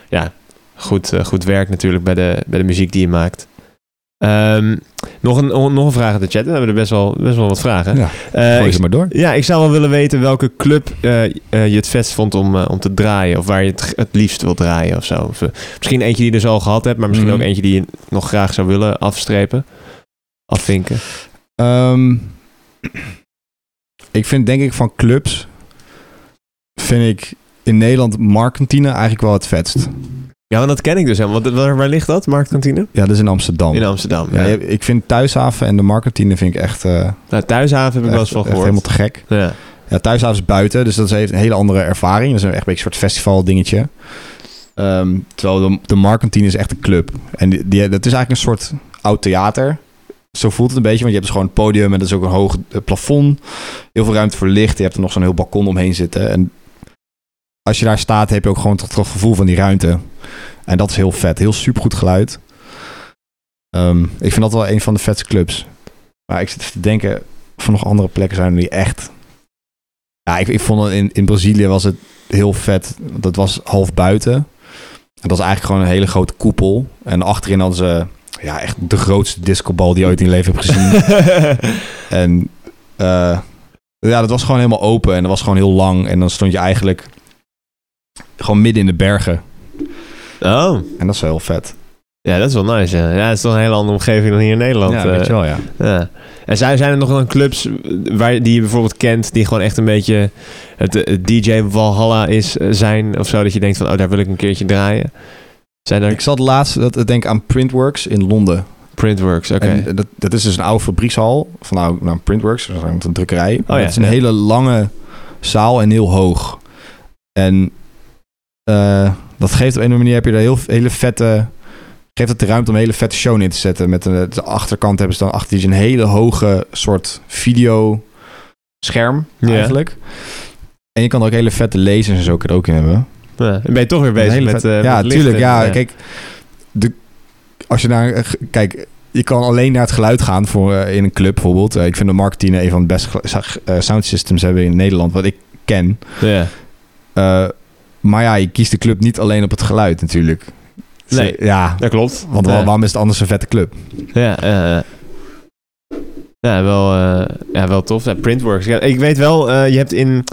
Speaker 1: ja, goed, eh, goed werkt natuurlijk bij de, bij de muziek die je maakt. Ehm, nog, een, nog een vraag uit de chat. We hebben er best wel, best wel wat vragen.
Speaker 2: Ja,
Speaker 1: Eh,
Speaker 2: gooi
Speaker 1: ik-
Speaker 2: ze maar door.
Speaker 1: ja, ik zou wel willen weten welke club eh, eh, je het vetst vond om, eh, om te draaien. Of waar je het, g- het liefst wil draaien of zo. Of, eh, misschien eentje die je dus al gehad hebt. Maar misschien
Speaker 2: Mhm.
Speaker 1: ook eentje die je nog graag zou willen afstrepen. Afvinken.
Speaker 2: Ehm, ik vind denk ik van clubs vind ik in Nederland Markantine eigenlijk wel het vetst.
Speaker 1: Ja, want dat ken ik dus helemaal. Wat- Waar, waar ligt dat, Marktkantine?
Speaker 2: Ja, dat is in Amsterdam.
Speaker 1: In Amsterdam.
Speaker 2: Oh. Ja,
Speaker 1: Ja.
Speaker 2: je- ik vind Thuishaven en de Markantine vind ik echt, eh,
Speaker 1: Nou, thuishaven heb ik wel eens
Speaker 2: echt,
Speaker 1: van
Speaker 2: echt
Speaker 1: gehoord.
Speaker 2: helemaal te gek.
Speaker 1: Ja.
Speaker 2: Ja, Thuishaven is buiten, dus dat heeft een hele andere ervaring. Dat is een echt een beetje een soort festival dingetje. Ehm, terwijl de, de Markantine is echt een club. En die, die- dat is eigenlijk een soort oud theater. Zo voelt het een beetje, want je hebt dus gewoon een podium en dat is ook een hoog eh, plafond. Heel veel ruimte voor licht. Je hebt er nog zo'n heel balkon omheen zitten. En als je daar staat, heb je ook gewoon toch toch het gevoel van die ruimte. En dat is heel vet. Heel supergoed geluid. Ehm, ik vind dat wel een van de vetste clubs. Maar ik zit even te denken of er nog andere plekken zijn die echt... Ja, ik, ik vond het in, in Brazilië was het heel vet. Want Dat was half buiten. En dat is eigenlijk gewoon een hele grote koepel. En achterin hadden ze ja, echt de grootste discobal die je ooit in je leven hebt gezien. Mhm. En eh, ja, dat was gewoon helemaal open en dat was gewoon heel lang. En dan stond je eigenlijk gewoon midden in de bergen.
Speaker 1: oh,
Speaker 2: En dat is wel heel vet.
Speaker 1: ja, dat is wel nice. Ja, ja dat is toch een hele andere omgeving dan hier in Nederland.
Speaker 2: ja,
Speaker 1: eh.
Speaker 2: weet je wel, ja.
Speaker 1: ja. En zijn, zijn er nog dan clubs waar, die je bijvoorbeeld kent, die gewoon echt een beetje het, eh, het DJ Valhalla is, eh, zijn of zo, dat je denkt van, oh, daar wil ik een keertje draaien? Zijn er
Speaker 2: Ik zat laatst dat, ik denk aan Printworks in Londen.
Speaker 1: printworks? Oké.
Speaker 2: En dat, dat is dus een oude fabriekshal. Van nou, nou Printworks, dat is een drukkerij.
Speaker 1: Oh, ja,
Speaker 2: Maar het is een
Speaker 1: ja.
Speaker 2: hele lange zaal en heel hoog. En eh, dat geeft op een of andere manier, heb je daar heel, hele vette... Geeft het de ruimte om een hele vette show neer te zetten. Met een- de achterkant hebben ze dan achter die een hele hoge soort video scherm
Speaker 1: Ja.
Speaker 2: eigenlijk. En je kan er ook hele vette lasers en zo kan er ook in hebben.
Speaker 1: Ja, dan ben je toch weer
Speaker 2: Een
Speaker 1: bezig
Speaker 2: hele
Speaker 1: met,
Speaker 2: vet-
Speaker 1: eh,
Speaker 2: ja,
Speaker 1: met licht
Speaker 2: tuurlijk.
Speaker 1: en-
Speaker 2: Ja, kijk, de, als je naar, eh, kijk, je kan alleen naar het geluid gaan voor eh, in een club bijvoorbeeld. Eh, ik vind de Markantine een van de beste gelu- sa- eh, sound systems hebben in Nederland, wat ik ken.
Speaker 1: Ja.
Speaker 2: Eh, maar ja, je kiest de club niet alleen op het geluid natuurlijk. Dus,
Speaker 1: Nee.
Speaker 2: eh, ja,
Speaker 1: dat klopt.
Speaker 2: want
Speaker 1: Ja.
Speaker 2: wa- waarom is het anders een vette club?
Speaker 1: Ja, eh, eh. ja, wel, eh, ja, wel tof. Ja, Printworks. Ja, ik weet wel, eh, je hebt in,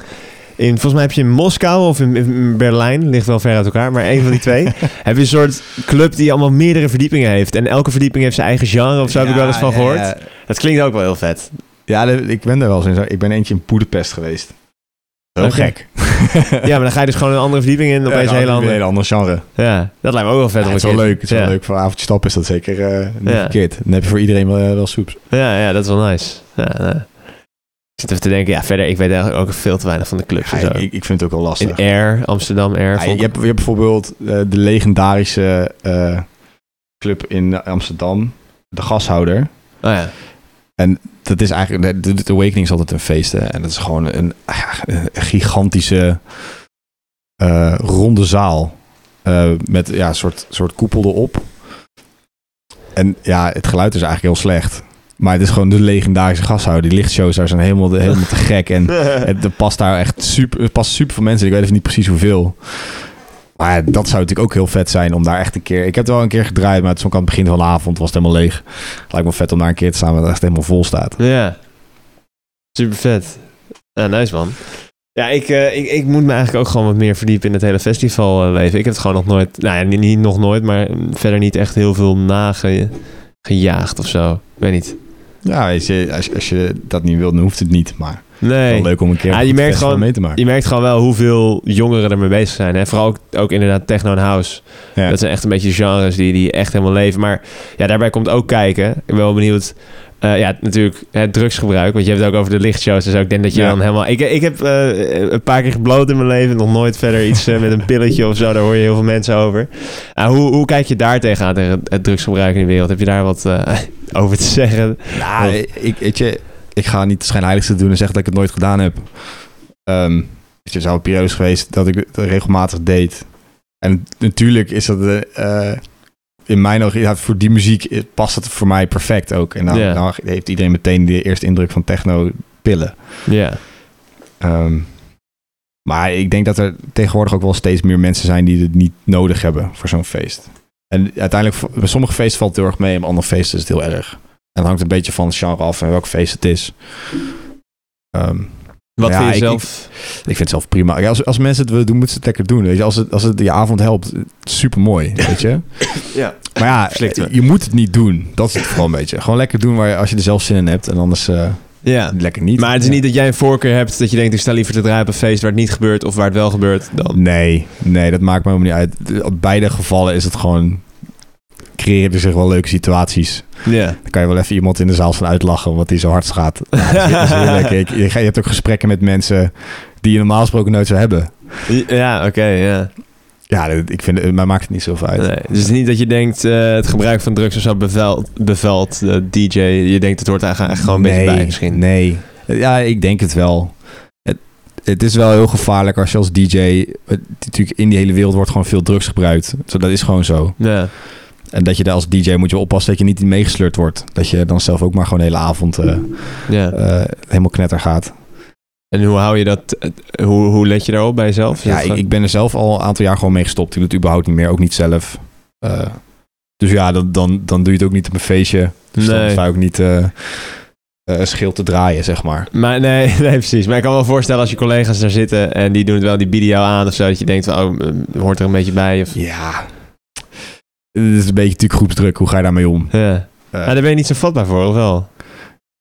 Speaker 1: in... Volgens mij heb je in Moskou of in, in Berlijn, ligt wel ver uit elkaar, maar één van die twee, heb je een soort club die allemaal meerdere verdiepingen heeft. En elke verdieping heeft zijn eigen genre of zo, heb ik wel eens van gehoord.
Speaker 2: Ja,
Speaker 1: Dat klinkt ook wel heel vet.
Speaker 2: Ja, de- ik ben daar wel eens in. Ik ben eentje in Boedapest geweest. Heel
Speaker 1: Oké.
Speaker 2: gek.
Speaker 1: Ja, maar dan ga je dus gewoon een andere verdieping in. Opeens
Speaker 2: Ja,
Speaker 1: een hele
Speaker 2: een
Speaker 1: andere.
Speaker 2: hele ander genre.
Speaker 1: Ja, dat lijkt me ook wel vet.
Speaker 2: Ja,
Speaker 1: om
Speaker 2: het
Speaker 1: een
Speaker 2: is wel
Speaker 1: keer-
Speaker 2: leuk. Het is
Speaker 1: ja.
Speaker 2: wel leuk. Voor een avondje stappen is dat zeker eh, niet
Speaker 1: Ja.
Speaker 2: verkeerd. Dan heb je voor iedereen wel, eh, wel soeps.
Speaker 1: Ja, ja, dat is wel nice. Ja, ja. Ik zit even te denken, ja, verder, ik weet eigenlijk ook veel te weinig van de clubs.
Speaker 2: Ja,
Speaker 1: en zo.
Speaker 2: ik, ik vind het ook wel lastig.
Speaker 1: in Air, Amsterdam Air.
Speaker 2: Ja, je,
Speaker 1: vond ik-
Speaker 2: hebt, je hebt bijvoorbeeld eh, de legendarische eh, club in Amsterdam, de Gashouder.
Speaker 1: Oh ja.
Speaker 2: Dat is eigenlijk, de, de Awakening is altijd een feest. Hè? En dat is gewoon een, ah, een gigantische eh, ronde zaal. Eh, met ja, een soort, soort koepel erop. En ja, het geluid is eigenlijk heel slecht. Maar het is gewoon de legendarische gashouder. Die lichtshows daar zijn helemaal, de- helemaal te gek. En Het er past daar echt super, het past super veel mensen. in. Ik weet even niet precies hoeveel. Maar ja, dat zou natuurlijk ook heel vet zijn om daar echt een keer... Ik heb het wel een keer gedraaid, maar het is ook aan het begin van de avond was het helemaal leeg. Lijkt me vet om daar een keer te staan waar het echt helemaal vol staat.
Speaker 1: ja. Super vet. Ja, nice man. Ja, ik, eh, ik, ik moet me eigenlijk ook gewoon wat meer verdiepen in het hele festivalleven. Ik heb het gewoon nog nooit, nou ja, niet, niet nog nooit, maar verder niet echt heel veel nagejaagd of zo. Ik weet niet.
Speaker 2: Ja, weet je, als, je- als je dat niet wilt, dan hoeft het niet. Maar het is
Speaker 1: Nee.
Speaker 2: wel leuk om een keer
Speaker 1: Ja,
Speaker 2: een
Speaker 1: je
Speaker 2: goed
Speaker 1: merkt
Speaker 2: festival
Speaker 1: gewoon-
Speaker 2: mee te maken.
Speaker 1: Je merkt gewoon wel hoeveel jongeren er mee bezig zijn. Hè? Vooral ook, ook inderdaad techno en house.
Speaker 2: Ja.
Speaker 1: Dat zijn echt een beetje de genres die, die echt helemaal leven. Maar ja, daarbij komt ook kijken. Ik ben wel benieuwd. eh, ja, natuurlijk het drugsgebruik. Want je hebt het ook over de lichtshows. Dus ik denk dat je
Speaker 2: Ja.
Speaker 1: dan helemaal... Ik, ik heb eh, een paar keer gebloot in mijn leven. Nog nooit verder iets eh, met een pilletje of zo. Daar hoor je heel veel mensen over. Ah, hoe, hoe kijk je daar tegenaan, tegen het, het drugsgebruik in de wereld? Heb je daar wat eh, over te zeggen?
Speaker 2: Nou, ik, weet je, ik ga niet de schijnheiligste doen en zeggen dat ik het nooit gedaan heb. Ehm, weet je, er zijn periodes geweest dat ik het regelmatig deed. En natuurlijk is dat eh, eh, in mijn ogen, ja, voor die muziek eh, past het voor mij perfect ook. En dan,
Speaker 1: Ja.
Speaker 2: dan heeft iedereen meteen de eerste indruk van techno pillen.
Speaker 1: Ja.
Speaker 2: Ehm, maar ik denk dat er tegenwoordig ook wel steeds meer mensen zijn die het niet nodig hebben voor zo'n feest. En uiteindelijk, v- bij sommige feesten valt het heel erg mee, en bij andere feesten is het heel erg. En het hangt een beetje van het genre af en welk feest het is. Ehm,
Speaker 1: Wat
Speaker 2: Ja,
Speaker 1: vind je
Speaker 2: ik-
Speaker 1: zelf...
Speaker 2: ik vind het zelf prima. Ja, als, als mensen het willen doen, moeten ze het lekker doen. Weet je? Als, het, als het je avond helpt, super mooi. Weet je?
Speaker 1: Ja.
Speaker 2: Maar
Speaker 1: Slikt
Speaker 2: ja,
Speaker 1: me.
Speaker 2: je moet het niet doen. Dat is het vooral een beetje. Gewoon lekker doen waar je, als je er zelf zin in hebt. En anders eh,
Speaker 1: ja.
Speaker 2: lekker niet.
Speaker 1: Maar het is
Speaker 2: Ja.
Speaker 1: niet dat jij een voorkeur hebt dat je denkt, ik sta liever te draaien op een feest waar het niet gebeurt of waar het wel gebeurt. Dan.
Speaker 2: Nee, nee, dat maakt me helemaal niet uit. De- Op beide gevallen is het gewoon... creëren er zich wel leuke situaties.
Speaker 1: Ja.
Speaker 2: Dan kan je wel even iemand in de zaal gaan uitlachen... omdat hij zo hard gaat. Ja, dat is- dat is heel lekker. Ik- je, ga- je hebt ook gesprekken met mensen... die je normaal gesproken nooit zou hebben.
Speaker 1: Ja, oké, ja.
Speaker 2: Ja, dat- ik vind, het- mij maakt het niet zoveel uit.
Speaker 1: Nee, dus het is niet dat je denkt, eh, het gebruik van drugs of zo bevelt, bevelt de DJ. Je denkt, het hoort eigenlijk gewoon een beetje bij misschien.
Speaker 2: Nee. Ja, ik denk het wel. Het, het is wel heel gevaarlijk als je als DJ... het- natuurlijk in die hele wereld wordt gewoon veel drugs gebruikt. Zo, dat is gewoon zo.
Speaker 1: Ja.
Speaker 2: En dat je daar als DJ moet je oppassen dat je niet in meegesleurd wordt. Dat je dan zelf ook maar gewoon de hele avond eh,
Speaker 1: ja.
Speaker 2: eh, helemaal knetter gaat.
Speaker 1: En hoe hou je dat, eh, hoe, hoe let je daarop bij jezelf? Is
Speaker 2: Ja,
Speaker 1: dat
Speaker 2: ik,
Speaker 1: gewoon-
Speaker 2: ik ben er zelf al een aantal jaar gewoon mee gestopt. Ik doe het überhaupt niet meer, ook niet zelf. Eh, dus ja, dan, dan, dan doe je het ook niet op een feestje. Dus dan
Speaker 1: Nee.
Speaker 2: sta je ook niet eh eh, scheel te draaien, zeg maar.
Speaker 1: Maar nee, nee, precies. Maar ik kan me wel voorstellen als je collega's daar zitten en die doen het wel, die bieden jou aan of zo. Dat je denkt, van, oh, eh, hoort er een beetje bij. Of,
Speaker 2: Ja. Het is een beetje natuurlijk groepsdruk. Hoe ga je daarmee om?
Speaker 1: ja.
Speaker 2: Eh,
Speaker 1: Maar daar ben je niet zo vatbaar voor, of wel?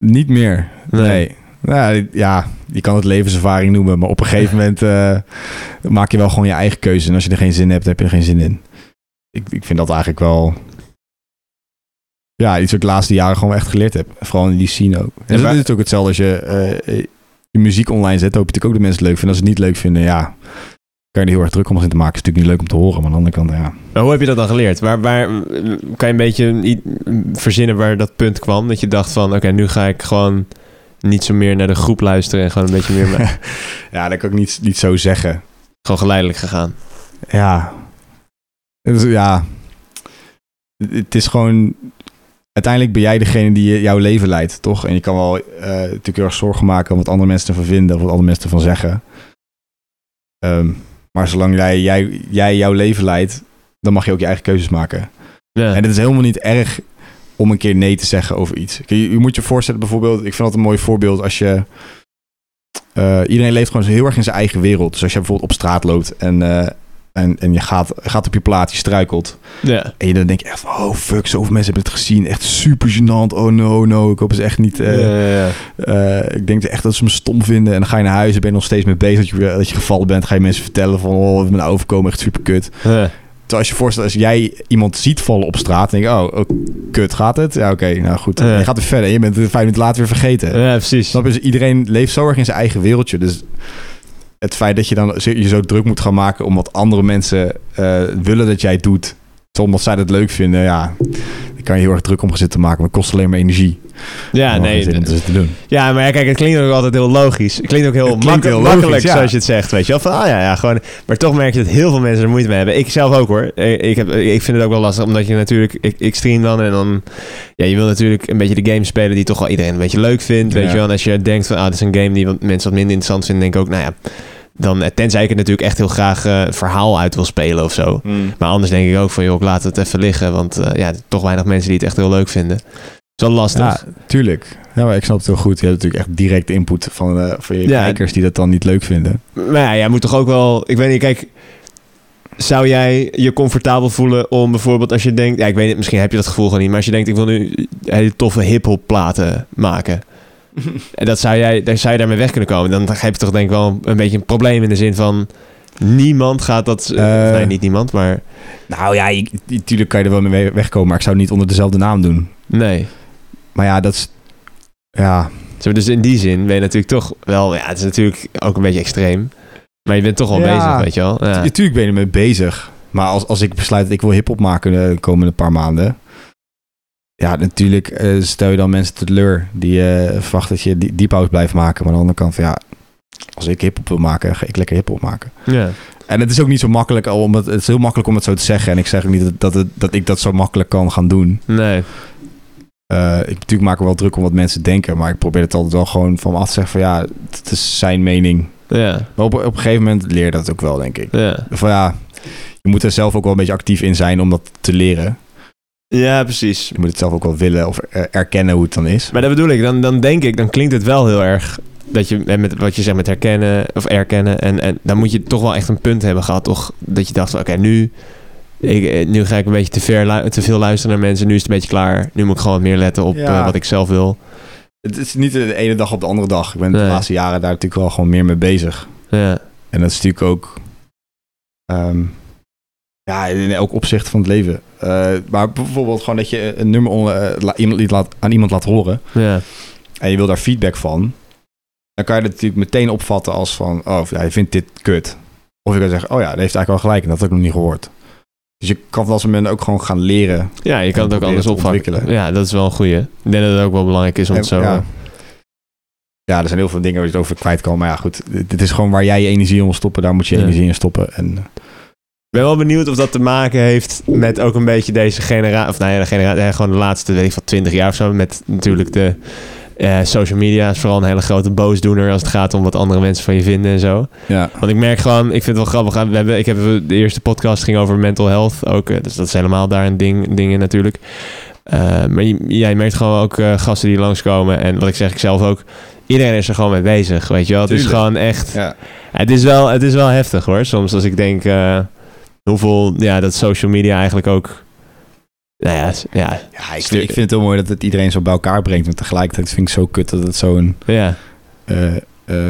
Speaker 2: Niet meer. Nee. Nou, ja, je kan het levenservaring noemen, maar op een gegeven moment eh, maak je wel gewoon je eigen keuze. En als je er geen zin in hebt, heb je er geen zin in. Ik, ik vind dat eigenlijk wel. Ja, iets wat ik de laatste jaren gewoon echt geleerd heb. Vooral in die scene ook. En
Speaker 1: maar-
Speaker 2: dat is ook hetzelfde als je eh, eh, je muziek online zet. Hoop je natuurlijk ook dat mensen het leuk vinden. Als ze het niet leuk vinden, ja. Kan je er heel erg druk om in te maken. Is natuurlijk niet leuk om te horen. Maar aan de andere kant, ja.
Speaker 1: Maar hoe heb je dat dan geleerd? Waar, waar eh, kan je een beetje een i- verzinnen waar dat punt kwam? Dat je dacht van, oké, nu ga ik gewoon niet zo meer naar de groep luisteren en gewoon een beetje meer mijn-
Speaker 2: ja, dat kan ik niet, niet zo zeggen.
Speaker 1: gewoon geleidelijk gegaan.
Speaker 2: Ja. Het is- ja. Het is gewoon. Uiteindelijk ben jij degene die je- jouw leven leidt, toch? En je kan wel eh, natuurlijk heel erg zorgen maken om wat andere mensen ervan vinden of wat andere mensen ervan zeggen. Ehm, maar zolang jij, jij, jij jouw leven leidt, dan mag je ook je eigen keuzes maken.
Speaker 1: Ja.
Speaker 2: En het is helemaal niet erg om een keer nee te zeggen over iets. Kijk, Je, je moet je voorstellen bijvoorbeeld, ik vind dat een mooi voorbeeld als je... eh, iedereen leeft gewoon heel erg in zijn eigen wereld. Dus als je bijvoorbeeld op straat loopt en eh, En, en je gaat, gaat op je plaat, je struikelt.
Speaker 4: Ja.
Speaker 2: En je dan denk je echt, van, oh fuck, zoveel mensen hebben het gezien. Echt super gênant. Oh no, no, ik hoop ze echt niet... eh,
Speaker 4: ja.
Speaker 2: eh, ik denk echt dat ze me stom vinden. En dan ga je naar huis en ben je nog steeds mee bezig dat je, weer- dat je gevallen bent. Ga je mensen vertellen van, oh, wat is me nou overkomen, echt super kut.
Speaker 4: Ja.
Speaker 2: Terwijl als je voorstelt, als jij iemand ziet vallen op straat... en denk je, oh, oh, kut, gaat het? Ja, oké, nou goed.
Speaker 4: Ja.
Speaker 2: En je gaat weer verder en je bent het vijf minuten later weer vergeten.
Speaker 4: Ja, precies.
Speaker 2: Snap je? Dus iedereen leeft zo erg in zijn eigen wereldje. Dus het feit dat je dan zo- je zo druk moet gaan maken... om wat andere mensen eh, willen dat jij het doet... omdat zij dat leuk vinden, ja... daar kan je heel erg druk om gaan zitten maken. Maar het kost alleen maar energie.
Speaker 4: Ja,
Speaker 2: om
Speaker 4: nee.
Speaker 2: dat
Speaker 4: d-
Speaker 2: te doen.
Speaker 1: Ja, maar ja, kijk, het klinkt ook altijd heel logisch. Het klinkt ook heel,
Speaker 2: Het klinkt
Speaker 1: makke-
Speaker 2: heel logisch,
Speaker 1: makkelijk
Speaker 2: ja.
Speaker 1: zoals je het zegt, weet je wel. Van, ah ja, ja, gewoon... Maar toch merk je dat heel veel mensen er moeite mee hebben. Ik zelf ook, hoor. Eh, Ik, ik, heb, ik vind het ook wel lastig, omdat je natuurlijk... Ik, ik stream dan en dan... Ja, je wil natuurlijk een beetje de game spelen die toch wel iedereen een beetje leuk vindt, weet
Speaker 2: Ja.
Speaker 1: je wel. En als je denkt van, ah, dit is een game die wat, mensen wat minder interessant vinden, denk ik ook, nou ja... Dan, eh, tenzij ik het natuurlijk echt heel graag eh, verhaal uit wil spelen of zo. Maar anders denk ik ook van, joh, ik laat het even liggen. Want eh, ja, toch weinig mensen die het echt heel leuk vinden. Het is wel lastig.
Speaker 2: Ja, tuurlijk. Ja, maar ik snap het heel goed. Je hebt natuurlijk echt direct input van, eh, van je
Speaker 1: Ja.
Speaker 2: kijkers die dat dan niet leuk vinden.
Speaker 1: Maar ja, jij moet toch ook wel... Ik weet niet, kijk... Zou jij je comfortabel voelen om bijvoorbeeld als je denkt... Ja, ik weet het, misschien heb je dat gevoel gewoon niet. Maar als je denkt, ik wil nu hele toffe hiphop platen maken. En dat zou jij, daar zou je daarmee weg kunnen komen. Dan heb je toch denk ik wel een, een beetje een probleem in de zin van... Niemand gaat dat...
Speaker 2: Eh.
Speaker 1: of nee, niet niemand, maar...
Speaker 2: Nou ja, je- je- tuurlijk kan je er wel mee wegkomen, maar ik zou het niet onder dezelfde naam doen.
Speaker 1: Nee.
Speaker 2: Maar ja, dat is... Ja,
Speaker 1: Zeg maar, Dus in die zin ben je natuurlijk toch wel... Ja, het is natuurlijk ook een beetje extreem. Maar je bent toch wel
Speaker 2: Ja.
Speaker 1: bezig, weet je wel. Ja.
Speaker 2: Natuurlijk ben je ermee bezig. Maar als, als ik besluit dat ik wil hip-hop maken eh, de komende paar maanden. Ja, natuurlijk eh, stel je dan mensen teleur. Die eh, verwachten dat je die- deep house blijft maken. Maar aan de andere kant van ja. Als ik hip-hop wil maken, ga ik lekker hip-hop maken.
Speaker 1: Ja.
Speaker 2: En het is ook niet zo makkelijk. al Om het, het is heel makkelijk om het zo te zeggen. En ik zeg ook niet dat, dat, het- dat ik dat zo makkelijk kan gaan doen.
Speaker 1: Nee.
Speaker 2: Eh, ik natuurlijk maak me wel druk om wat mensen denken. Maar ik probeer het altijd wel gewoon van me af te zeggen. Van ja, het is zijn mening.
Speaker 1: Ja.
Speaker 2: Maar op, op een gegeven moment leer je dat ook wel, denk ik
Speaker 1: Ja.
Speaker 2: van ja, je moet er zelf ook wel een beetje actief in zijn om dat te leren.
Speaker 1: Ja, precies.
Speaker 2: Je moet het zelf ook wel willen of eh, erkennen hoe het dan is.
Speaker 1: Maar dat bedoel ik, dan, dan denk ik, dan klinkt het wel heel erg dat je eh, met wat je zegt met herkennen of erkennen. En, en dan moet je toch wel echt een punt hebben gehad, toch? Dat je dacht, van, oké, nu, ik, eh, nu ga ik een beetje te, ver, lu- te veel luisteren naar mensen. Nu is het een beetje klaar. Nu moet ik gewoon wat meer letten op
Speaker 2: Ja.
Speaker 1: eh, wat ik zelf wil.
Speaker 2: Het is niet de ene dag op de andere dag. Ik ben
Speaker 1: Nee.
Speaker 2: de laatste jaren daar natuurlijk wel gewoon meer mee bezig.
Speaker 1: Ja,
Speaker 2: En dat is natuurlijk ook... ehm, ja, in elk opzicht van het leven. Eh, maar bijvoorbeeld gewoon dat je een nummer on- eh, la- iemand liet laat, aan iemand laat horen...
Speaker 1: ja,
Speaker 2: en je wil daar feedback van... dan kan je dat natuurlijk meteen opvatten als van... oh, hij vindt dit kut. Of je kan zeggen, oh ja, dat heeft eigenlijk wel gelijk... en dat had ik nog niet gehoord. Dus je kan van dat soort momenten ook gewoon gaan leren...
Speaker 1: ja je kan
Speaker 2: En
Speaker 1: het ook
Speaker 2: proberen
Speaker 1: anders
Speaker 2: te
Speaker 1: opvakken.
Speaker 2: ontwikkelen.
Speaker 1: Ja, dat is wel een goeie. Ik denk dat het ook wel belangrijk is om het zo... eh,
Speaker 2: Ja. Ja, er zijn heel veel dingen waar je het over kwijt kan. Maar ja, goed. Dit dit is gewoon waar jij je energie in wil stoppen. Daar moet je je
Speaker 1: Ja.
Speaker 2: energie in stoppen. En
Speaker 1: Ik ben wel benieuwd of dat te maken heeft met ook een beetje deze generatie. Of nou ja, de generatie, eh, gewoon de laatste, weet ik van 20 jaar of zo. Met natuurlijk de eh, social media is vooral een hele grote boosdoener als het gaat om wat andere mensen van je vinden en zo.
Speaker 2: ja.
Speaker 1: Want ik merk gewoon, ik vind het wel grappig. aan- We hebben, ik heb de eerste podcast ging over mental health ook. eh, Dus dat is helemaal daar een ding, ding in natuurlijk. Eh, maar je, ja, je merkt gewoon ook eh, gasten die langskomen. En wat ik zeg, ik zelf ook. Iedereen is er gewoon mee bezig, weet je wel. Het is
Speaker 2: Tuurlijk.
Speaker 1: gewoon echt...
Speaker 2: Ja.
Speaker 1: Het is wel, het is wel heftig hoor. Soms als ik denk eh, hoeveel, ja, dat social media eigenlijk ook. Nou ja, s- ja,
Speaker 2: ja, ik, vind, ik vind het heel mooi dat het iedereen zo bij elkaar brengt. Maar tegelijkertijd vind ik het zo kut dat het zo'n
Speaker 1: ja.
Speaker 2: eh, eh,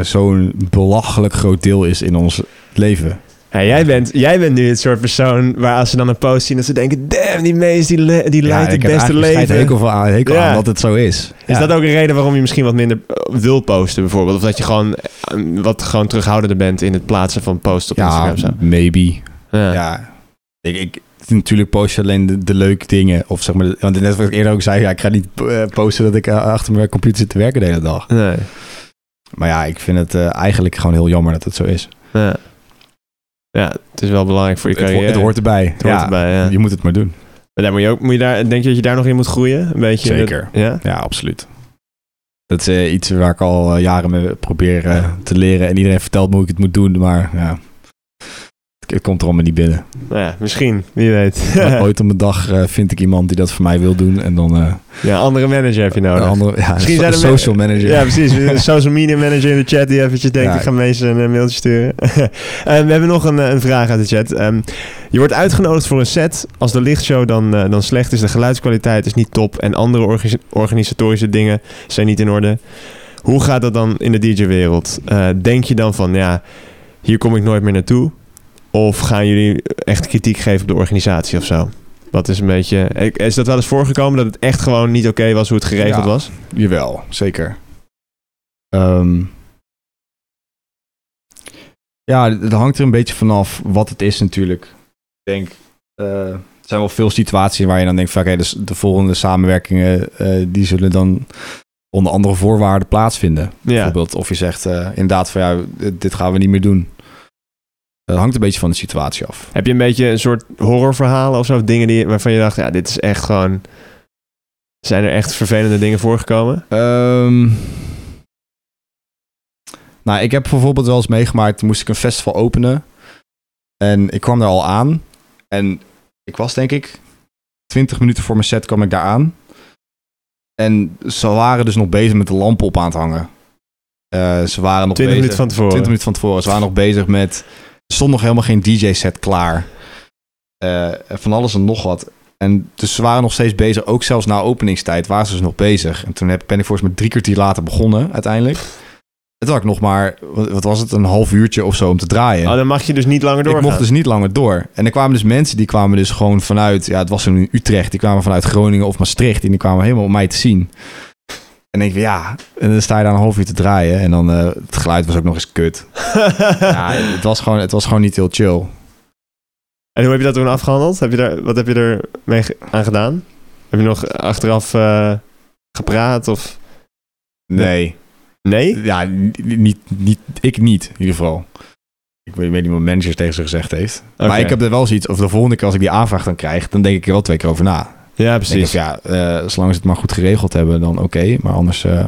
Speaker 2: zo'n belachelijk groot deel is in ons leven.
Speaker 1: Ja, jij, bent, jij bent nu het soort persoon waar als ze dan een post zien dat ze denken, damn, die mees die, le- die leidt het beste
Speaker 2: Ik
Speaker 1: leven.
Speaker 2: hekel, van aan, hekel
Speaker 1: Ja.
Speaker 2: aan dat het zo is.
Speaker 1: Is
Speaker 2: Ja.
Speaker 1: dat ook een reden waarom je misschien wat minder eh, wil posten bijvoorbeeld? Of dat je gewoon eh, wat gewoon terughoudender bent in het plaatsen van posts op Instagram?
Speaker 2: Ja,
Speaker 1: of Zo.
Speaker 2: maybe.
Speaker 1: Ja.
Speaker 2: Ja, ik, ik natuurlijk post je alleen de, de leuke dingen. Of zeg maar, de- want net wat ik eerder ook zei, ja, ik ga niet eh, posten dat ik eh, achter mijn computer zit te werken de hele dag.
Speaker 1: Nee.
Speaker 2: Maar ja, ik vind het eh, eigenlijk gewoon heel jammer dat het zo is.
Speaker 1: Ja. ja, het is wel belangrijk voor je
Speaker 2: Het, ho-
Speaker 1: carrière.
Speaker 2: het hoort erbij.
Speaker 1: Het hoort
Speaker 2: ja,
Speaker 1: erbij, ja.
Speaker 2: Je moet het maar doen.
Speaker 1: Maar daar moet je ook, moet je daar, denk je dat je daar nog in moet groeien? Een beetje
Speaker 2: Zeker.
Speaker 1: ja?
Speaker 2: Ja, absoluut. Dat is eh, iets waar ik al eh, jaren mee probeer eh, te leren. En iedereen vertelt me hoe ik het moet doen, maar ja. Het het komt er allemaal niet binnen.
Speaker 1: Nou ja, misschien. Wie weet.
Speaker 2: Maar ooit op een dag eh, vind ik iemand die dat voor mij wil doen. En dan eh,
Speaker 1: ja, andere manager heb je
Speaker 2: een
Speaker 1: nodig.
Speaker 2: andere, ja,
Speaker 3: Misschien
Speaker 2: so-
Speaker 3: zijn er
Speaker 2: social manager.
Speaker 3: Ja, precies. Een social media manager in de chat die eventjes denkt, ik
Speaker 2: Dus Ja.
Speaker 3: ga mensen een eh, mailtje sturen. Eh, we hebben nog een, eh, een vraag uit de chat. Ehm, je wordt uitgenodigd voor een set. Als de lichtshow dan, eh, dan slecht is, de geluidskwaliteit is niet top en andere orga- organisatorische dingen zijn niet in orde. Hoe gaat dat dan in de DJ-wereld? Eh, denk je dan van, ja, hier kom ik nooit meer naartoe? Of gaan jullie echt kritiek geven op de organisatie of zo? Wat is een beetje... eh, Is dat wel eens voorgekomen dat het echt gewoon niet oké was hoe het geregeld
Speaker 2: Ja.
Speaker 3: was?
Speaker 2: Jawel, zeker. Ehm, ja, het hangt er een beetje vanaf wat het is natuurlijk. Ik denk, eh, er zijn wel veel situaties waar je dan denkt van... oké, dus de volgende samenwerkingen... eh, die zullen dan onder andere voorwaarden plaatsvinden.
Speaker 3: Ja.
Speaker 2: Bijvoorbeeld, of je zegt eh, inderdaad van... ja, dit dit gaan we niet meer doen. Dat hangt een beetje van de situatie af.
Speaker 3: Heb je een beetje een soort horrorverhalen of zo? Dingen die, waarvan je dacht, ja, dit is echt gewoon... Zijn er echt vervelende dingen voorgekomen?
Speaker 2: Ehm, nou, ik heb bijvoorbeeld wel eens meegemaakt, toen moest ik een festival openen. En ik kwam daar al aan. En ik was denk ik 20 minuten voor mijn set kwam ik daar aan. En ze waren dus nog bezig met de lampen op aan te hangen. Eh, ze waren
Speaker 3: 20
Speaker 2: nog
Speaker 3: minuten
Speaker 2: bezig.
Speaker 3: van tevoren.
Speaker 2: 20 minuten van tevoren. Ze waren nog bezig met. Er stond nog helemaal geen DJ-set klaar. Eh, van alles en nog wat. En dus ze waren nog steeds bezig. Ook zelfs na openingstijd waren ze dus nog bezig. En toen heb, ben ik volgens mij drie kwartier later begonnen uiteindelijk. En toen had ik nog maar, wat, wat was het, een half uurtje of zo om te draaien.
Speaker 3: Oh, dan mag je dus niet langer
Speaker 2: ik
Speaker 3: doorgaan.
Speaker 2: mocht dus niet langer door. En er kwamen dus mensen die kwamen dus gewoon vanuit... Ja, het was toen in Utrecht. Die kwamen vanuit Groningen of Maastricht. En die kwamen helemaal om mij te zien. En ik ja, en dan sta je daar een half uur te draaien. En dan, eh, het geluid was ook nog eens kut ja, het was, gewoon, het was gewoon niet heel chill.
Speaker 3: En hoe heb je dat toen afgehandeld? Heb je daar, wat heb je er mee ge- aan gedaan? Heb je nog achteraf eh, gepraat of...
Speaker 2: Nee.
Speaker 3: Nee?
Speaker 2: Ja, n- niet, niet, ik niet, in ieder geval. Ik weet, ik weet niet wat managers tegen ze gezegd heeft.
Speaker 3: Oké.
Speaker 2: Maar ik heb er wel zoiets, of de volgende keer als ik die aanvraag dan krijg, dan denk ik er wel twee keer over na. Dan
Speaker 3: Ja,
Speaker 2: Denk
Speaker 3: precies.
Speaker 2: ik, ja, eh, zolang ze het maar goed geregeld hebben, dan oké. maar anders eh,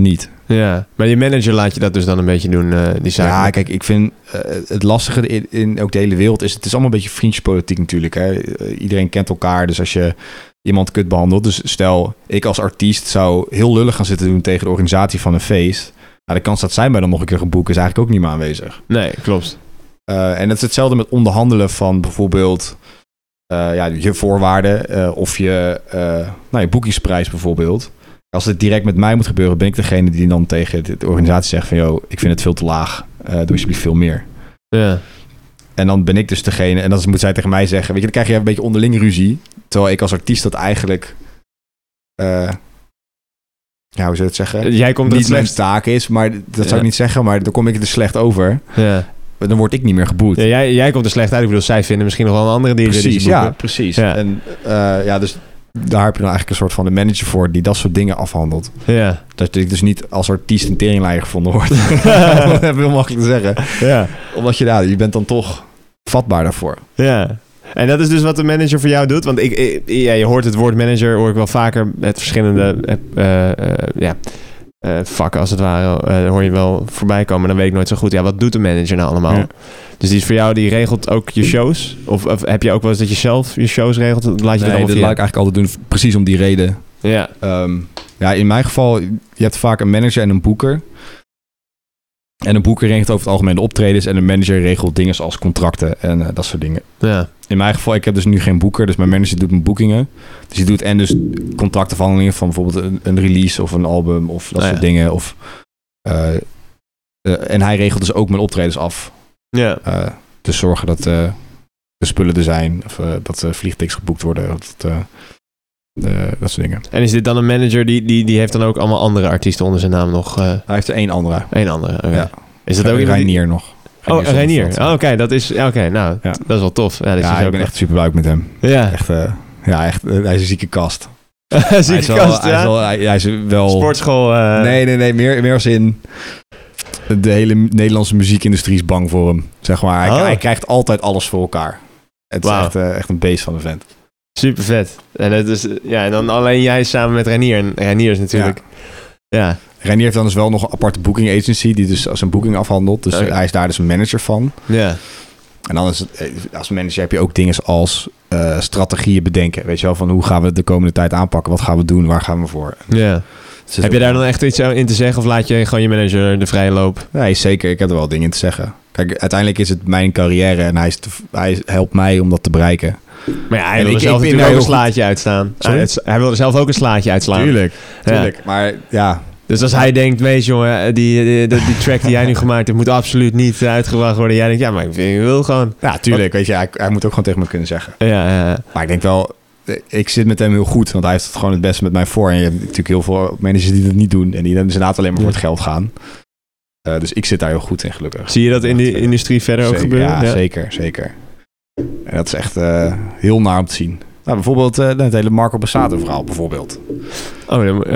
Speaker 2: niet.
Speaker 3: Ja.
Speaker 1: Maar je manager laat je dat dus dan een beetje doen, eh, die zaak.
Speaker 2: Ja, kijk, ik vind eh, het lastige in, in ook de hele wereld is... het is allemaal een beetje vriendjespolitiek natuurlijk. Hè? Eh, Iedereen kent elkaar, dus als je iemand kut behandelt... dus stel, ik als artiest zou heel lullig gaan zitten doen... tegen de organisatie van een feest... Nou, de kans dat zij mij dan nog een keer gaan boeken is eigenlijk ook niet meer aanwezig.
Speaker 1: Nee, klopt.
Speaker 2: Eh, en dat is hetzelfde met onderhandelen van bijvoorbeeld eh, ja, je voorwaarden eh, of je, eh, nou, je boekingsprijs bijvoorbeeld. Als het direct met mij moet gebeuren, ben ik degene die dan tegen de de organisatie zegt van joh, ik vind het veel te laag, Eh doe alsjeblieft veel meer.
Speaker 1: Ja.
Speaker 2: En dan ben ik dus degene, en dan moet zij tegen mij zeggen, weet je, dan krijg je een beetje onderling ruzie. Terwijl ik als artiest dat eigenlijk, eh, ja, hoe zou je het zeggen?
Speaker 1: Jij komt er het
Speaker 2: niet mijn
Speaker 1: slechtst.
Speaker 2: taak is, maar dat zou
Speaker 1: Ja.
Speaker 2: ik niet zeggen, maar dan kom ik er dus slecht over.
Speaker 1: Ja.
Speaker 2: Dan word ik niet meer geboet.
Speaker 1: Ja, jij, jij komt er slecht uit. Ik bedoel, zij vinden misschien nog wel een andere die die
Speaker 2: Precies,
Speaker 1: ze
Speaker 2: ja,
Speaker 1: boeken.
Speaker 2: precies.
Speaker 1: Ja.
Speaker 2: En eh, ja, dus daar heb je dan eigenlijk een soort van de manager voor die dat soort dingen afhandelt.
Speaker 1: Ja.
Speaker 2: Dat ik dus niet als artiest een teringleier gevonden wordt. dat heb ik heel makkelijk te zeggen.
Speaker 3: ja.
Speaker 2: Omdat je, ja, je bent dan toch vatbaar daarvoor.
Speaker 3: Ja.
Speaker 1: En dat is dus wat de manager voor jou doet. Want ik, ik- ja, je hoort het woord manager, hoor ik wel vaker met verschillende eh, eh, eh, ja, eh, vakken als het ware. eh, hoor je wel voorbij komen. Dan weet ik nooit zo goed. Ja, wat doet de manager nou allemaal?
Speaker 2: Ja.
Speaker 1: Dus die is voor jou, die regelt ook je shows? Of, of heb je ook wel eens dat je zelf je shows regelt? Dat Laat je
Speaker 2: Nee,
Speaker 1: dan
Speaker 2: dat laat ik eigenlijk altijd doen, precies om die reden.
Speaker 1: Ja.
Speaker 2: Ehm, ja, in mijn geval, je hebt vaak een manager en een boeker. En een boeker regelt over het algemeen de optredens. En een manager regelt dingen zoals contracten en eh, dat soort dingen.
Speaker 1: ja.
Speaker 2: In mijn geval, ik heb dus nu geen boeker, dus mijn manager doet mijn boekingen. Dus die doet en dus contractafhandelingen van bijvoorbeeld een, een release of een album of dat
Speaker 1: Ah,
Speaker 2: soort
Speaker 1: ja.
Speaker 2: dingen. Of, eh, eh, en hij regelt dus ook mijn optredens af.
Speaker 1: Ja.
Speaker 2: eh te zorgen dat eh, de spullen er zijn, of eh, dat de vliegtickets geboekt worden, dat, eh, eh, dat soort dingen.
Speaker 1: En is dit dan een manager die, die, die heeft dan ook allemaal andere artiesten onder zijn naam nog? eh
Speaker 2: Hij heeft er één andere.
Speaker 1: een andere. oké.
Speaker 2: Ja.
Speaker 1: Is dat ook iemand die-
Speaker 2: Reinier nog.
Speaker 1: Oh, Reinier.
Speaker 2: Zonneveld.
Speaker 1: Oh, oké, dat is. Oké, nou,
Speaker 2: Ja.
Speaker 1: dat is wel tof. Ja, dat is
Speaker 2: Ja,
Speaker 1: dus
Speaker 2: ik
Speaker 1: ook
Speaker 2: ben echt super blij met hem.
Speaker 1: Ja,
Speaker 2: Echt, eh, ja, echt, eh, hij is een zieke kast. hij is
Speaker 1: Zieke
Speaker 2: wel,
Speaker 1: kast,
Speaker 2: hij is
Speaker 1: ja.
Speaker 2: wel, hij, hij is wel
Speaker 1: Sportschool. eh,
Speaker 2: Nee, nee, nee. Meer, meer als in... De hele Nederlandse muziekindustrie is bang voor hem. Zeg maar. Hij,
Speaker 1: Oh.
Speaker 2: hij krijgt altijd alles voor elkaar. Het
Speaker 1: Wauw.
Speaker 2: is echt, eh, echt een beest van een vent.
Speaker 1: Super vet. En, het is, ja, en dan alleen jij samen met Renier. En Renier is natuurlijk. Ja.
Speaker 2: Reinier heeft dan dus wel nog een aparte booking agency... die dus zijn boeking afhandelt. Dus
Speaker 1: Oké.
Speaker 2: hij is daar dus een manager van.
Speaker 1: Ja.
Speaker 2: En En dan is het, eh, als manager heb je ook dingen als eh, strategieën bedenken. Weet je wel, van hoe gaan we het de komende tijd aanpakken? Wat gaan we doen? Waar gaan we voor?
Speaker 1: Ja.
Speaker 2: Het is
Speaker 1: Heb je daar dan echt iets in te zeggen of laat je gewoon je manager de vrije loop?
Speaker 2: Nee, zeker. Ik heb er wel dingen te zeggen. Kijk, uiteindelijk is het mijn carrière en hij, is te- hij helpt mij om dat te bereiken.
Speaker 1: Maar ja, hij
Speaker 2: En
Speaker 1: wilde
Speaker 2: ik-
Speaker 1: zelf
Speaker 2: ik
Speaker 1: natuurlijk
Speaker 2: ben heel
Speaker 1: ook een
Speaker 2: goed.
Speaker 1: slaatje uitstaan.
Speaker 2: Sorry?
Speaker 1: Hij, hij wilde zelf ook een slaatje uitslaan. Ja.
Speaker 2: Maar ja,
Speaker 1: Dus als hij denkt, weet je jongen, die, die, die, die track die jij nu gemaakt hebt moet absoluut niet uitgebracht worden. Jij denkt, ja, maar ik vind- ik wil gewoon.
Speaker 2: ja tuurlijk. Weet je, hij, hij moet ook gewoon tegen me kunnen zeggen.
Speaker 1: Ja, ja, ja.
Speaker 2: Maar ik denk wel, eh, ik zit met hem heel goed. Want hij heeft het gewoon het beste met mij voor. En je hebt natuurlijk heel veel managers die dat niet doen. En die dan dus inderdaad alleen maar voor het geld gaan. Eh, dus ik zit daar heel goed in, gelukkig.
Speaker 1: Zie je dat in die industrie verder ook
Speaker 2: Zeker,
Speaker 1: gebeuren?
Speaker 2: Ja, zeker, zeker. En dat is echt eh, heel naar om te zien. Nou, bijvoorbeeld eh, het hele Marco Bassato verhaal, bijvoorbeeld.
Speaker 1: Oh, dan, eh,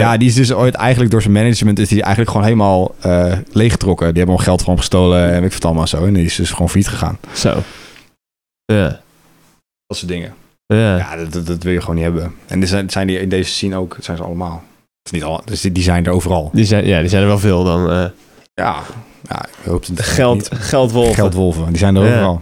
Speaker 2: ja, die is dus ooit eigenlijk door zijn management... is die eigenlijk gewoon helemaal eh, leeggetrokken. Die hebben hem geld van hem gestolen en weet ik vind het allemaal zo. En die is dus gewoon failliet gegaan.
Speaker 1: Zo. Ja.
Speaker 2: Dat soort dingen.
Speaker 1: Ja.
Speaker 2: Ja, dat, dat, dat wil je gewoon niet hebben. En er zijn, zijn die in deze scene ook, zijn ze allemaal. Het is niet al, dus die, die zijn er overal.
Speaker 1: Die, zijn, ja, die zijn er wel veel dan. eh.
Speaker 2: Ja, ja ik hoop het
Speaker 1: geld,
Speaker 2: niet.
Speaker 1: geldwolven.
Speaker 2: Geldwolven, die zijn er
Speaker 1: Ja.
Speaker 2: overal.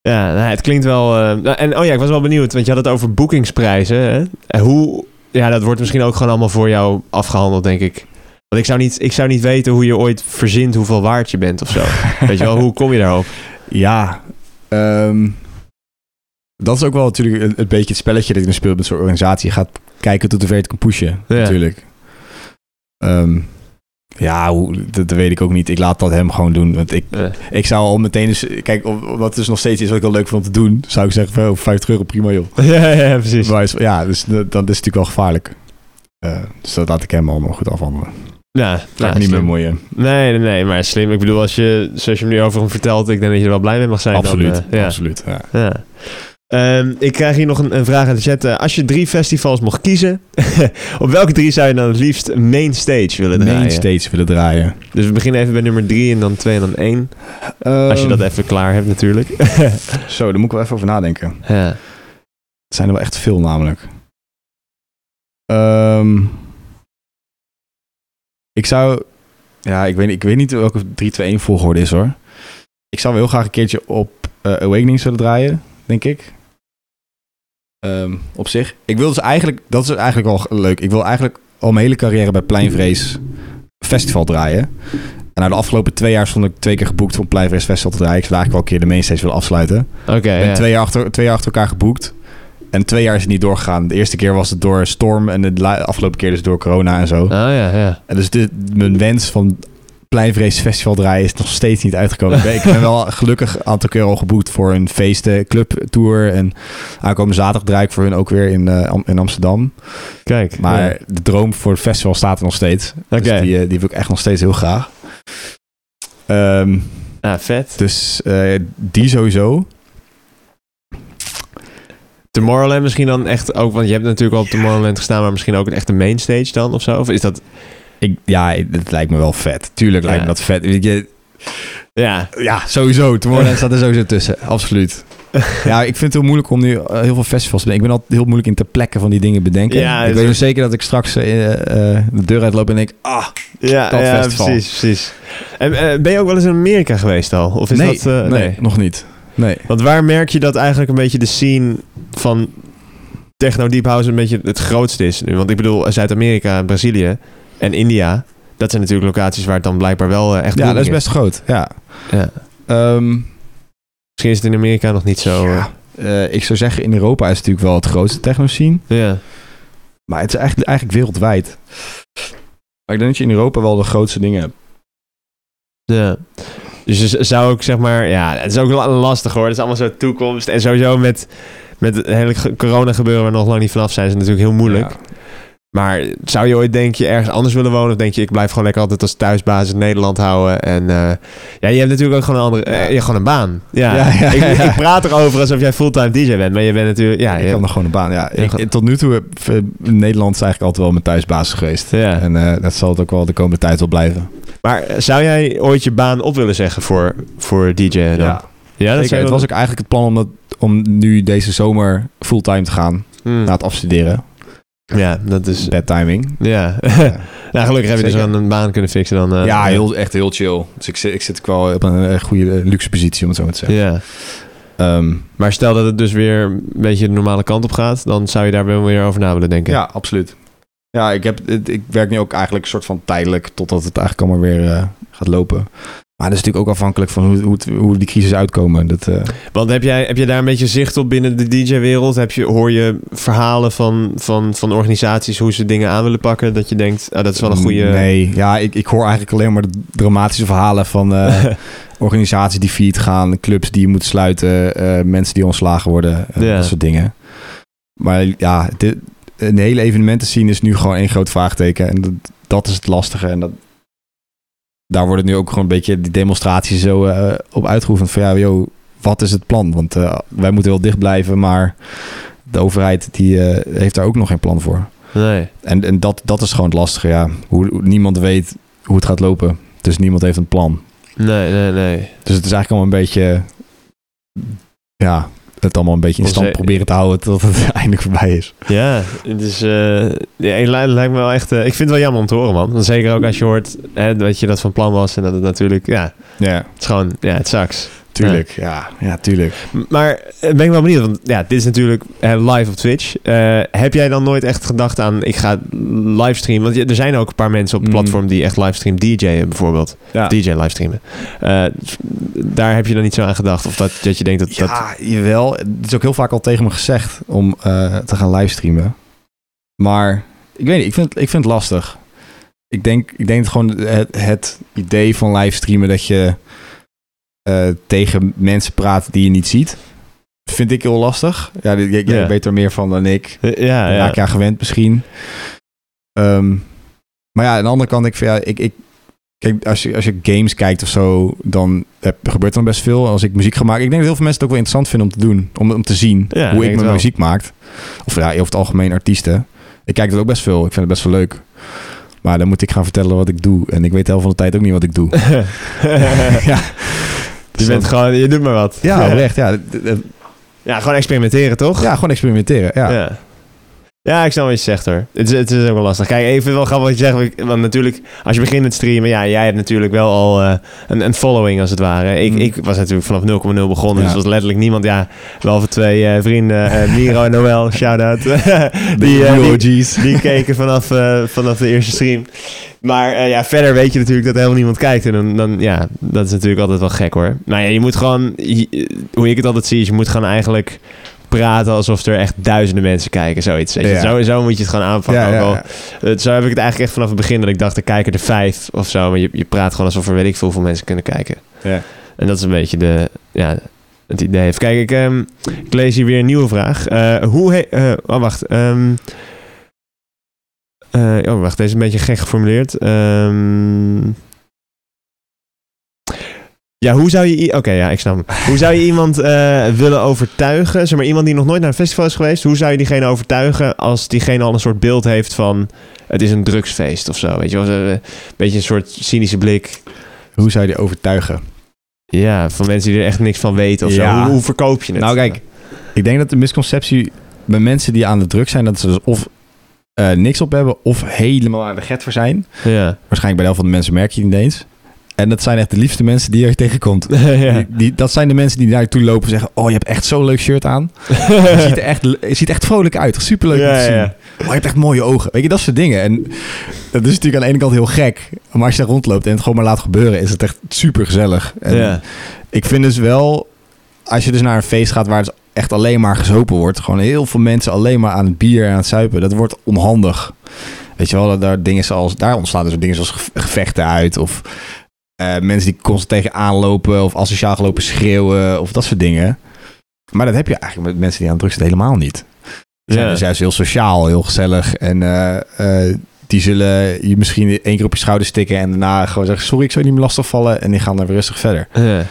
Speaker 1: Ja, nou, het klinkt wel. eh, nou, en oh ja, ik was wel benieuwd, want je had het over boekingsprijzen. Hè? En hoe. Ja, dat wordt misschien ook gewoon allemaal voor jou afgehandeld, denk ik. Want ik zou niet, ik zou niet weten hoe je ooit verzint hoeveel waard je bent of zo. Weet je wel, hoe kom je daarop?
Speaker 2: Ja, ehm, dat is ook wel natuurlijk een, een beetje het spelletje dat je dan speelt met zo'n organisatie. Je gaat kijken tot hoever je het kan pushen,
Speaker 1: Ja.
Speaker 2: natuurlijk. Ehm, ja, hoe, dat, dat weet ik ook niet. Ik laat dat hem gewoon doen. Want ik,
Speaker 1: Eh,
Speaker 2: ik zou al meteen dus... Kijk, om- omdat het dus nog steeds is wat ik wel leuk vind om te doen... zou ik zeggen, van, oh, 50 euro, prima joh.
Speaker 1: ja, ja, ja, precies.
Speaker 2: Maar is- ja, dus dat, dat is natuurlijk wel gevaarlijk. Eh, dus dat laat ik hem allemaal goed afhandelen.
Speaker 1: Nou,
Speaker 2: Laat
Speaker 1: nou,
Speaker 2: ik me niet meer
Speaker 1: slim.
Speaker 2: bemoeien.
Speaker 1: Nee, nee, nee, maar slim. Ik bedoel, als je, zoals je me nu over hem vertelt, ik denk dat je er wel blij mee mag zijn. dan,
Speaker 2: Absoluut,
Speaker 1: eh, ja.
Speaker 2: absoluut. Ja.
Speaker 1: Ja. Ehm, ik krijg hier nog een, een vraag aan de chat. Eh, Als je drie festivals mocht kiezen, op welke drie zou je dan het liefst main stage willen draaien?
Speaker 2: Main stage willen draaien.
Speaker 1: Dus we beginnen even bij nummer drie en dan twee en dan één. Als
Speaker 2: Ehm,
Speaker 1: je dat even klaar hebt natuurlijk.
Speaker 2: Zo, daar moet ik wel even over nadenken.
Speaker 1: ja.
Speaker 2: Het zijn er wel echt veel namelijk. Ehm, ik zou... Ja, ik weet, niet- ik weet niet welke 3-2-1 volgorde is hoor. Ik zou wel heel graag een keertje op eh, Awakening zullen draaien, denk ik. Ehm, op zich. Ik wil dus eigenlijk... Dat is eigenlijk wel leuk. Ik wil eigenlijk al mijn hele carrière bij Pleinvrees Festival draaien. En na de afgelopen twee jaar stond ik twee keer geboekt om Pleinvrees Festival te draaien. Ik zou eigenlijk wel een keer de mainstage willen afsluiten.
Speaker 1: Oké,
Speaker 2: Ik ben
Speaker 1: ja.
Speaker 2: twee, jaar achter, twee jaar achter elkaar geboekt. En twee jaar is het niet doorgegaan. De eerste keer was het door storm en de la- afgelopen keer dus door corona en zo.
Speaker 1: Oh ja, ja.
Speaker 2: En dus dit, mijn wens van Pleinvrees Festival draaien is nog steeds niet uitgekomen. Ik ben- ik ben wel gelukkig een aantal keer al geboekt voor een feesten, clubtour. En aankomende zaterdag draai ik voor hun ook weer in, eh, Am- in Amsterdam.
Speaker 1: Kijk.
Speaker 2: Maar
Speaker 1: ja.
Speaker 2: de droom voor het festival staat er nog steeds.
Speaker 1: Oké.
Speaker 2: Dus die, eh, die wil ik echt nog steeds heel graag. Ehm
Speaker 1: Ah, vet.
Speaker 2: dus eh, die sowieso.
Speaker 1: Tomorrowland misschien dan echt ook, want je hebt natuurlijk al op Tomorrowland gestaan, maar misschien ook echt de main stage dan of zo? Of is dat...
Speaker 2: Ik, ja, het lijkt me wel vet. Tuurlijk lijkt
Speaker 1: Ja.
Speaker 2: me dat vet. Weet je,
Speaker 1: Ja.
Speaker 2: ja, sowieso. Tomorrowland staat er sowieso tussen. Absoluut. ja, ik vind het heel moeilijk om nu eh, heel veel festivals te bedenken. Ik ben altijd heel moeilijk in ter plekke van die dingen bedenken.
Speaker 1: Ja,
Speaker 2: ik
Speaker 1: dus-
Speaker 2: weet nog zeker dat ik straks eh, eh, de deur uitloop en denk... Ah,
Speaker 1: Ja,
Speaker 2: Dat
Speaker 1: ja
Speaker 2: festival.
Speaker 1: precies, precies. En eh, ben je ook wel eens in Amerika geweest al? Of is
Speaker 2: nee,
Speaker 1: dat... eh,
Speaker 2: nee, nog niet. Nee.
Speaker 1: Want waar merk je dat eigenlijk een beetje de scene van techno deep house een beetje het grootste is nu? Want ik bedoel, Zuid-Amerika, Brazilië en India, dat zijn natuurlijk locaties waar het dan blijkbaar wel eh, echt
Speaker 2: Ja,
Speaker 1: booming
Speaker 2: dat is best groot. Ja.
Speaker 1: Ja.
Speaker 2: Ehm,
Speaker 1: Misschien is het in Amerika nog niet zo. eh,
Speaker 2: ja. Eh, ik zou zeggen, in Europa is het natuurlijk wel het grootste techno-scene.
Speaker 1: eh, Ja.
Speaker 2: Maar het is eigenlijk, eigenlijk wereldwijd. Maar ik denk dat je in Europa wel de grootste dingen hebt.
Speaker 1: ja. Dus z- zou ik zeg maar, ja, het is ook la- lastig hoor. Het is allemaal zo toekomst. En sowieso met, met het hele ge- corona gebeuren waar we nog lang niet vanaf zijn, is het natuurlijk heel moeilijk.
Speaker 2: Ja.
Speaker 1: Maar zou je ooit denk je ergens anders willen wonen? Of denk je, ik blijf gewoon lekker altijd als thuisbasis in Nederland houden? En eh, ja, je hebt natuurlijk ook gewoon een andere... eh, je hebt gewoon een baan. Ja,
Speaker 2: Ja, ja,
Speaker 1: ik,
Speaker 2: ja.
Speaker 1: ik praat erover alsof jij fulltime DJ bent. Maar je bent natuurlijk... Ja,
Speaker 2: ik
Speaker 1: je-
Speaker 2: had nog gewoon een baan. Ja,
Speaker 1: Ja,
Speaker 2: ik,
Speaker 1: goed.
Speaker 2: tot nu toe heb eh, Nederland is eigenlijk altijd wel mijn thuisbasis geweest.
Speaker 1: ja.
Speaker 2: En eh, dat zal het ook wel de komende tijd wel blijven.
Speaker 1: Maar eh, zou jij ooit je baan op willen zeggen voor, voor DJ dan? Ja, dat
Speaker 2: Zeker,
Speaker 1: zou
Speaker 2: het was ook
Speaker 1: Hm.
Speaker 2: eigenlijk het plan om, dat, om nu deze zomer fulltime te gaan na het afstuderen.
Speaker 1: Hmm. Ja, dat is...
Speaker 2: Bad timing.
Speaker 1: Ja.
Speaker 2: Ja.
Speaker 1: nou, gelukkig heb je dus
Speaker 2: Zeker.
Speaker 1: aan een baan kunnen fixen dan. eh,
Speaker 2: ja, heel, echt heel chill. Dus ik, zit- ik zit ook wel op een eh, goede eh, luxe positie, om het zo maar te zeggen.
Speaker 1: Ja.
Speaker 2: Ehm,
Speaker 1: Maar stel dat het dus weer een beetje de normale kant op gaat, dan zou je daar wel weer over na willen denken.
Speaker 2: ja, absoluut. Ja, ik, heb, het- ik werk nu ook eigenlijk soort van tijdelijk totdat het eigenlijk allemaal weer eh, gaat lopen. Maar dat is natuurlijk ook afhankelijk van hoe, hoe, het- hoe die crisis uitkomen. Dat, eh,
Speaker 1: Want heb jij, heb je daar een beetje zicht op binnen de DJ-wereld? Heb je, hoor je verhalen van, van, van organisaties hoe ze dingen aan willen pakken? Dat je denkt, ah, dat is wel een goede.
Speaker 2: Mm, Nee, ja, ik, ik hoor eigenlijk alleen maar de dramatische verhalen van eh, organisaties die failliet gaan, clubs die je moet sluiten, eh, mensen die ontslagen worden, eh,
Speaker 1: Ja.
Speaker 2: dat soort dingen. Maar ja, dit, een hele evenementen zien is nu gewoon één groot vraagteken en dat, dat is het lastige en dat daar worden nu ook gewoon een beetje die demonstraties zo eh, op uitgeoefend van ja, joh, wat is het plan? Want eh, wij moeten wel dicht blijven, maar de overheid die eh, heeft daar ook nog geen plan voor.
Speaker 1: Nee.
Speaker 2: En, en dat, dat is gewoon het lastige, ja. Hoe, hoe- niemand weet hoe het gaat lopen. Dus niemand heeft een plan.
Speaker 1: Nee, nee, nee.
Speaker 2: Dus het is eigenlijk allemaal een beetje... Ja, het allemaal een beetje in stand
Speaker 1: Onze-
Speaker 2: proberen te houden tot het eindelijk voorbij is.
Speaker 1: Ja, het is, eh, ja, het li- lijkt me wel echt. eh, ik vind het wel jammer om te horen, man. Want Zeker ook als je hoort hè, dat je dat van plan was en dat het natuurlijk. Ja,
Speaker 2: Ja,
Speaker 1: het is gewoon. Ja, het sucks.
Speaker 2: tuurlijk. Ja, ja tuurlijk.
Speaker 1: M- Maar eh, ben ik wel benieuwd, want ja, dit is natuurlijk eh, live op Twitch. Eh, heb jij dan nooit echt gedacht aan, ik ga livestreamen? Want je- er zijn ook een paar mensen op het
Speaker 2: Mm.
Speaker 1: platform die echt livestream DJ'en bijvoorbeeld.
Speaker 2: Ja.
Speaker 1: DJ livestreamen. Eh, f- daar heb je dan niet zo aan gedacht? Of dat, dat je denkt dat... dat
Speaker 2: Ja, jawel. Het is ook heel vaak al tegen me gezegd om eh, te gaan livestreamen. Maar ik weet niet, ik vind, het- ik vind het lastig. Ik denk, ik denk gewoon het, het idee van livestreamen dat je eh, tegen mensen praat die je niet ziet, vind ik heel lastig. Ja, dit- jij, jij
Speaker 1: Ja.
Speaker 2: weet er meer van dan ik.
Speaker 1: Eh, ja,
Speaker 2: Daar
Speaker 1: ja.
Speaker 2: raak je aan gewend misschien. Ehm, maar ja, aan de andere kant, ik, vind, ja, ik, ik kijk, als je, als je games kijkt of zo, dan heb- gebeurt er dan best veel. Als ik muziek ga maken, ik denk dat heel veel mensen het ook wel interessant vinden om te doen. Om, om te zien
Speaker 1: Ja, ik
Speaker 2: hoe
Speaker 1: denk
Speaker 2: ik
Speaker 1: het
Speaker 2: mijn
Speaker 1: wel.
Speaker 2: muziek maak. Of ja, over het algemeen artiesten. Ik kijk dat ook best veel. Ik vind het best wel leuk. Maar dan moet ik gaan vertellen wat ik doe. En ik weet de helft van de tijd ook niet wat ik doe. ja,
Speaker 1: je bent gewoon, je doet maar wat.
Speaker 2: ja, oprecht. Ja,
Speaker 1: Ja, gewoon experimenteren, toch?
Speaker 2: ja, gewoon experimenteren. Ja.
Speaker 1: Ja. Ja, ik snap wat je zegt hoor. Het is, het is ook wel lastig. Kijk, even wel grappig wat je zegt. want- Want natuurlijk, als je begint met streamen, ja, jij hebt natuurlijk wel al eh, een, een following als het ware. Ik,
Speaker 2: Mm.
Speaker 1: ik was natuurlijk vanaf 0,0 begonnen, dus
Speaker 2: Ja.
Speaker 1: er was letterlijk niemand. Ja, wel voor twee eh, vrienden, eh, Miro en Noel, shout-out. die, eh, die, die keken vanaf, eh, vanaf de eerste stream. Maar eh, ja, verder weet je natuurlijk dat helemaal niemand kijkt. En dan, dan, ja, dat is natuurlijk altijd wel gek hoor. Nou ja, je moet gewoon, je- hoe ik het altijd zie, is je moet gewoon eigenlijk praten alsof er echt duizenden mensen kijken. Zoiets. Weet je.
Speaker 2: Ja.
Speaker 1: Zo, zo moet je het gewoon aanpakken.
Speaker 2: Ja,
Speaker 1: ook al-
Speaker 2: ja,
Speaker 1: eh, zo heb ik het eigenlijk echt vanaf het begin dat ik dacht, er kijken er vijf of zo. Maar je, je praat gewoon alsof er weet ik veel hoeveel mensen kunnen kijken.
Speaker 2: Ja.
Speaker 1: En dat is een beetje de, ja, het idee. Even kijken, ik, ehm, ik lees hier weer een nieuwe vraag. Eh, hoe he- eh, oh, wacht. ehm, eh, oh, wacht. Deze is een beetje gek geformuleerd. Ehm, ja, hoe zou je... i- Oké, ja, ik snap hem. Hoe zou je iemand eh, willen overtuigen? Zeg maar, iemand die nog nooit naar een festival is geweest. Hoe zou je diegene overtuigen als diegene al een soort beeld heeft van... Het is een drugsfeest of zo, weet je wel. Zo, eh, Een beetje een soort cynische blik.
Speaker 2: Hoe zou je die overtuigen?
Speaker 1: Ja, van mensen die er echt niks van weten of zo.
Speaker 2: Ja.
Speaker 1: Hoe, hoe verkoop je het?
Speaker 2: Nou, kijk, ik denk dat de misconceptie bij mensen die aan de druk zijn, dat ze dus of eh, niks op hebben of helemaal aan de get voor zijn.
Speaker 1: Ja.
Speaker 2: Waarschijnlijk bij de helft van de mensen merk je het niet eens. En dat zijn echt de liefste mensen die je tegenkomt.
Speaker 1: ja.
Speaker 2: Die, die- dat zijn de mensen die naartoe lopen en zeggen: Oh, je hebt echt zo'n leuk shirt aan. Je ziet er echt, je ziet er echt vrolijk uit. Superleuk om
Speaker 1: Ja,
Speaker 2: te zien.
Speaker 1: ja.
Speaker 2: Oh, je hebt echt mooie ogen. Weet je, dat soort dingen. En dat is natuurlijk aan de ene kant heel gek. Maar als je daar rondloopt en het gewoon maar laat gebeuren, is het echt super gezellig.
Speaker 1: ja.
Speaker 2: Ik vind dus wel, als je dus naar een feest gaat waar het echt alleen maar gezopen wordt, gewoon heel veel mensen alleen maar aan het bier en aan het zuipen, dat wordt onhandig. Weet je wel, dat daar, dingen zoals, daar ontstaan dus dingen zoals ge- gevechten uit of eh, mensen die constant tegenaan lopen of asociaal lopen schreeuwen of dat soort dingen. Maar dat heb je eigenlijk met mensen die aan het drugs zitten helemaal niet. Die zijn
Speaker 1: Ja.
Speaker 2: dus juist heel sociaal, heel gezellig en eh, eh, die zullen je misschien één keer op je schouder stikken en daarna gewoon zeggen sorry, ik zou je niet meer lastigvallen en die gaan dan weer rustig verder.
Speaker 1: Ja.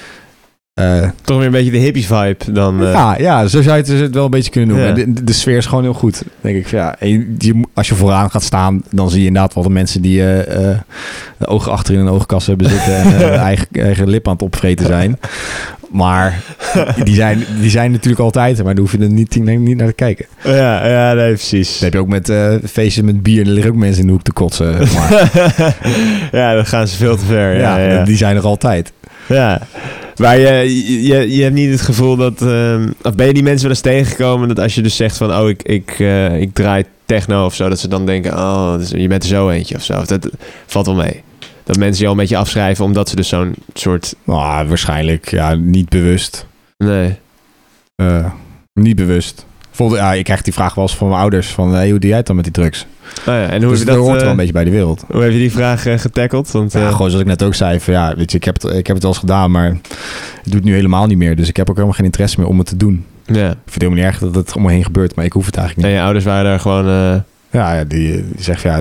Speaker 2: Eh,
Speaker 1: Toch weer een beetje de hippie vibe dan. eh.
Speaker 2: ja, ja, zo zou je het dus wel een beetje kunnen noemen.
Speaker 1: Ja.
Speaker 2: De, de, de sfeer is gewoon heel goed, denk ik. Ja, en je- je moet- als je vooraan gaat staan, dan zie je inderdaad wel de mensen die eh, eh, de ogen achter in een oogkast hebben zitten en eh, hun eigen, eigen lip aan het opvreten zijn. Maar die zijn, die zijn natuurlijk altijd, er, maar daar hoef je er niet, niet naar te kijken.
Speaker 1: ja, ja, nee, precies.
Speaker 2: Dan heb je ook met eh, feestjes met bier, daar liggen ook mensen in de hoek te kotsen. zeg Maar,
Speaker 1: ja, dan gaan ze veel te ver. Ja,
Speaker 2: ja,
Speaker 1: ja, ja.
Speaker 2: die zijn er altijd.
Speaker 1: Ja. Maar eh, je, je, je hebt niet het gevoel dat... ehm, of ben je die mensen wel eens tegengekomen dat als je dus zegt van... Oh, ik, ik, eh, ik draai techno of zo. Dat ze dan denken, oh, dat is- je bent er zo eentje of zo. Of dat valt wel mee. Dat mensen je al een beetje afschrijven omdat ze dus zo'n soort...
Speaker 2: Nou, waarschijnlijk, ja, niet bewust.
Speaker 1: Nee.
Speaker 2: Eh, niet bewust. Bijvoorbeeld, ja, ik krijg die vraag wel eens van mijn ouders, van hey, hoe doe jij het dan met die drugs?
Speaker 1: Oh ja, en hoe,
Speaker 2: Dus
Speaker 1: heb
Speaker 2: dat
Speaker 1: je dat,
Speaker 2: hoort
Speaker 1: eh,
Speaker 2: wel een beetje bij de wereld.
Speaker 1: hoe heb je die vraag eh, getackeld? Want,
Speaker 2: Ja,
Speaker 1: eh,
Speaker 2: gewoon zoals ik net ook zei, van ja, weet je, ik heb het, ik heb het wel eens gedaan, maar het doe het nu helemaal niet meer. Dus ik heb ook helemaal geen interesse meer om het te doen.
Speaker 1: ja.
Speaker 2: Ik vind het helemaal niet erg dat het om me heen gebeurt, maar ik hoef het eigenlijk
Speaker 1: En
Speaker 2: niet.
Speaker 1: je ouders waren daar gewoon... eh,
Speaker 2: Ja, ja, die, eh, die zegt van, ja,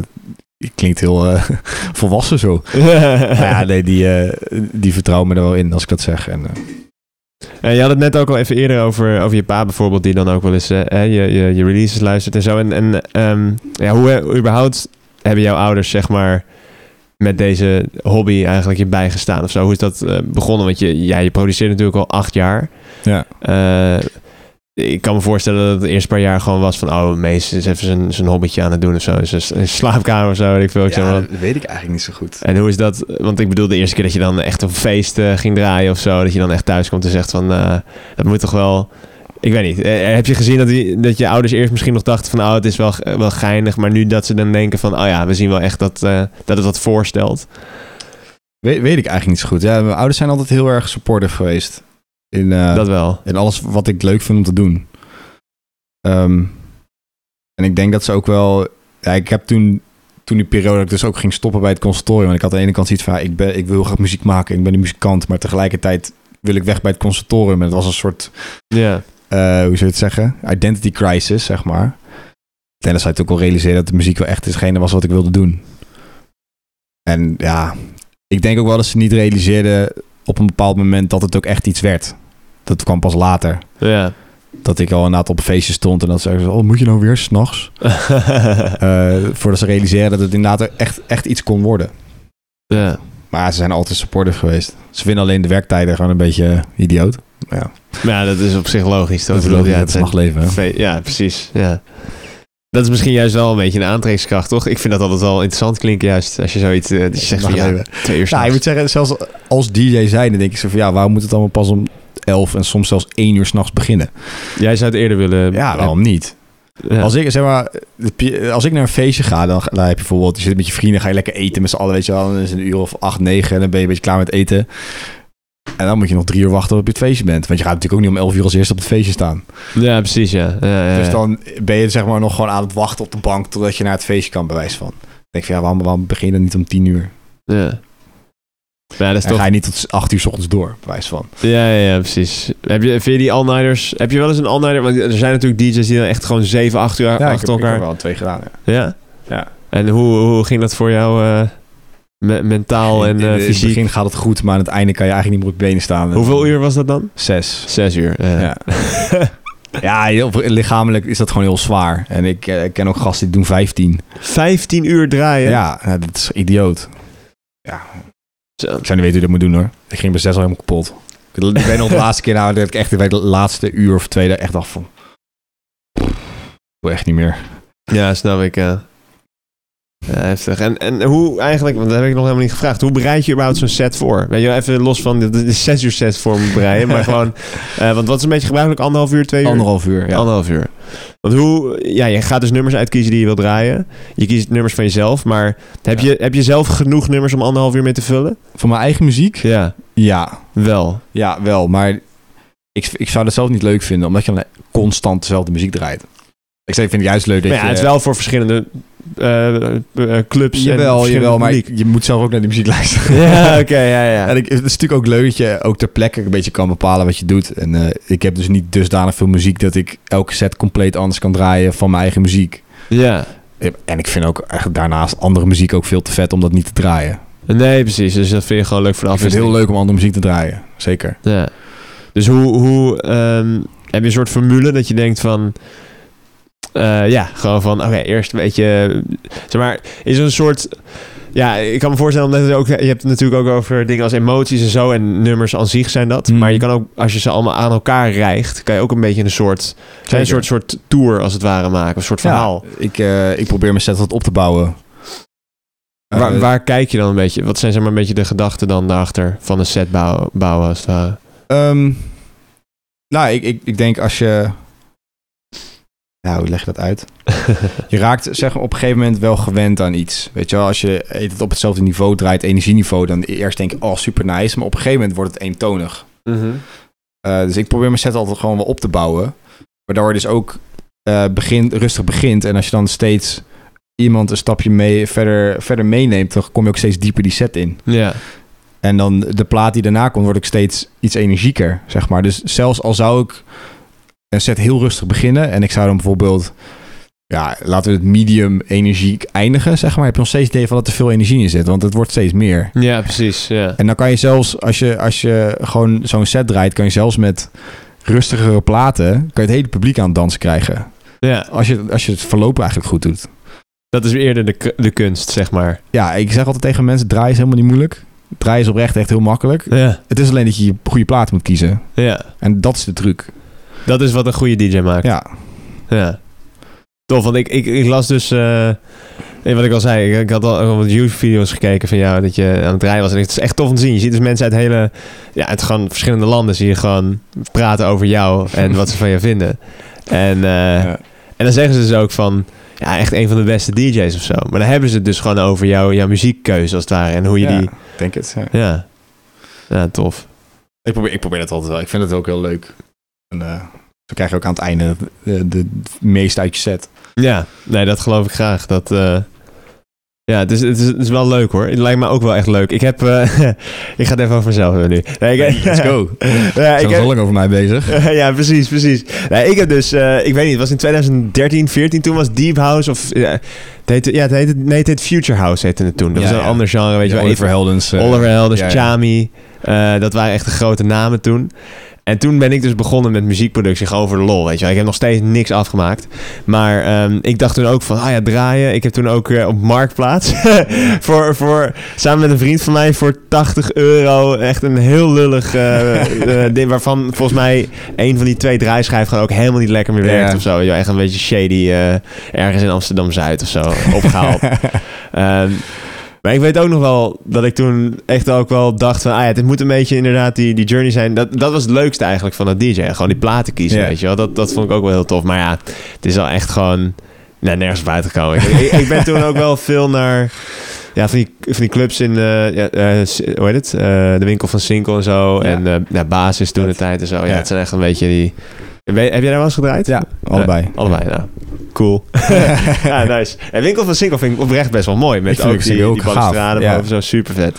Speaker 2: het klinkt heel eh, volwassen zo. Maar ja, nee, die, eh, die vertrouwen me er wel in als ik dat zeg. En, eh,
Speaker 1: En Eh, je had het net ook al even eerder over, over je pa bijvoorbeeld, die dan ook wel eens eh, hè, je, je, je releases luistert en zo. En, en ehm, ja, hoe eh, überhaupt hebben jouw ouders, zeg maar, met deze hobby eigenlijk je bijgestaan of zo? Hoe is dat eh, begonnen? Want je, ja, je produceert natuurlijk al acht jaar.
Speaker 2: ja.
Speaker 1: Eh, ik kan me voorstellen dat het eerst paar jaar gewoon was van, oh, Mees is even zijn, zijn hobbytje aan het doen of zo. Is een slaapkamer of zo, weet ik veel. Ik zeg maar wat.
Speaker 2: weet ik eigenlijk niet zo goed.
Speaker 1: En hoe is dat? Want ik bedoel, de eerste keer dat je dan echt een feest eh, ging draaien of zo, dat je dan echt thuis komt en zegt van, eh, dat moet toch wel. Ik weet niet. Eh, heb je gezien dat, die, dat je ouders eerst misschien nog dachten van, oh, het is wel, eh, wel geinig, maar nu dat ze dan denken van, oh ja, we zien wel echt dat, eh, dat het wat voorstelt.
Speaker 2: Weet, weet ik eigenlijk niet zo goed. Ja, mijn ouders zijn altijd heel erg supportive geweest. In, eh,
Speaker 1: Dat wel.
Speaker 2: En alles wat ik leuk vind om te doen. Ehm, en ik denk dat ze ook wel... Ja, ik heb toen, toen die periode dat ik dus ook ging stoppen bij het conservatorium. Want ik had aan de ene kant zoiets van... ja, ik, ben, ik wil graag muziek maken, ik ben een muzikant. Maar tegelijkertijd wil ik weg bij het conservatorium. En het was een soort,
Speaker 1: Ja.
Speaker 2: eh, hoe zou je het zeggen? Identity crisis, zeg maar. Tenzij het ook al realiseren dat de muziek wel echt hetgene was wat ik wilde doen. En ja, ik denk ook wel dat ze niet realiseerden op een bepaald moment dat het ook echt iets werd. Dat kwam pas later
Speaker 1: Ja.
Speaker 2: dat ik al inderdaad op feestjes stond en dat ze zeiden, oh, moet je nou weer s'nachts? Eh voordat ze realiseren dat het inderdaad echt, echt iets kon worden.
Speaker 1: ja.
Speaker 2: Maar ja, ze zijn altijd supportive geweest. Ze vinden alleen de werktijden gewoon een beetje eh, idioot.
Speaker 1: Maar ja, dat is op zich logisch. toch?
Speaker 2: Dat,
Speaker 1: Ik
Speaker 2: bedoel,
Speaker 1: bedoel,
Speaker 2: dat
Speaker 1: ja, het
Speaker 2: het Nou,
Speaker 1: zijn
Speaker 2: mag leven. hè?
Speaker 1: Fe- Ja, precies. Ja. Dat is misschien juist wel een beetje een aantrekkingskracht, toch? Ik vind dat altijd wel interessant klinken, juist als je zoiets eh, dat je zegt van
Speaker 2: Mag
Speaker 1: ja,
Speaker 2: leven.
Speaker 1: twee uur
Speaker 2: Ja, ik
Speaker 1: s'nachts.
Speaker 2: moet zeggen, zelfs als DJ zijn, dan denk ik zo van, ja, waarom moet het allemaal pas om elf en soms zelfs één uur s'nachts beginnen?
Speaker 1: Jij zou het eerder willen.
Speaker 2: Ja, waarom niet? Als ik, zeg maar, de pi- als ik naar een feestje ga, dan, ga- dan heb je bijvoorbeeld, je zit met je vrienden, ga je lekker eten met z'n allen, weet je wel. Dan is het een uur of acht, negen en dan ben je een beetje klaar met eten. En dan moet je nog drie uur wachten tot je op het feestje bent. Want je gaat natuurlijk ook niet om elf uur als eerste op het feestje staan.
Speaker 1: Ja, precies, ja. ja, ja,
Speaker 2: Dus
Speaker 1: ja.
Speaker 2: dan ben je zeg maar nog gewoon aan het wachten op de bank totdat je naar het feestje kan, bij wijze van. Dan denk ik van, ja, waarom, waarom begin je dan niet om tien uur?
Speaker 1: Ja. Maar ja, dat is
Speaker 2: En
Speaker 1: toch...
Speaker 2: ga je niet tot acht uur s ochtends door, bij wijze van.
Speaker 1: Ja, ja, ja, precies. Heb je, vind je die all-nighters... Heb je wel eens een all-nighter... Want er zijn natuurlijk DJ's die dan echt gewoon 7, 8 uur
Speaker 2: Ja, ik heb,
Speaker 1: achter
Speaker 2: ik heb
Speaker 1: elkaar...
Speaker 2: er wel twee gedaan, ja.
Speaker 1: Ja?
Speaker 2: Ja.
Speaker 1: En hoe, hoe ging dat voor jou eh, me- mentaal en
Speaker 2: in,
Speaker 1: eh,
Speaker 2: in het
Speaker 1: fysiek?
Speaker 2: begin gaat het goed, maar aan het einde kan je eigenlijk niet meer op je benen staan.
Speaker 1: Hoeveel uur was dat dan?
Speaker 2: Zes.
Speaker 1: 6 uur. ja.
Speaker 2: Ja. ja, heel- lichamelijk is dat gewoon heel zwaar. En ik eh, ken ook gasten die doen 15.
Speaker 1: 15 uur draaien?
Speaker 2: Ja, nou, dat is idioot.
Speaker 1: Zo.
Speaker 2: Ik zou niet weten hoe je dat moet doen hoor. Ik ging bij zes al helemaal kapot. Ik ik weet nog de laatste keer nou, dat ik echt bij de laatste uur of twee daar echt dacht van... Ik wil echt niet meer.
Speaker 1: Ja, snap ik. eh. Ja, heftig. En, en hoe eigenlijk, want dat heb ik nog helemaal niet gevraagd. Hoe bereid je überhaupt zo'n set voor? Weet je wel, even los van de, de 6 uur set voor moet bereiden. maar gewoon, eh, want wat is een beetje gebruikelijk? Anderhalf uur, twee uur?
Speaker 2: Anderhalf uur, ja.
Speaker 1: Anderhalf uur. Want hoe, ja, je gaat dus nummers uitkiezen die je wil draaien. Je kiest nummers van jezelf, maar heb,
Speaker 2: Ja.
Speaker 1: je, heb je zelf genoeg nummers om anderhalf uur mee te vullen?
Speaker 2: Voor mijn eigen muziek?
Speaker 1: Ja,
Speaker 2: Ja.
Speaker 1: wel.
Speaker 2: Ja, wel. Maar ik, ik zou dat zelf niet leuk vinden, omdat je dan constant dezelfde muziek draait. Ik zeg, ik vind het juist leuk dat
Speaker 1: Maar ja,
Speaker 2: je...
Speaker 1: het is wel voor verschillende eh, eh, clubs en
Speaker 2: Jawel,
Speaker 1: verschillende
Speaker 2: jawel, maar
Speaker 1: publiek.
Speaker 2: je moet zelf ook naar die muziek luisteren.
Speaker 1: Ja, oké, ja, ja.
Speaker 2: En ik, het is natuurlijk ook leuk dat je ook ter plekke een beetje kan bepalen wat je doet. En eh, ik heb dus niet dusdanig veel muziek dat ik elke set compleet anders kan draaien van mijn eigen muziek. Eh,
Speaker 1: ja.
Speaker 2: En ik vind ook eigenlijk daarnaast andere muziek ook veel te vet om dat niet te draaien.
Speaker 1: Nee, precies. Dus dat vind je gewoon leuk voor de
Speaker 2: ik vind het
Speaker 1: afwisseling.
Speaker 2: heel leuk om andere muziek te draaien, zeker.
Speaker 1: Ja. Dus hoe, hoe ehm, heb je een soort formule dat je denkt van... eh, ja, gewoon van, oké, eerst een beetje... Zeg maar, is er een soort Ja, ik kan me voorstellen, omdat het ook, je hebt het natuurlijk ook over dingen als emoties en zo. En nummers aan zich zijn dat.
Speaker 2: Mm.
Speaker 1: Maar je kan ook, als je ze allemaal aan elkaar rijgt, kan je ook een beetje een soort, een soort, soort tour als het ware maken. Een soort verhaal.
Speaker 2: Ik, eh, ik probeer mijn set wat op te bouwen.
Speaker 1: waar,
Speaker 2: Eh,
Speaker 1: waar kijk je dan een beetje? Wat zijn zeg maar een beetje de gedachten dan daarachter van een set bouwen, bouwen als het ware?
Speaker 2: Ehm, nou, ik, ik, ik denk als je... Nou, hoe leg je dat uit? Je raakt zeg, maar, op een gegeven moment wel gewend aan iets. Weet je wel, als je het op hetzelfde niveau draait, energieniveau, dan eerst denk je, oh super nice. Maar op een gegeven moment wordt het eentonig.
Speaker 1: Mhm.
Speaker 2: Eh, dus ik probeer mijn set altijd gewoon wel op te bouwen. Waardoor je dus ook eh, begint, rustig begint. En als je dan steeds iemand een stapje mee, verder, verder meeneemt, dan kom je ook steeds dieper die set in.
Speaker 1: Ja.
Speaker 2: En dan de plaat die daarna komt, wordt ook steeds iets energieker, zeg maar. Dus zelfs al zou ik een set heel rustig beginnen en ik zou dan bijvoorbeeld, ja, laten we het medium energiek eindigen, zeg maar. Heb je nog steeds het idee van dat er veel energie in zit, want het wordt steeds meer.
Speaker 1: ja, precies. Ja.
Speaker 2: En dan kan je zelfs, als je, als je gewoon zo'n set draait, kan je zelfs met rustigere platen, kan je het hele publiek aan het dansen krijgen.
Speaker 1: ja,
Speaker 2: Als je, als je het verloop eigenlijk goed doet.
Speaker 1: dat is eerder de, k- de kunst, zeg maar.
Speaker 2: Ja, ik zeg altijd tegen mensen, draai is helemaal niet moeilijk. Draai is oprecht echt heel makkelijk.
Speaker 1: Ja.
Speaker 2: Het is alleen dat je je goede plaat moet kiezen.
Speaker 1: ja.
Speaker 2: En dat is de truc.
Speaker 1: Dat is wat een goede DJ maakt.
Speaker 2: Ja.
Speaker 1: Ja. Tof, want ik, ik, ik las dus... eh, eh, wat ik al zei, ik, ik had al al wat YouTube-video's gekeken van jou... dat je aan het rijden was. En het is echt tof om te zien. Je ziet dus mensen uit hele... Ja, uit gewoon verschillende landen zie je gewoon praten over jou... en wat ze van je vinden. En, eh,
Speaker 2: Ja.
Speaker 1: en dan zeggen ze dus ook van... Ja, echt een van de beste DJ's of zo. Maar dan hebben ze het dus gewoon over jou, jouw muziekkeuze als het ware. En hoe je
Speaker 2: Ja,
Speaker 1: die...
Speaker 2: ik denk het. ja.
Speaker 1: Ja. Ja, tof.
Speaker 2: Ik, probeer, ik probeer dat altijd wel. Ik vind het ook heel leuk. En, eh, zo krijg je ook aan het einde de, de, meest uit je set.
Speaker 1: Ja, nee, dat geloof ik graag. Dat, eh, ja, het is, het, is, het is wel leuk hoor. Het lijkt me ook wel echt leuk. Ik heb. eh, ik ga het even over mezelf hebben nu. Nee, ik-
Speaker 2: Let's go.
Speaker 1: ja, ik
Speaker 2: Zijn we
Speaker 1: heb-
Speaker 2: zo lang over mij bezig?
Speaker 1: ja, precies, precies. Nee, ik heb dus, eh, ik weet niet, het was in 2013, 14 toen was Deep House of... ja, het heette, ja, het heette, nee, het heet Future House heette het toen. Dat
Speaker 2: Ja,
Speaker 1: was een
Speaker 2: ja.
Speaker 1: ander genre, weet je wel.
Speaker 2: Oliver Heldens. eh,
Speaker 1: Oliver Helders,
Speaker 2: ja, ja.
Speaker 1: dus Chami. eh, dat waren echt de grote namen toen. En toen ben ik dus begonnen met muziekproductie, gewoon voor de lol, weet je wel. Ik heb nog steeds niks afgemaakt. Maar ehm, ik dacht toen ook van, ah ja, draaien. Ik heb toen ook eh, op Marktplaats, voor, voor, samen met een vriend van mij, voor 80 euro. Echt een heel lullig eh, eh, ding, waarvan volgens mij een van die twee draaischijven gewoon ook helemaal niet lekker meer werkt
Speaker 2: Ja.
Speaker 1: of zo. weet je wel. Echt een beetje shady, eh, ergens in Amsterdam-Zuid of zo, opgehaald. Ehm, maar ik weet ook nog wel dat ik toen echt ook wel dacht van... Ah ja, dit moet een beetje inderdaad die, die journey zijn. Dat, dat was het leukste eigenlijk van dat DJ. Gewoon die platen kiezen,
Speaker 2: Ja.
Speaker 1: weet je wel. Dat, dat vond ik ook wel heel tof. Maar ja, het is al echt gewoon... Nou, nergens buiten gekomen. Ik, ik, ik ben toen ook wel veel naar... Ja, van die, van die clubs in... eh, ja, eh, S- hoe heet het? Eh, de winkel van Sinkel en zo.
Speaker 2: Ja.
Speaker 1: En eh naar Basis toen de tijd en zo. Ja,
Speaker 2: Ja.
Speaker 1: het zijn echt een beetje die... Ben- heb jij daar wel eens gedraaid?
Speaker 2: Ja, allebei.
Speaker 1: Allebei, nou. Cool. ja, nice. En Winkel van Sinkel vind ik oprecht best wel mooi.
Speaker 2: Ik
Speaker 1: Met
Speaker 2: vind
Speaker 1: ook
Speaker 2: ook
Speaker 1: die,
Speaker 2: Sinkel
Speaker 1: die
Speaker 2: ook gaaf,
Speaker 1: balustraden
Speaker 2: ja.
Speaker 1: boven zo. Super vet.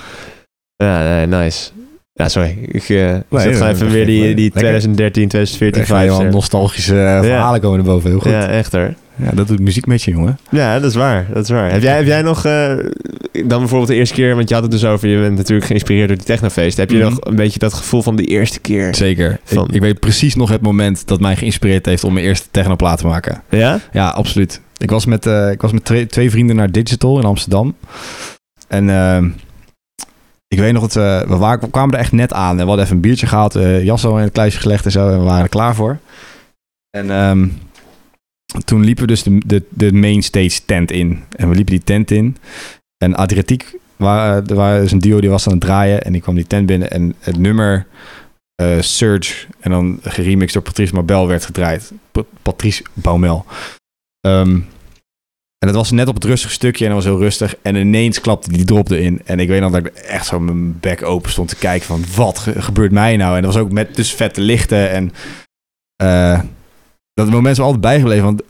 Speaker 1: Ja, nee, nice. Ja, sorry. Ik eh
Speaker 2: Nee,
Speaker 1: zat gewoon
Speaker 2: dat
Speaker 1: even
Speaker 2: is
Speaker 1: weer die,
Speaker 2: lekker.
Speaker 1: die 2013,
Speaker 2: Ik
Speaker 1: 2014
Speaker 2: ga je
Speaker 1: vibes.
Speaker 2: wel
Speaker 1: er.
Speaker 2: nostalgische eh, verhalen komen er boven. Heel goed.
Speaker 1: Ja, echt hoor.
Speaker 2: Ja, dat doet muziek met je, jongen.
Speaker 1: Ja, dat is waar. Dat is waar. Heb jij, heb jij nog, eh, dan bijvoorbeeld de eerste keer, want je had het dus over, je bent natuurlijk geïnspireerd door die technofeest. Heb je
Speaker 2: Mhm.
Speaker 1: nog een beetje dat gevoel van die eerste keer?
Speaker 2: Zeker.
Speaker 1: Van-
Speaker 2: Ik, ik weet precies nog het moment dat mij geïnspireerd heeft om mijn eerste technoplaat te maken.
Speaker 1: Ja?
Speaker 2: Ja, absoluut. Ik was met, eh, ik was met twee, twee vrienden naar Digital in Amsterdam. En ehm, ik weet nog dat eh, we, wa- we kwamen er echt net aan. En we hadden even een biertje gehaald, eh jas al in het kluisje gelegd en zo. En we waren er klaar voor. En ehm, toen liepen we dus de, de, de main stage tent in. En we liepen die tent in. En Adriatiek, wa- er was dus een duo die was aan het draaien. En die kwam die tent binnen. En het nummer eh, Surge, en dan geremixed door Patrice Mabel, werd gedraaid. Pa- Patrice Baumel. Ehm, en het was net op het rustige stukje en dat was heel rustig. En ineens klapte die drop erin. En ik weet nog dat ik echt zo met mijn bek open stond te kijken van... Wat ge- gebeurt mij nou? En dat was ook met dus vette lichten. En eh, dat moment is me altijd bijgebleven. Want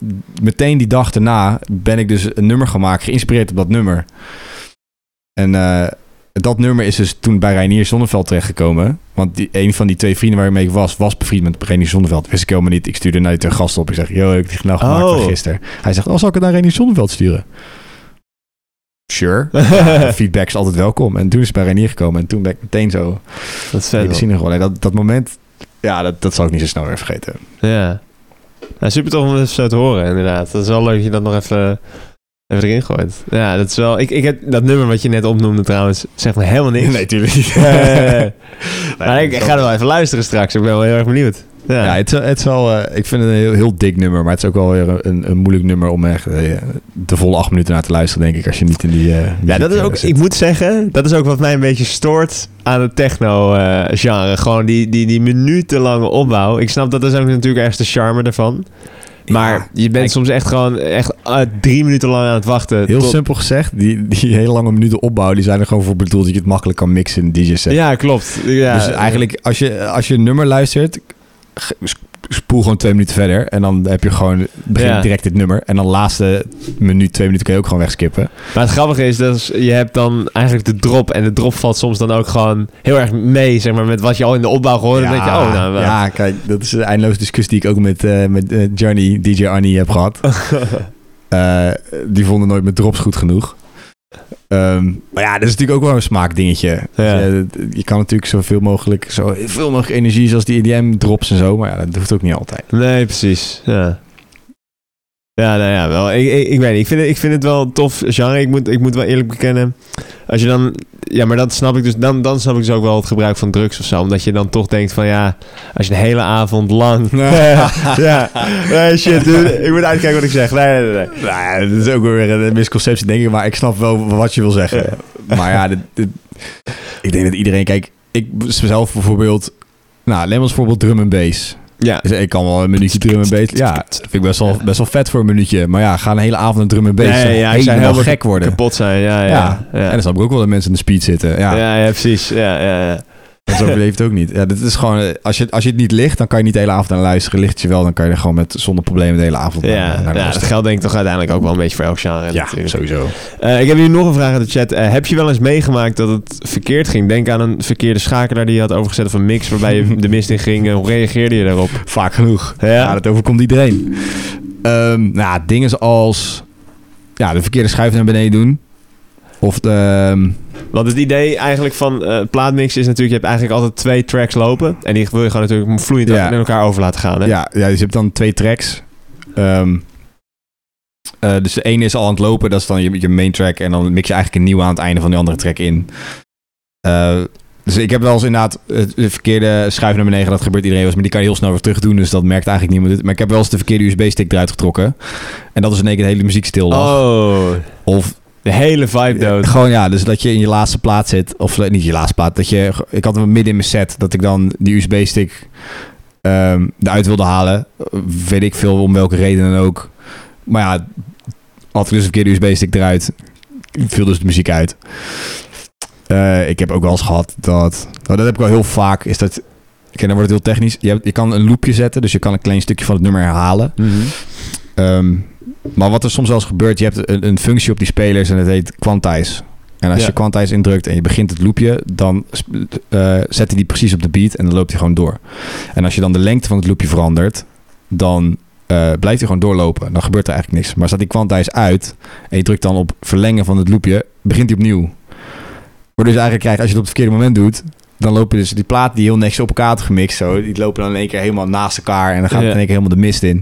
Speaker 2: meteen die dag daarna ben ik dus een nummer gemaakt. Geïnspireerd op dat nummer. En eh, dat nummer is dus toen bij Reinier Zonneveld terechtgekomen. Want die, een van die twee vrienden waarmee ik was, was bevriend met Reinier Zonneveld. Wist ik helemaal niet. Ik stuurde naar die gast op. Ik zeg, yo, ik heb die nou gemaakt
Speaker 1: Oh.
Speaker 2: van gisteren. Hij zegt, oh, zal ik het naar Reinier Zonneveld sturen? Sure. Feedback is altijd welkom. En toen is het bij Reinier gekomen. En toen ben ik meteen zo
Speaker 1: dat is
Speaker 2: in
Speaker 1: vet.
Speaker 2: de
Speaker 1: man.
Speaker 2: scene geworden. En Dat, dat moment, ja, dat, dat zal ik niet zo snel weer vergeten.
Speaker 1: Ja. Nou, super tof om het zo te horen, inderdaad. Dat is wel leuk dat je dat nog even, Heb ik erin gegooid. Ja, dat is wel... Ik, ik heb dat nummer wat je net opnoemde trouwens, zegt me helemaal niks.
Speaker 2: Nee, tuurlijk niet.
Speaker 1: Eh,
Speaker 2: Nee,
Speaker 1: maar ik, ik ga er wel even luisteren straks. Ik ben wel heel erg benieuwd. Ja,
Speaker 2: Ja, het is, wel- het is wel, eh, ik vind het een heel, heel dik nummer, maar het is ook wel weer een, een moeilijk nummer om echt eh, de volle acht minuten naar te luisteren, denk ik, als je niet in die. eh,
Speaker 1: ja
Speaker 2: muziek,
Speaker 1: dat is
Speaker 2: eh,
Speaker 1: ook...
Speaker 2: zit.
Speaker 1: Ik moet zeggen, dat is ook wat mij een beetje stoort aan het techno-genre. Gewoon die, die, die minutenlange opbouw. Ik snap dat, dat is ook natuurlijk ergens de charme ervan. Maar
Speaker 2: Ja,
Speaker 1: je bent
Speaker 2: ik-
Speaker 1: soms echt gewoon echt, ah, drie minuten lang aan het wachten.
Speaker 2: heel
Speaker 1: tot-
Speaker 2: simpel gezegd, die, die hele lange minuten opbouw, die zijn er gewoon voor bedoeld dat je het makkelijk kan mixen in een DJ-set.
Speaker 1: Ja, klopt. Ja,
Speaker 2: dus eigenlijk, als je, als je een nummer luistert, ge- sp- spoel gewoon twee minuten verder. En dan heb je gewoon, begin
Speaker 1: Ja.
Speaker 2: direct dit nummer. En dan laatste minuut, twee minuten kun je ook gewoon wegskippen.
Speaker 1: Maar het grappige is, dat is, je hebt dan eigenlijk de drop. En de drop valt soms dan ook gewoon heel erg mee, zeg maar, met wat je al in de opbouw gehoord hebt. Dan denk je, oh, nou, wel.
Speaker 2: ja, kijk, dat is de eindeloze discussie die ik ook met, eh, met eh, Johnny, DJ Arnie heb gehad. Eh, die vonden nooit mijn drops goed genoeg. Ehm, maar ja, dat is natuurlijk ook wel een smaakdingetje.
Speaker 1: Ja.
Speaker 2: Dus, eh, dat- je kan natuurlijk zoveel mogelijk, zo veel mogelijk energie zoals die EDM drops en zo. Maar ja, dat hoeft ook niet altijd.
Speaker 1: Nee, precies. Ja. Ja, nou ja, wel. Ik, ik, ik weet niet. Ik vind, het, ik vind het wel een tof genre. Ik moet, ik moet wel eerlijk bekennen. Als je dan... Ja, maar dat snap ik dus. Dan, dan snap ik dus ook wel het gebruik van drugs of zo. Omdat je dan toch denkt van, ja... Als je een hele avond lang...
Speaker 3: ja, nee, shit, dude. Ik moet uitkijken wat ik zeg. Nee, nee, nee.
Speaker 2: Nou ja, dat is ook weer een misconceptie, denk ik. Maar ik snap wel wat je wil zeggen. Maar ja, dit- dit- ik denk dat iedereen... Kijk, ik zelf bijvoorbeeld... Nou, neem als voorbeeld drum en bass.
Speaker 1: Ja.
Speaker 2: Dus ik kan wel een minuutje drum en bass. Ja, vind ik best wel, best wel vet voor een minuutje. Maar ja, ga een hele avond een drum en bass.
Speaker 1: Nee,
Speaker 2: dan
Speaker 1: ja, ik zou
Speaker 2: helemaal
Speaker 1: helemaal
Speaker 2: gek worden.
Speaker 1: Kapot zijn, ja,
Speaker 2: ja.
Speaker 1: ja.
Speaker 2: en dan snap ik ook wel dat mensen in de speed zitten. Ja,
Speaker 1: Ja, ja, precies. Ja, ja, ja.
Speaker 2: dat overleeft het ook niet. Ja, dit is gewoon, eh, als, je, als je het niet ligt, dan kan je niet de hele avond aan luisteren. Ligt het je wel, dan kan je er gewoon met, zonder problemen de hele avond eh, naar-
Speaker 1: ja,
Speaker 2: naar
Speaker 1: ja dat
Speaker 2: luisteren.
Speaker 1: geldt denk ik toch uiteindelijk ook wel een beetje voor elk genre.
Speaker 2: ja
Speaker 1: natuurlijk.
Speaker 2: sowieso.
Speaker 1: Eh, ik heb hier nog een vraag uit de chat. Eh, heb je wel eens meegemaakt dat het verkeerd ging? Denk aan een verkeerde schakelaar die je had overgezet of een mix waarbij je de mist in ging. Eh, hoe reageerde je daarop?
Speaker 2: Vaak genoeg. Ja,
Speaker 1: Ja,
Speaker 2: dat overkomt iedereen. Ehm nou, dingen als ja, de verkeerde schuif naar beneden doen. Of de, ehm,
Speaker 1: want het idee eigenlijk van eh, plaatmix is natuurlijk, je hebt eigenlijk altijd twee tracks lopen. En die wil je gewoon natuurlijk vloeiend
Speaker 2: Ja.
Speaker 1: in elkaar over laten gaan. Hè?
Speaker 2: ja, ja, dus je hebt dan twee tracks. Ehm, eh, dus de ene is al aan het lopen, dat is dan je, je main track. En dan mix je eigenlijk een nieuwe aan het einde van die andere track in. Eh, dus ik heb wel eens inderdaad het het verkeerde schuif naar beneden. Dat gebeurt iedereen wel eens, maar die kan je heel snel weer terug doen. Dus dat merkt eigenlijk niemand. Maar ik heb wel eens de verkeerde USB-stick eruit getrokken. En dat is in één keer de hele muziek stil lag.
Speaker 1: Oh,
Speaker 2: Of
Speaker 1: de hele vibe dood.
Speaker 2: Ja, gewoon ja, dus dat je in je laatste plaat zit. Of eh, niet je laatste plaat. Dat je, ik had hem midden in mijn set dat ik dan die USB-stick ehm eruit wilde halen. Eh, Weet ik veel om welke reden dan ook. Maar ja, had ik dus een keer de USB-stick eruit. Viel dus de muziek uit. Eh, ik heb ook wel eens gehad dat... Nou, dat heb ik wel heel vaak. Is dat... Kijk, dan wordt het heel technisch. Je, hebt, je kan een loopje zetten. Dus je kan een klein stukje van het nummer herhalen.
Speaker 1: Mhm.
Speaker 2: Ehm, maar wat er soms wel eens gebeurt, je hebt een, een functie op die spelers en het heet quantize. En als
Speaker 1: Ja.
Speaker 2: je quantize indrukt en je begint het loopje, dan sp- eh, zet hij die precies op de beat en dan loopt hij gewoon door. En als je dan de lengte van het loopje verandert, dan eh, blijft hij gewoon doorlopen. Dan gebeurt er eigenlijk niks. Maar staat die quantize uit en je drukt dan op verlengen van het loopje, begint hij opnieuw. Waardoor je dus eigenlijk krijgt, als je het op het verkeerde moment doet, dan lopen dus die platen die heel niks op elkaar had gemixt, zo, die lopen dan in één keer helemaal naast elkaar en dan gaat
Speaker 1: Ja.
Speaker 2: het in één keer helemaal de mist in.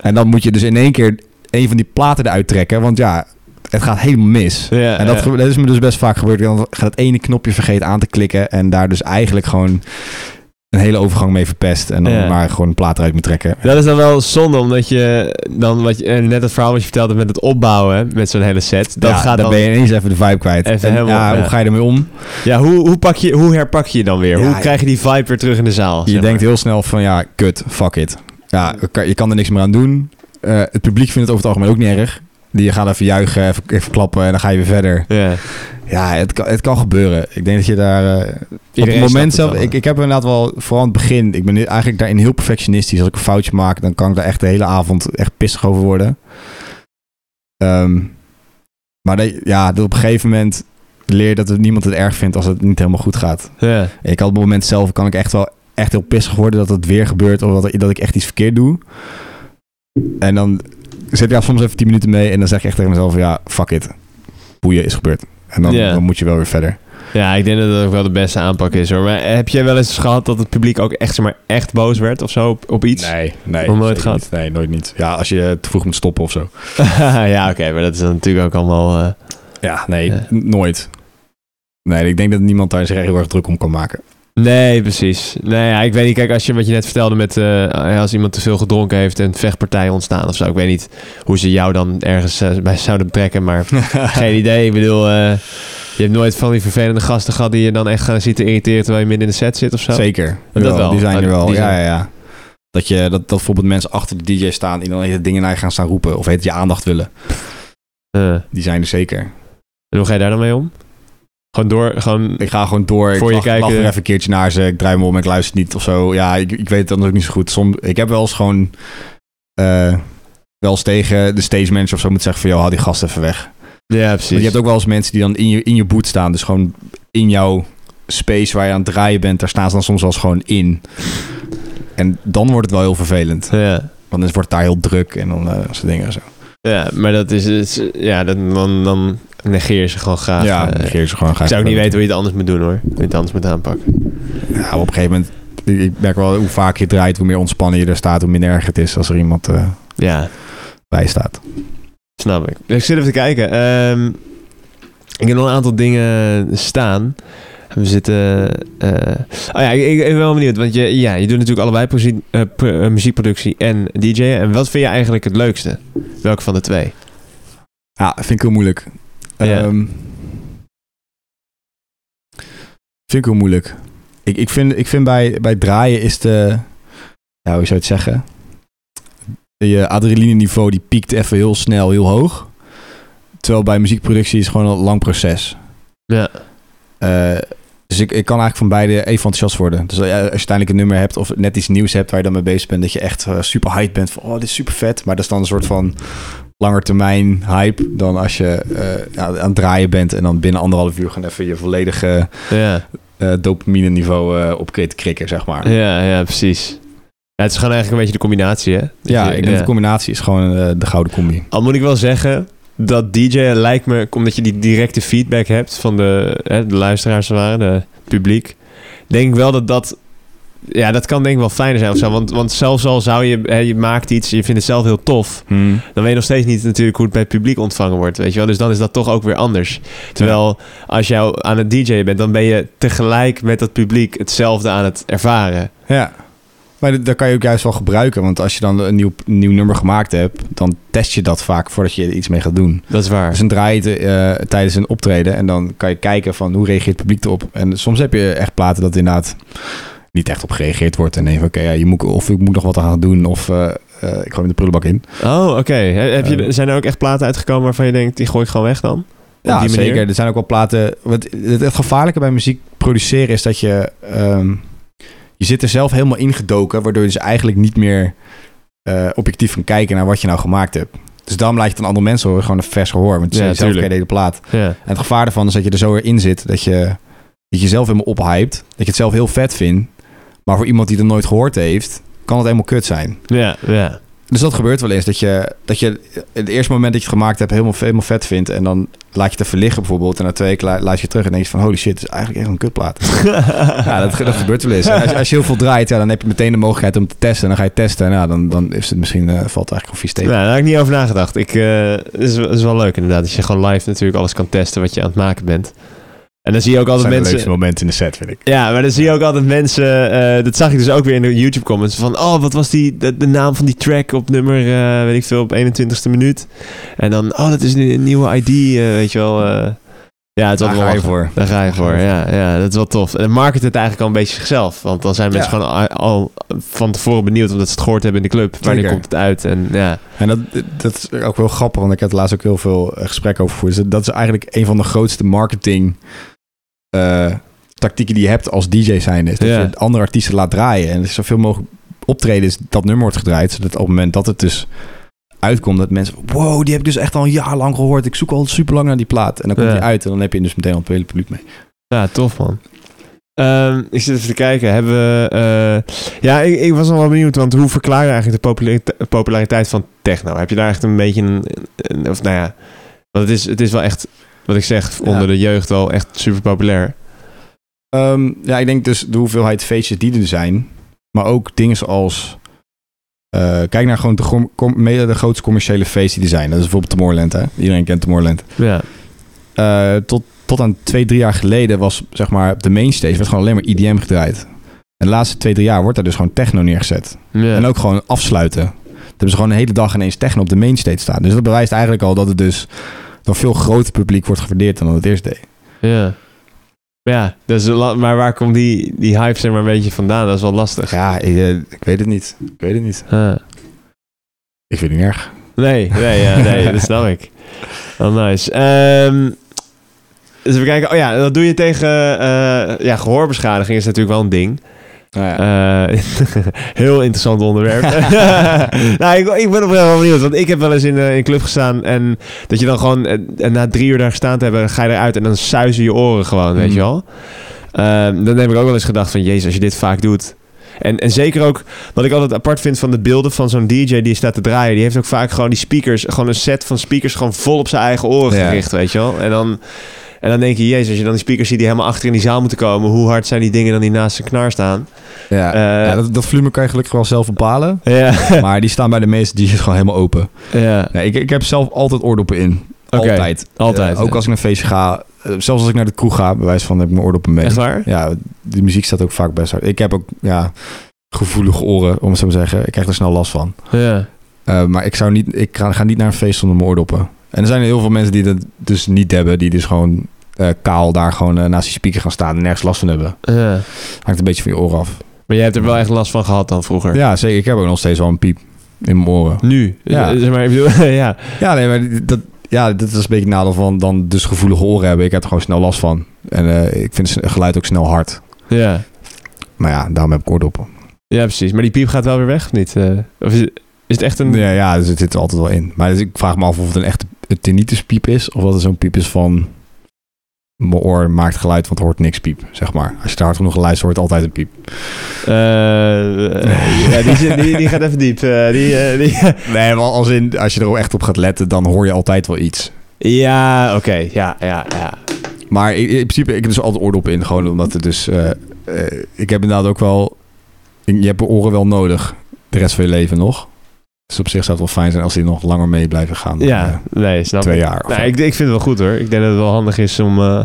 Speaker 2: En dan moet je dus in één keer een van die platen eruit trekken. Want ja, het gaat helemaal mis.
Speaker 1: ja,
Speaker 2: En dat,
Speaker 1: ja.
Speaker 2: gebe- dat is me dus best vaak gebeurd. Dan gaat het ene knopje vergeten aan te klikken. En daar dus eigenlijk gewoon een hele overgang mee verpest. En dan
Speaker 1: Ja.
Speaker 2: maar gewoon een plaat eruit moet trekken.
Speaker 1: Dat is dan wel zonde, omdat je dan wat je, eh, net het verhaal wat je vertelde met het opbouwen met zo'n hele set. Dat
Speaker 2: ja,
Speaker 1: gaat
Speaker 2: dan,
Speaker 1: dan.
Speaker 2: ben je ineens even de vibe kwijt.
Speaker 1: Even
Speaker 2: En
Speaker 1: helemaal,
Speaker 2: ja,
Speaker 1: ja.
Speaker 2: hoe ga je ermee om?
Speaker 1: Ja, hoe, hoe, pak je, hoe herpak je je dan weer?
Speaker 2: Ja,
Speaker 1: hoe
Speaker 2: ja.
Speaker 1: krijg je die vibe weer terug in de zaal?
Speaker 2: Je
Speaker 1: zeg
Speaker 2: denkt heel snel van ja, kut, fuck it. Ja, kan- je kan er niks meer aan doen. Eh, het publiek vindt het over het algemeen ook niet erg. Die gaan even juichen, even, even klappen en dan ga je weer verder.
Speaker 1: maar. Ja.
Speaker 2: Ja, het kan, het kan gebeuren. Ik denk dat je daar eh, Op het
Speaker 1: Iedereen
Speaker 2: moment
Speaker 1: snapt
Speaker 2: zelf,
Speaker 1: het
Speaker 2: ik, ik heb inderdaad wel, vooral aan het begin, ik ben nu eigenlijk daarin heel perfectionistisch. Als ik een foutje maak, dan kan ik daar echt de hele avond echt pissig over worden. Ehm, maar dat- ja, dat op een gegeven moment leer je dat het, niemand het erg vindt als het niet helemaal goed gaat.
Speaker 1: wel. Ja.
Speaker 2: Ik had op het moment zelf, kan ik echt wel echt heel pissig worden dat het weer gebeurt of dat, dat ik echt iets verkeerd doe. En dan zit ik daar soms even 10 minuten mee en dan zeg ik echt tegen mezelf, ja, fuck it. Boeien is gebeurd. En dan,
Speaker 1: Ja.
Speaker 2: dan moet je wel weer verder.
Speaker 1: Ja, ik denk dat dat ook wel de beste aanpak is hoor. Maar heb jij wel eens gehad dat het publiek ook echt, zeg maar, echt boos werd of zo op, op iets?
Speaker 2: Nee, nee.
Speaker 1: Nog nooit
Speaker 2: zeker
Speaker 1: gehad?
Speaker 2: niet. Nee, nooit niet. Ja, als je eh, te vroeg moet stoppen of zo.
Speaker 1: ja, oké, maar dat is dan natuurlijk ook allemaal... eh,
Speaker 2: Ja, nee,
Speaker 1: Ja.
Speaker 2: n- nooit. Nee, ik denk dat niemand daar zich echt heel erg druk om kan maken.
Speaker 1: Nee, precies. Nee, ja, ik weet niet. Kijk, als je wat je net vertelde met eh, als iemand te veel gedronken heeft en vechtpartijen ontstaan of zo. Ik weet niet hoe ze jou dan ergens eh, bij zouden trekken, maar geen idee. Ik bedoel, eh, je hebt nooit van die vervelende gasten gehad die je dan echt gaan zitten irriteren terwijl je midden in de set zit of zo.
Speaker 2: Zeker.
Speaker 1: Dat
Speaker 2: Jawel,
Speaker 1: wel.
Speaker 2: Die zijn er
Speaker 1: Ah,
Speaker 2: wel.
Speaker 1: die
Speaker 2: Ja,
Speaker 1: zijn-
Speaker 2: ja, ja. Dat, je, dat, dat bijvoorbeeld mensen achter de DJ staan die dan hele dingen naar je gaan staan roepen. Of heet het je aandacht willen.
Speaker 1: Eh, en
Speaker 2: Die zijn er zeker.
Speaker 1: hoe ga je daar dan mee om? Gewoon door, gewoon...
Speaker 2: Ik ga gewoon door.
Speaker 1: Voor
Speaker 2: ik
Speaker 1: je
Speaker 2: lach,
Speaker 1: kijken.
Speaker 2: lach weer even een keertje naar ze. Ik draai me om. Ik luister niet of zo. Ja, ik, ik weet het dan ook niet zo goed. Soms, ik heb wel eens gewoon... eh, wel eens tegen de stage manager of zo moeten zeggen van... joh, haal die gast even weg.
Speaker 1: Ja,
Speaker 2: Want
Speaker 1: precies.
Speaker 2: Dus je hebt ook wel eens mensen die dan in je, in je boot staan. Dus gewoon in jouw space waar je aan het draaien bent. Daar staan ze dan soms wel eens gewoon in. En dan wordt het wel heel vervelend.
Speaker 1: Ja.
Speaker 2: Want dan wordt het daar heel druk en dan eh, dat soort dingen en zo.
Speaker 1: ja, maar dat is... is- ja, dat, dan, dan negeer je ze gewoon graag.
Speaker 2: ja,
Speaker 1: eh.
Speaker 2: Ah, negeer ze gewoon graag.
Speaker 1: ik zou ook niet weten hoe je het anders moet doen hoor. Hoe je het anders moet aanpakken.
Speaker 2: Ja, Nou, op een gegeven moment, ik- ik merk wel hoe vaak je draait, hoe meer ontspannen je er staat, hoe minder erg het is als er iemand eh,
Speaker 1: Ja,
Speaker 2: bij staat.
Speaker 1: Snap ik. Ik zit even te kijken. Ehm, ik heb nog een aantal dingen staan. We zitten... eh, oh ja, ik, ik ben wel benieuwd. Want je, ja, je doet natuurlijk allebei posi- eh, pro- eh, muziekproductie en DJ. En. En wat vind je eigenlijk het leukste? Welke van de twee?
Speaker 2: Ja, vind ik heel moeilijk.
Speaker 1: Ja.
Speaker 2: Ehm, vind ik heel moeilijk. Ik, ik vind, ik vind bij, bij draaien is de... Ja, hoe zou je het zeggen? Je adrenaline niveau die piekt even heel snel, heel hoog. Terwijl bij muziekproductie is het gewoon een lang proces.
Speaker 1: Ja.
Speaker 2: Eh, dus ik, ik kan eigenlijk van beide even enthousiast worden. Dus eh, als je uiteindelijk een nummer hebt of net iets nieuws hebt waar je dan mee bezig bent, dat je echt eh, super hyped bent van oh, dit is super vet. Maar dat is dan een soort van langetermijn hype dan als je eh, ja, aan het draaien bent en dan binnen anderhalf uur gewoon even je volledige
Speaker 1: Ja,
Speaker 2: eh dopamine niveau eh op te krikken, zeg maar. Dus
Speaker 1: ja, ja precies. Ja, het is gewoon eigenlijk een beetje de combinatie, hè? Dat
Speaker 2: Ja,
Speaker 1: je-
Speaker 2: ik denk dat de combinatie is gewoon eh, de gouden combi.
Speaker 1: Al moet ik wel zeggen dat DJ lijkt me, omdat je die directe feedback hebt van de, hè, de luisteraars, als het ware, de publiek. Denk ik wel dat dat. Ja, dat kan denk ik wel fijner zijn of zo. Want, want zelfs al zou je, hè, je maakt iets, je vindt het zelf heel tof.
Speaker 2: Hmm.
Speaker 1: Dan weet je nog steeds niet natuurlijk hoe het bij het publiek ontvangen wordt. Weet je wel? Dus dan is dat toch ook weer anders. Terwijl als jij aan het DJ bent, dan ben je tegelijk met dat publiek hetzelfde aan het ervaren.
Speaker 2: Ja. Maar dat, dat kan je ook juist wel gebruiken. Want als je dan een nieuw, nieuw nummer gemaakt hebt, dan test je dat vaak voordat je er iets mee gaat doen.
Speaker 1: Dat is
Speaker 2: Dus
Speaker 1: waar.
Speaker 2: dan draai je het eh, tijdens een optreden en dan kan je kijken van hoe reageert het publiek erop. En soms heb je echt platen dat inderdaad niet echt op gereageerd wordt. En denk je van, oké, ja, je moet, of ik moet nog wat aan doen of eh, eh, ik gooi hem de prullenbak in.
Speaker 1: Oh, oké. He- heb je
Speaker 2: Eh.
Speaker 1: Zijn er ook echt platen uitgekomen waarvan je denkt, die gooi ik gewoon weg dan? Op
Speaker 2: Ja,
Speaker 1: die manier?
Speaker 2: zeker. Er zijn ook wel platen. Wat, het, het gevaarlijke bij muziek produceren is dat je. ehm, je zit er zelf helemaal ingedoken, waardoor je dus eigenlijk niet meer eh, objectief kan kijken naar wat je nou gemaakt hebt. Dus daarom laat je het aan andere mensen horen, gewoon een vers gehoor. Want
Speaker 1: Ja,
Speaker 2: je ja, zelf
Speaker 1: tuurlijk.
Speaker 2: ken je de plaat.
Speaker 1: Ja.
Speaker 2: En het gevaar daarvan is dat je er zo weer in zit dat je dat je jezelf helemaal ophypt. Dat je het zelf heel vet vindt. Maar voor iemand die het nooit gehoord heeft, kan het helemaal kut zijn.
Speaker 1: Ja, ja.
Speaker 2: Dus dat gebeurt wel eens. Dat je, dat je het eerste moment dat je het gemaakt hebt helemaal, helemaal vet vindt. En dan laat je het even liggen bijvoorbeeld. En na twee keer la- luister je terug en denk je van holy shit, het is eigenlijk echt een kutplaat. ja, dat, ge- dat gebeurt wel eens. En Als, als je heel veel draait, ja, dan heb je meteen de mogelijkheid om te testen. En dan ga je testen. En ja, dan, dan is het misschien, eh, valt het eigenlijk een vies
Speaker 1: Nou,
Speaker 2: tegen.
Speaker 1: daar heb ik niet over nagedacht. Ik, eh, het is, het is wel leuk inderdaad. Dat je gewoon live natuurlijk alles kan testen wat je aan het maken bent. En dan zie je ook
Speaker 2: Dat
Speaker 1: altijd
Speaker 2: zijn de
Speaker 1: mensen...
Speaker 2: leukste momenten in de set, vind ik.
Speaker 1: Ja, maar dan zie je ook altijd mensen... eh, dat zag ik dus ook weer in de YouTube-comments. Van, oh, wat was die, de, de naam van die track op nummer, eh, weet ik veel, op 21ste minuut. En dan, oh, dat is nu een nieuwe ID, eh, weet je wel. eh. ja, het is
Speaker 2: Daar
Speaker 1: altijd wel
Speaker 2: ga je
Speaker 1: lachen.
Speaker 2: voor.
Speaker 1: Daar ga je voor, ja, ja. Dat is wel tof. En market het eigenlijk al een beetje zichzelf. Want dan zijn mensen
Speaker 2: Ja.
Speaker 1: gewoon al, al van tevoren benieuwd... omdat ze het gehoord hebben in de club. Wanneer
Speaker 2: Zeker.
Speaker 1: komt het uit? En ja...
Speaker 2: En dat, dat is ook wel grappig, want ik heb er laatst ook heel veel eh, gesprekken over gevoerd. Dus dat is eigenlijk een van de grootste marketing eh, tactieken die je hebt als DJ zijn. Is dat
Speaker 1: Ja.
Speaker 2: je andere artiesten laat draaien. En er zoveel mogelijk optredens dat nummer wordt gedraaid. Zodat op het moment dat het dus uitkomt, dat mensen... Wow, die heb ik dus echt al een jaar lang gehoord. Ik zoek al super lang naar die plaat. En dan komt
Speaker 1: Ja.
Speaker 2: die uit en dan heb je dus meteen al het hele publiek mee.
Speaker 1: Ja, tof man. Ehm, ik zit even te kijken. Hebben we. eh, ja, ik, ik was nog wel benieuwd. Want hoe verklaar je eigenlijk de populariteit, populariteit van techno? Heb je daar echt een beetje een. een- of nou ja. Want het is, het is wel echt. Wat ik zeg,
Speaker 2: Ja.
Speaker 1: onder de jeugd wel echt super populair.
Speaker 2: Ehm, ja, ik denk dus de hoeveelheid feestjes die er zijn. Maar ook dingen zoals... eh, kijk naar gewoon de, grom- com- mede de grootste commerciële feesten die er zijn. Dat is bijvoorbeeld Tomorrowland, hè? Iedereen kent Tomorrowland.
Speaker 1: Ja.
Speaker 2: Eh, tot, tot aan twee, drie jaar geleden was, zeg maar, op de mainstage werd gewoon alleen maar EDM gedraaid. En de laatste twee, drie jaar wordt daar dus gewoon techno neergezet.
Speaker 1: ja.
Speaker 2: En ook gewoon afsluiten. Dan hebben ze gewoon een hele dag ineens techno op de mainstage staan. Dus dat bewijst eigenlijk al dat het dus door veel groter publiek wordt gewaardeerd dan dat het eerst deed.
Speaker 1: Ja. Ja, dus, la- maar waar komt die, die hype zeg maar een beetje vandaan? Dat is wel lastig.
Speaker 2: Ja, ik, eh, ik weet het niet. Ik weet het niet.
Speaker 1: Ah.
Speaker 2: Ik vind het niet erg.
Speaker 1: Nee, nee, ja, nee, dat snap ik. Wel nice. Ehm dus even kijken. Oh ja, dat doe je tegen... eh, ja, gehoorbeschadiging is natuurlijk wel een ding. Eh, heel interessant onderwerp. nou, ik, ik ben oprecht wel benieuwd. Want ik heb wel eens in eh, in een club gestaan. En dat je dan gewoon... eh, en na drie uur daar gestaan te hebben, ga je eruit. En dan suizen je oren gewoon, weet
Speaker 2: Mm.
Speaker 1: je wel. Ehm, dan heb ik ook wel eens gedacht van... Jezus, als je dit vaak doet... En, en zeker ook, wat ik altijd apart vind van de beelden van zo'n DJ die staat te draaien. Die heeft ook vaak gewoon die speakers, gewoon een set van speakers gewoon vol op zijn eigen oren
Speaker 2: Ja.
Speaker 1: gericht, weet je wel. En dan, en dan denk je, jezus, als je dan die speakers ziet die helemaal achter in die zaal moeten komen. Hoe hard zijn die dingen dan die naast zijn knar staan?
Speaker 2: ja.
Speaker 1: Eh,
Speaker 2: ja, dat, dat volume kan je gelukkig wel zelf bepalen.
Speaker 1: Ja,
Speaker 2: Maar die staan bij de meeste DJ's gewoon helemaal open.
Speaker 1: ja.
Speaker 2: Nee, ik, ik heb zelf altijd oordoppen in.
Speaker 1: Oké,
Speaker 2: Altijd.
Speaker 1: altijd.
Speaker 2: Eh, ook als ik naar een feestje ga. eh, zelfs als ik naar de kroeg ga, bij wijze van heb ik mijn oordoppen mee.
Speaker 1: Echt waar?
Speaker 2: Ja, de muziek staat ook vaak best hard. Ik heb ook ja, gevoelige oren, om het zo te zeggen. Ik krijg er snel last van.
Speaker 1: Ja.
Speaker 2: Eh, maar ik, zou niet, ik ga, ga niet naar een feest zonder mijn oordoppen. En er zijn heel veel mensen die dat dus niet hebben. Die dus gewoon eh, kaal daar gewoon eh, naast die speaker gaan staan en nergens last van hebben.
Speaker 1: ja.
Speaker 2: Hangt een beetje van je oren af.
Speaker 1: Maar jij hebt er wel echt last van gehad dan vroeger?
Speaker 2: Ja, zeker. Ik heb ook nog steeds wel een piep in mijn oren.
Speaker 1: Nu?
Speaker 2: Ja.
Speaker 1: Eh, Zeg maar, ik bedoel, ja.
Speaker 2: Ja, nee, maar dat, ja, dat is een beetje het nadeel van dan dus gevoelige oren hebben. Ik heb er gewoon snel last van. En eh, ik vind het geluid ook snel hard.
Speaker 1: ja.
Speaker 2: Maar ja, daarom heb ik oordoppen.
Speaker 1: Ja, precies. Maar die piep gaat wel weer weg, of niet? Eh, of is, is het echt een...
Speaker 2: Ja, ja, dus het zit er altijd wel in. Maar dus ik vraag me af of het een echte tinnitus-piep is. Of dat het zo'n piep is van... Mijn oor maakt geluid, want er hoort niks piep, zeg maar. Als je daar hard genoeg geluisterd hoort altijd een piep.
Speaker 1: Eh, eh, ja, die, zit- die, die gaat even diep. Eh, die, eh, die,
Speaker 2: Nee, maar als, in, als je er echt op gaat letten, dan hoor je altijd wel iets.
Speaker 1: ja, oké. Ja, ja, ja.
Speaker 2: Maar in, in principe, ik heb dus altijd oordoppen in. Gewoon omdat het dus... eh, eh, ik heb inderdaad ook wel... ik- Je hebt je oren wel nodig. De rest van je leven nog. Dus op zich zou het wel fijn zijn als die nog langer mee blijven gaan. dan, eh,
Speaker 1: Ja, nee, snap
Speaker 2: twee
Speaker 1: ik.
Speaker 2: jaar. of zo.
Speaker 1: Nou, ik, ik vind het wel goed hoor. Ik denk dat het wel handig is om, eh,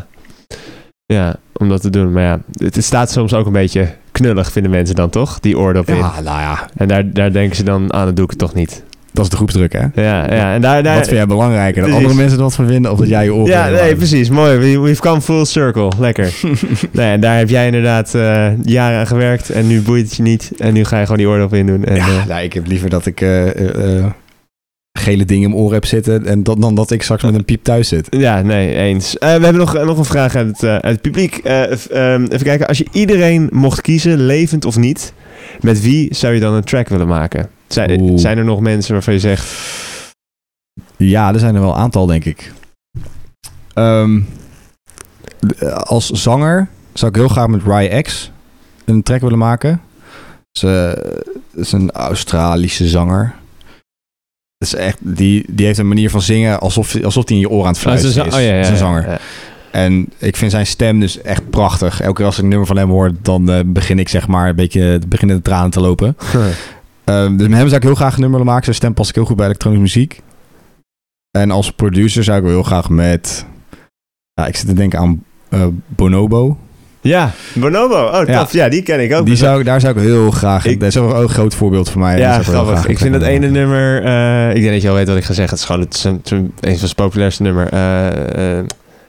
Speaker 1: ja, om dat te doen. Maar ja, het, het staat soms ook een beetje knullig, vinden mensen dan toch? Die oordop in.
Speaker 2: ja, nou ja.
Speaker 1: En daar, daar denken ze dan aan, dat doe ik het toch niet.
Speaker 2: Dat is de groepsdruk, hè?
Speaker 1: Ja, ja. En daar, daar,
Speaker 2: Wat vind jij belangrijker? Dat
Speaker 1: Precies.
Speaker 2: andere mensen er wat van vinden of dat jij je oren
Speaker 1: ja,
Speaker 2: wil
Speaker 1: nee,
Speaker 2: houden?
Speaker 1: precies. Mooi. We- We've come full circle. Lekker. nee, en daar heb jij inderdaad eh, jaren aan gewerkt. En nu boeit het je niet. En nu ga je gewoon die oordop in doen. En,
Speaker 2: Ja,
Speaker 1: eh,
Speaker 2: nou, ik heb liever dat ik eh, eh, eh, gele dingen in mijn oren heb zitten en dat, dan dat ik straks met een piep thuis zit.
Speaker 1: Ja, nee, eens. Eh, we hebben nog, nog een vraag uit het, eh, uit het publiek. Eh, f- ehm, even kijken, als je iedereen mocht kiezen, levend of niet, met wie zou je dan een track willen maken? Zijn,
Speaker 2: Oeh.
Speaker 1: zijn er nog mensen waarvan je zegt,
Speaker 2: Ja, er zijn er wel een aantal, denk ik. Ehm, d- eh, als zanger zou ik heel graag met Rye X een track willen maken. Ze is een Australische zanger. Dat is echt, die, die heeft een manier van zingen alsof, alsof die in je oor aan Oh, het fluiten is. Dat is een zanger. En ik vind zijn stem dus echt prachtig. Elke keer als ik een nummer van hem hoor, dan eh, begin ik zeg maar een beetje beginnen de tranen te lopen. Ehm, dus met hem zou ik heel graag een nummer willen maken. Zijn stem past ik heel goed bij elektronische muziek. En als producer zou ik wel heel graag met... Ja, ik zit te denken aan eh, Bonobo.
Speaker 1: Ja, Bonobo. Oh,
Speaker 2: Ja.
Speaker 1: tof. Ja, die ken ik ook.
Speaker 2: Die zou, ik- daar zou ik heel graag...
Speaker 1: Ik-
Speaker 2: dat is ook een groot voorbeeld voor mij.
Speaker 1: ja,
Speaker 2: Daar zou ik heel
Speaker 1: grappig.
Speaker 2: graag
Speaker 1: Ik vind dat ene
Speaker 2: een-
Speaker 1: nummer, eh, ik denk dat je al weet wat ik ga zeggen. Het is gewoon het is een, het is een van zijn populairste nummer. eh eh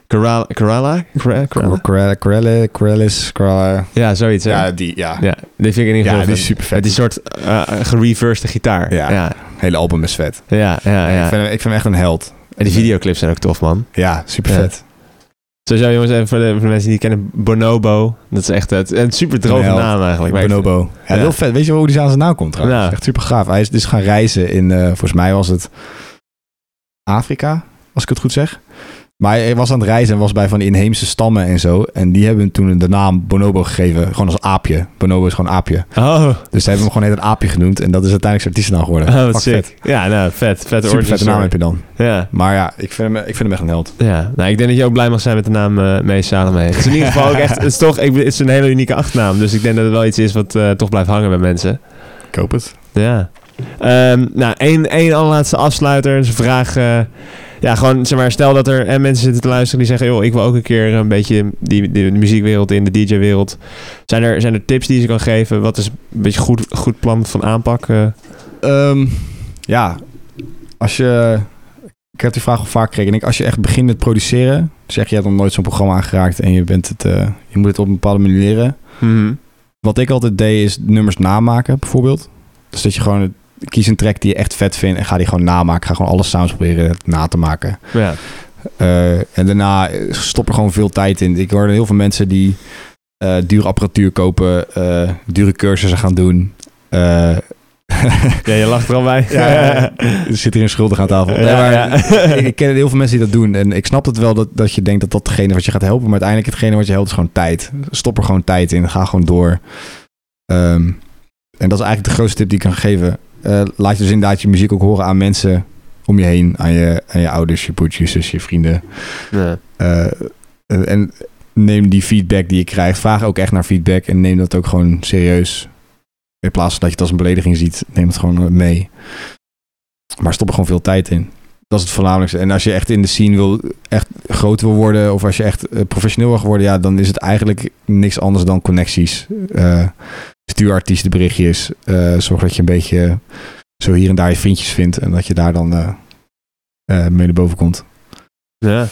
Speaker 1: Kerala? Kerala? Kerala? Kerala?
Speaker 2: Corella- Corella- Corellis, Corella.
Speaker 1: Ja, zoiets. hè?
Speaker 2: Ja, die, ja.
Speaker 1: Ja, die vind ik in ieder
Speaker 2: Ja,
Speaker 1: geval.
Speaker 2: die is super
Speaker 1: Het
Speaker 2: vet.
Speaker 1: is een soort eh gereversed gitaar.
Speaker 2: Ja.
Speaker 1: ja,
Speaker 2: hele album is vet.
Speaker 1: ja. ja, ja.
Speaker 2: Ik, vind hem, ik vind hem echt een held.
Speaker 1: En die videoclips zijn ook tof, man.
Speaker 2: Ja, super
Speaker 1: Ja.
Speaker 2: vet.
Speaker 1: Sowieso, jongens, even voor de, voor de mensen die niet kennen, Bonobo. Dat is echt het, een super droge
Speaker 2: Een held.
Speaker 1: naam eigenlijk. maar ik-
Speaker 2: Bonobo. Ja,
Speaker 1: Ja.
Speaker 2: heel vet. Weet je wel hoe die aan zijn naam komt trouwens?
Speaker 1: Ja.
Speaker 2: Echt super gaaf. Hij is dus gaan reizen in, eh, volgens mij was het Afrika, als ik het goed zeg. Maar hij was aan het reizen en was bij van die inheemse stammen en zo. En die hebben toen de naam Bonobo gegeven. Gewoon als aapje. Bonobo is gewoon aapje.
Speaker 1: Oh,
Speaker 2: Dus ze hebben hem gewoon net een aapje genoemd. En dat is uiteindelijk zijn artiestennaam geworden.
Speaker 1: oh
Speaker 2: Fuck
Speaker 1: wat sick. Ja, nou, vet. Vette
Speaker 2: Super
Speaker 1: origin
Speaker 2: vette naam
Speaker 1: story.
Speaker 2: heb je dan.
Speaker 1: Ja,
Speaker 2: Maar ja, ik vind hem, ik vind hem echt een held.
Speaker 1: ja. Nou, ik denk dat je ook blij mag zijn met de naam eh Mee Salome. Het is in ieder geval ook echt... Het is, toch, ik, het is een hele unieke achternaam. Dus ik denk dat het wel iets is wat eh, toch blijft hangen bij mensen.
Speaker 2: Ik hoop het.
Speaker 1: Ja. Ehm, nou, één, één allerlaatste afsluiter. Dat is een vraag. eh, ja, gewoon zeg maar, stel dat er en mensen zitten te luisteren die zeggen: joh, ik wil ook een keer een beetje die, die, de muziekwereld in, de DJ-wereld. Zijn er, zijn er tips die je kan geven? Wat is een beetje goed, goed plan van aanpak? eh?
Speaker 2: Ehm, ja, als je. Ik heb die vraag al vaak gekregen. Ik denk, als je echt begint met produceren, zeg je hebt nog nooit zo'n programma aangeraakt en je, bent het, eh, je moet het op een bepaalde manier leren. Mhm. Wat ik altijd deed is nummers namaken, bijvoorbeeld. Dus dat je gewoon het- kies een track die je echt vet vindt en ga die gewoon namaken. Ga gewoon alle sounds proberen na te maken.
Speaker 1: Ja.
Speaker 2: Eh, en daarna stop er gewoon veel tijd in. Ik hoorde heel veel mensen die eh dure apparatuur kopen, eh, dure cursussen gaan doen. Eh,
Speaker 1: ja, je lacht er al bij.
Speaker 2: ja, ja, ja. er zit hier een schuldig aan tafel. Nee, maar
Speaker 1: Ja,
Speaker 2: ik, ik ken heel veel mensen die dat doen. En ik snap het wel dat, dat je denkt dat dat degene wat je gaat helpen. Maar uiteindelijk hetgene wat je helpt is gewoon tijd. Stop er gewoon tijd in. Ga gewoon door. Ehm, en dat is eigenlijk de grootste tip die ik kan geven. Eh, laat je dus inderdaad je muziek ook horen aan mensen om je heen. Aan je, aan je ouders, je broertjes, je zus, je vrienden.
Speaker 1: Ja.
Speaker 2: Eh, en neem die feedback die je krijgt. Vraag ook echt naar feedback en neem dat ook gewoon serieus. In plaats van dat je het als een belediging ziet, neem het gewoon eh, mee. Maar stop er gewoon veel tijd in. Dat is het voornamelijkste. En als je echt in de scene wil, echt groot wil worden, of als je echt eh, professioneel wil worden, ja, dan is het eigenlijk niks anders dan connecties. Eh, stuur artiesten berichtjes. eh, zorg dat je een beetje zo hier en daar je vriendjes vindt en dat je daar dan eh eh, mee naar boven komt.
Speaker 1: Ja.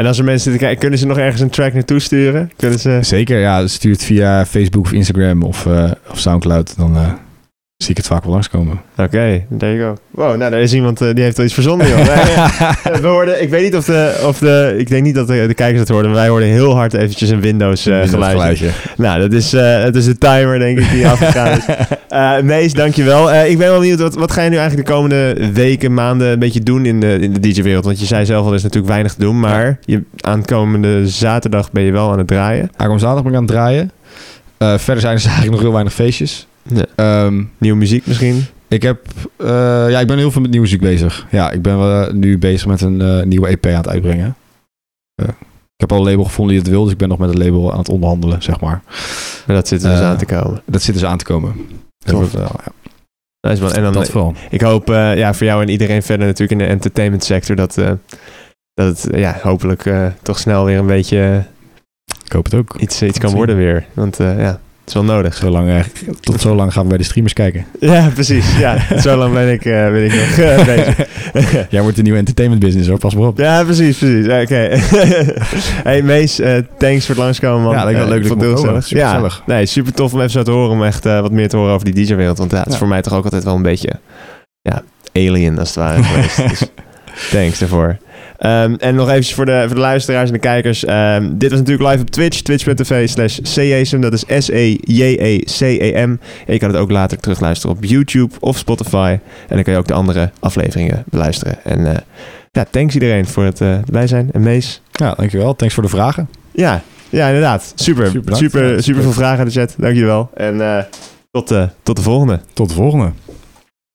Speaker 1: En als er mensen zitten kijken, kunnen ze nog ergens een track naartoe sturen? Kunnen ze...
Speaker 2: Zeker, ja. Stuur het via Facebook of Instagram of, eh, of Soundcloud. Dan eh, zie ik het vaak wel langskomen.
Speaker 1: Oké, there you go. Wow, nou, daar is iemand eh, die heeft al iets verzonnen, joh. Wij, eh, we hoorden, ik weet niet of de, of de, ik denk niet dat de, de kijkers het hoorden, maar wij hoorden heel hard eventjes een Windows, eh
Speaker 2: Windows
Speaker 1: geluidje. Nou, dat is, eh dat is de timer, denk ik, die afgegaan is. Eh Mees, dankjewel. Eh, ik ben wel benieuwd, wat, wat ga je nu eigenlijk de komende weken, maanden een beetje doen in de, in de DJ-wereld? Want je zei zelf al, er is natuurlijk weinig te doen, maar je, aankomende zaterdag ben je wel aan het draaien.
Speaker 2: Aankomend zaterdag ben ik aan het draaien. Eh, verder zijn er eigenlijk nog heel weinig feestjes.
Speaker 1: Ja.
Speaker 2: Ehm,
Speaker 1: Nieuwe muziek misschien.
Speaker 2: ik heb... eh, ja, ik ben heel veel met nieuwe muziek bezig. Ja, ik ben wel, eh, nu bezig met een eh, nieuwe EP aan het uitbrengen. Eh, ik heb al een label gevonden die het wil, dus ik ben nog met het label aan het onderhandelen, zeg maar.
Speaker 1: Maar dat zit er dus
Speaker 2: Eh,
Speaker 1: aan te komen.
Speaker 2: Dat zit dus aan te komen. Dat
Speaker 1: Tof.
Speaker 2: wordt, eh, ja,
Speaker 1: Dat is wel, en dan,
Speaker 2: dat vooral.
Speaker 1: Ik hoop eh, ja, voor jou en iedereen verder natuurlijk in de entertainment sector dat, eh, dat het eh, ja, hopelijk eh, toch snel weer een beetje eh,
Speaker 2: Ik hoop het ook.
Speaker 1: iets, iets kan
Speaker 2: zien.
Speaker 1: worden weer. Want eh, ja, het is wel nodig.
Speaker 2: Zolang, eh, tot zo lang gaan we bij de streamers kijken.
Speaker 1: Ja, precies. Ja, zo lang ben ik, eh, ben ik nog eh, bezig.
Speaker 2: Jij wordt de nieuwe entertainment business hoor, pas maar op.
Speaker 1: Ja, precies, precies. Oké. hey Mees, eh, thanks voor het langskomen, man.
Speaker 2: Ja, leuk-
Speaker 1: Eh,
Speaker 2: leuk dat
Speaker 1: ik vond het
Speaker 2: ik mocht
Speaker 1: heel
Speaker 2: komen.
Speaker 1: gezellig. Ja,
Speaker 2: Supergezellig.
Speaker 1: nee, super tof om even zo te horen, om echt eh, wat meer te horen over die DJ-wereld. Want ja, het is
Speaker 2: Ja.
Speaker 1: voor mij toch ook altijd wel een beetje ja, alien, als het ware, geweest. Dus thanks daarvoor. Ehm, en nog eventjes voor de, voor de luisteraars en de kijkers. ehm, dit was natuurlijk live op Twitch. Twitch.tv slash CESM. Dat is E S-E-J-E-C-E-M. E En je kan het ook later terugluisteren op YouTube of Spotify. En dan kan je ook de andere afleveringen beluisteren. En eh, ja, thanks iedereen voor het eh erbij zijn. En Mees.
Speaker 2: Ja, dankjewel. Thanks voor de vragen.
Speaker 1: Ja, ja inderdaad. Super.
Speaker 2: Super
Speaker 1: Super,
Speaker 2: bedankt.
Speaker 1: super,
Speaker 2: Ja, super.
Speaker 1: veel vragen in de chat. Dankjewel. En eh, tot, eh, tot de volgende.
Speaker 2: Tot de volgende.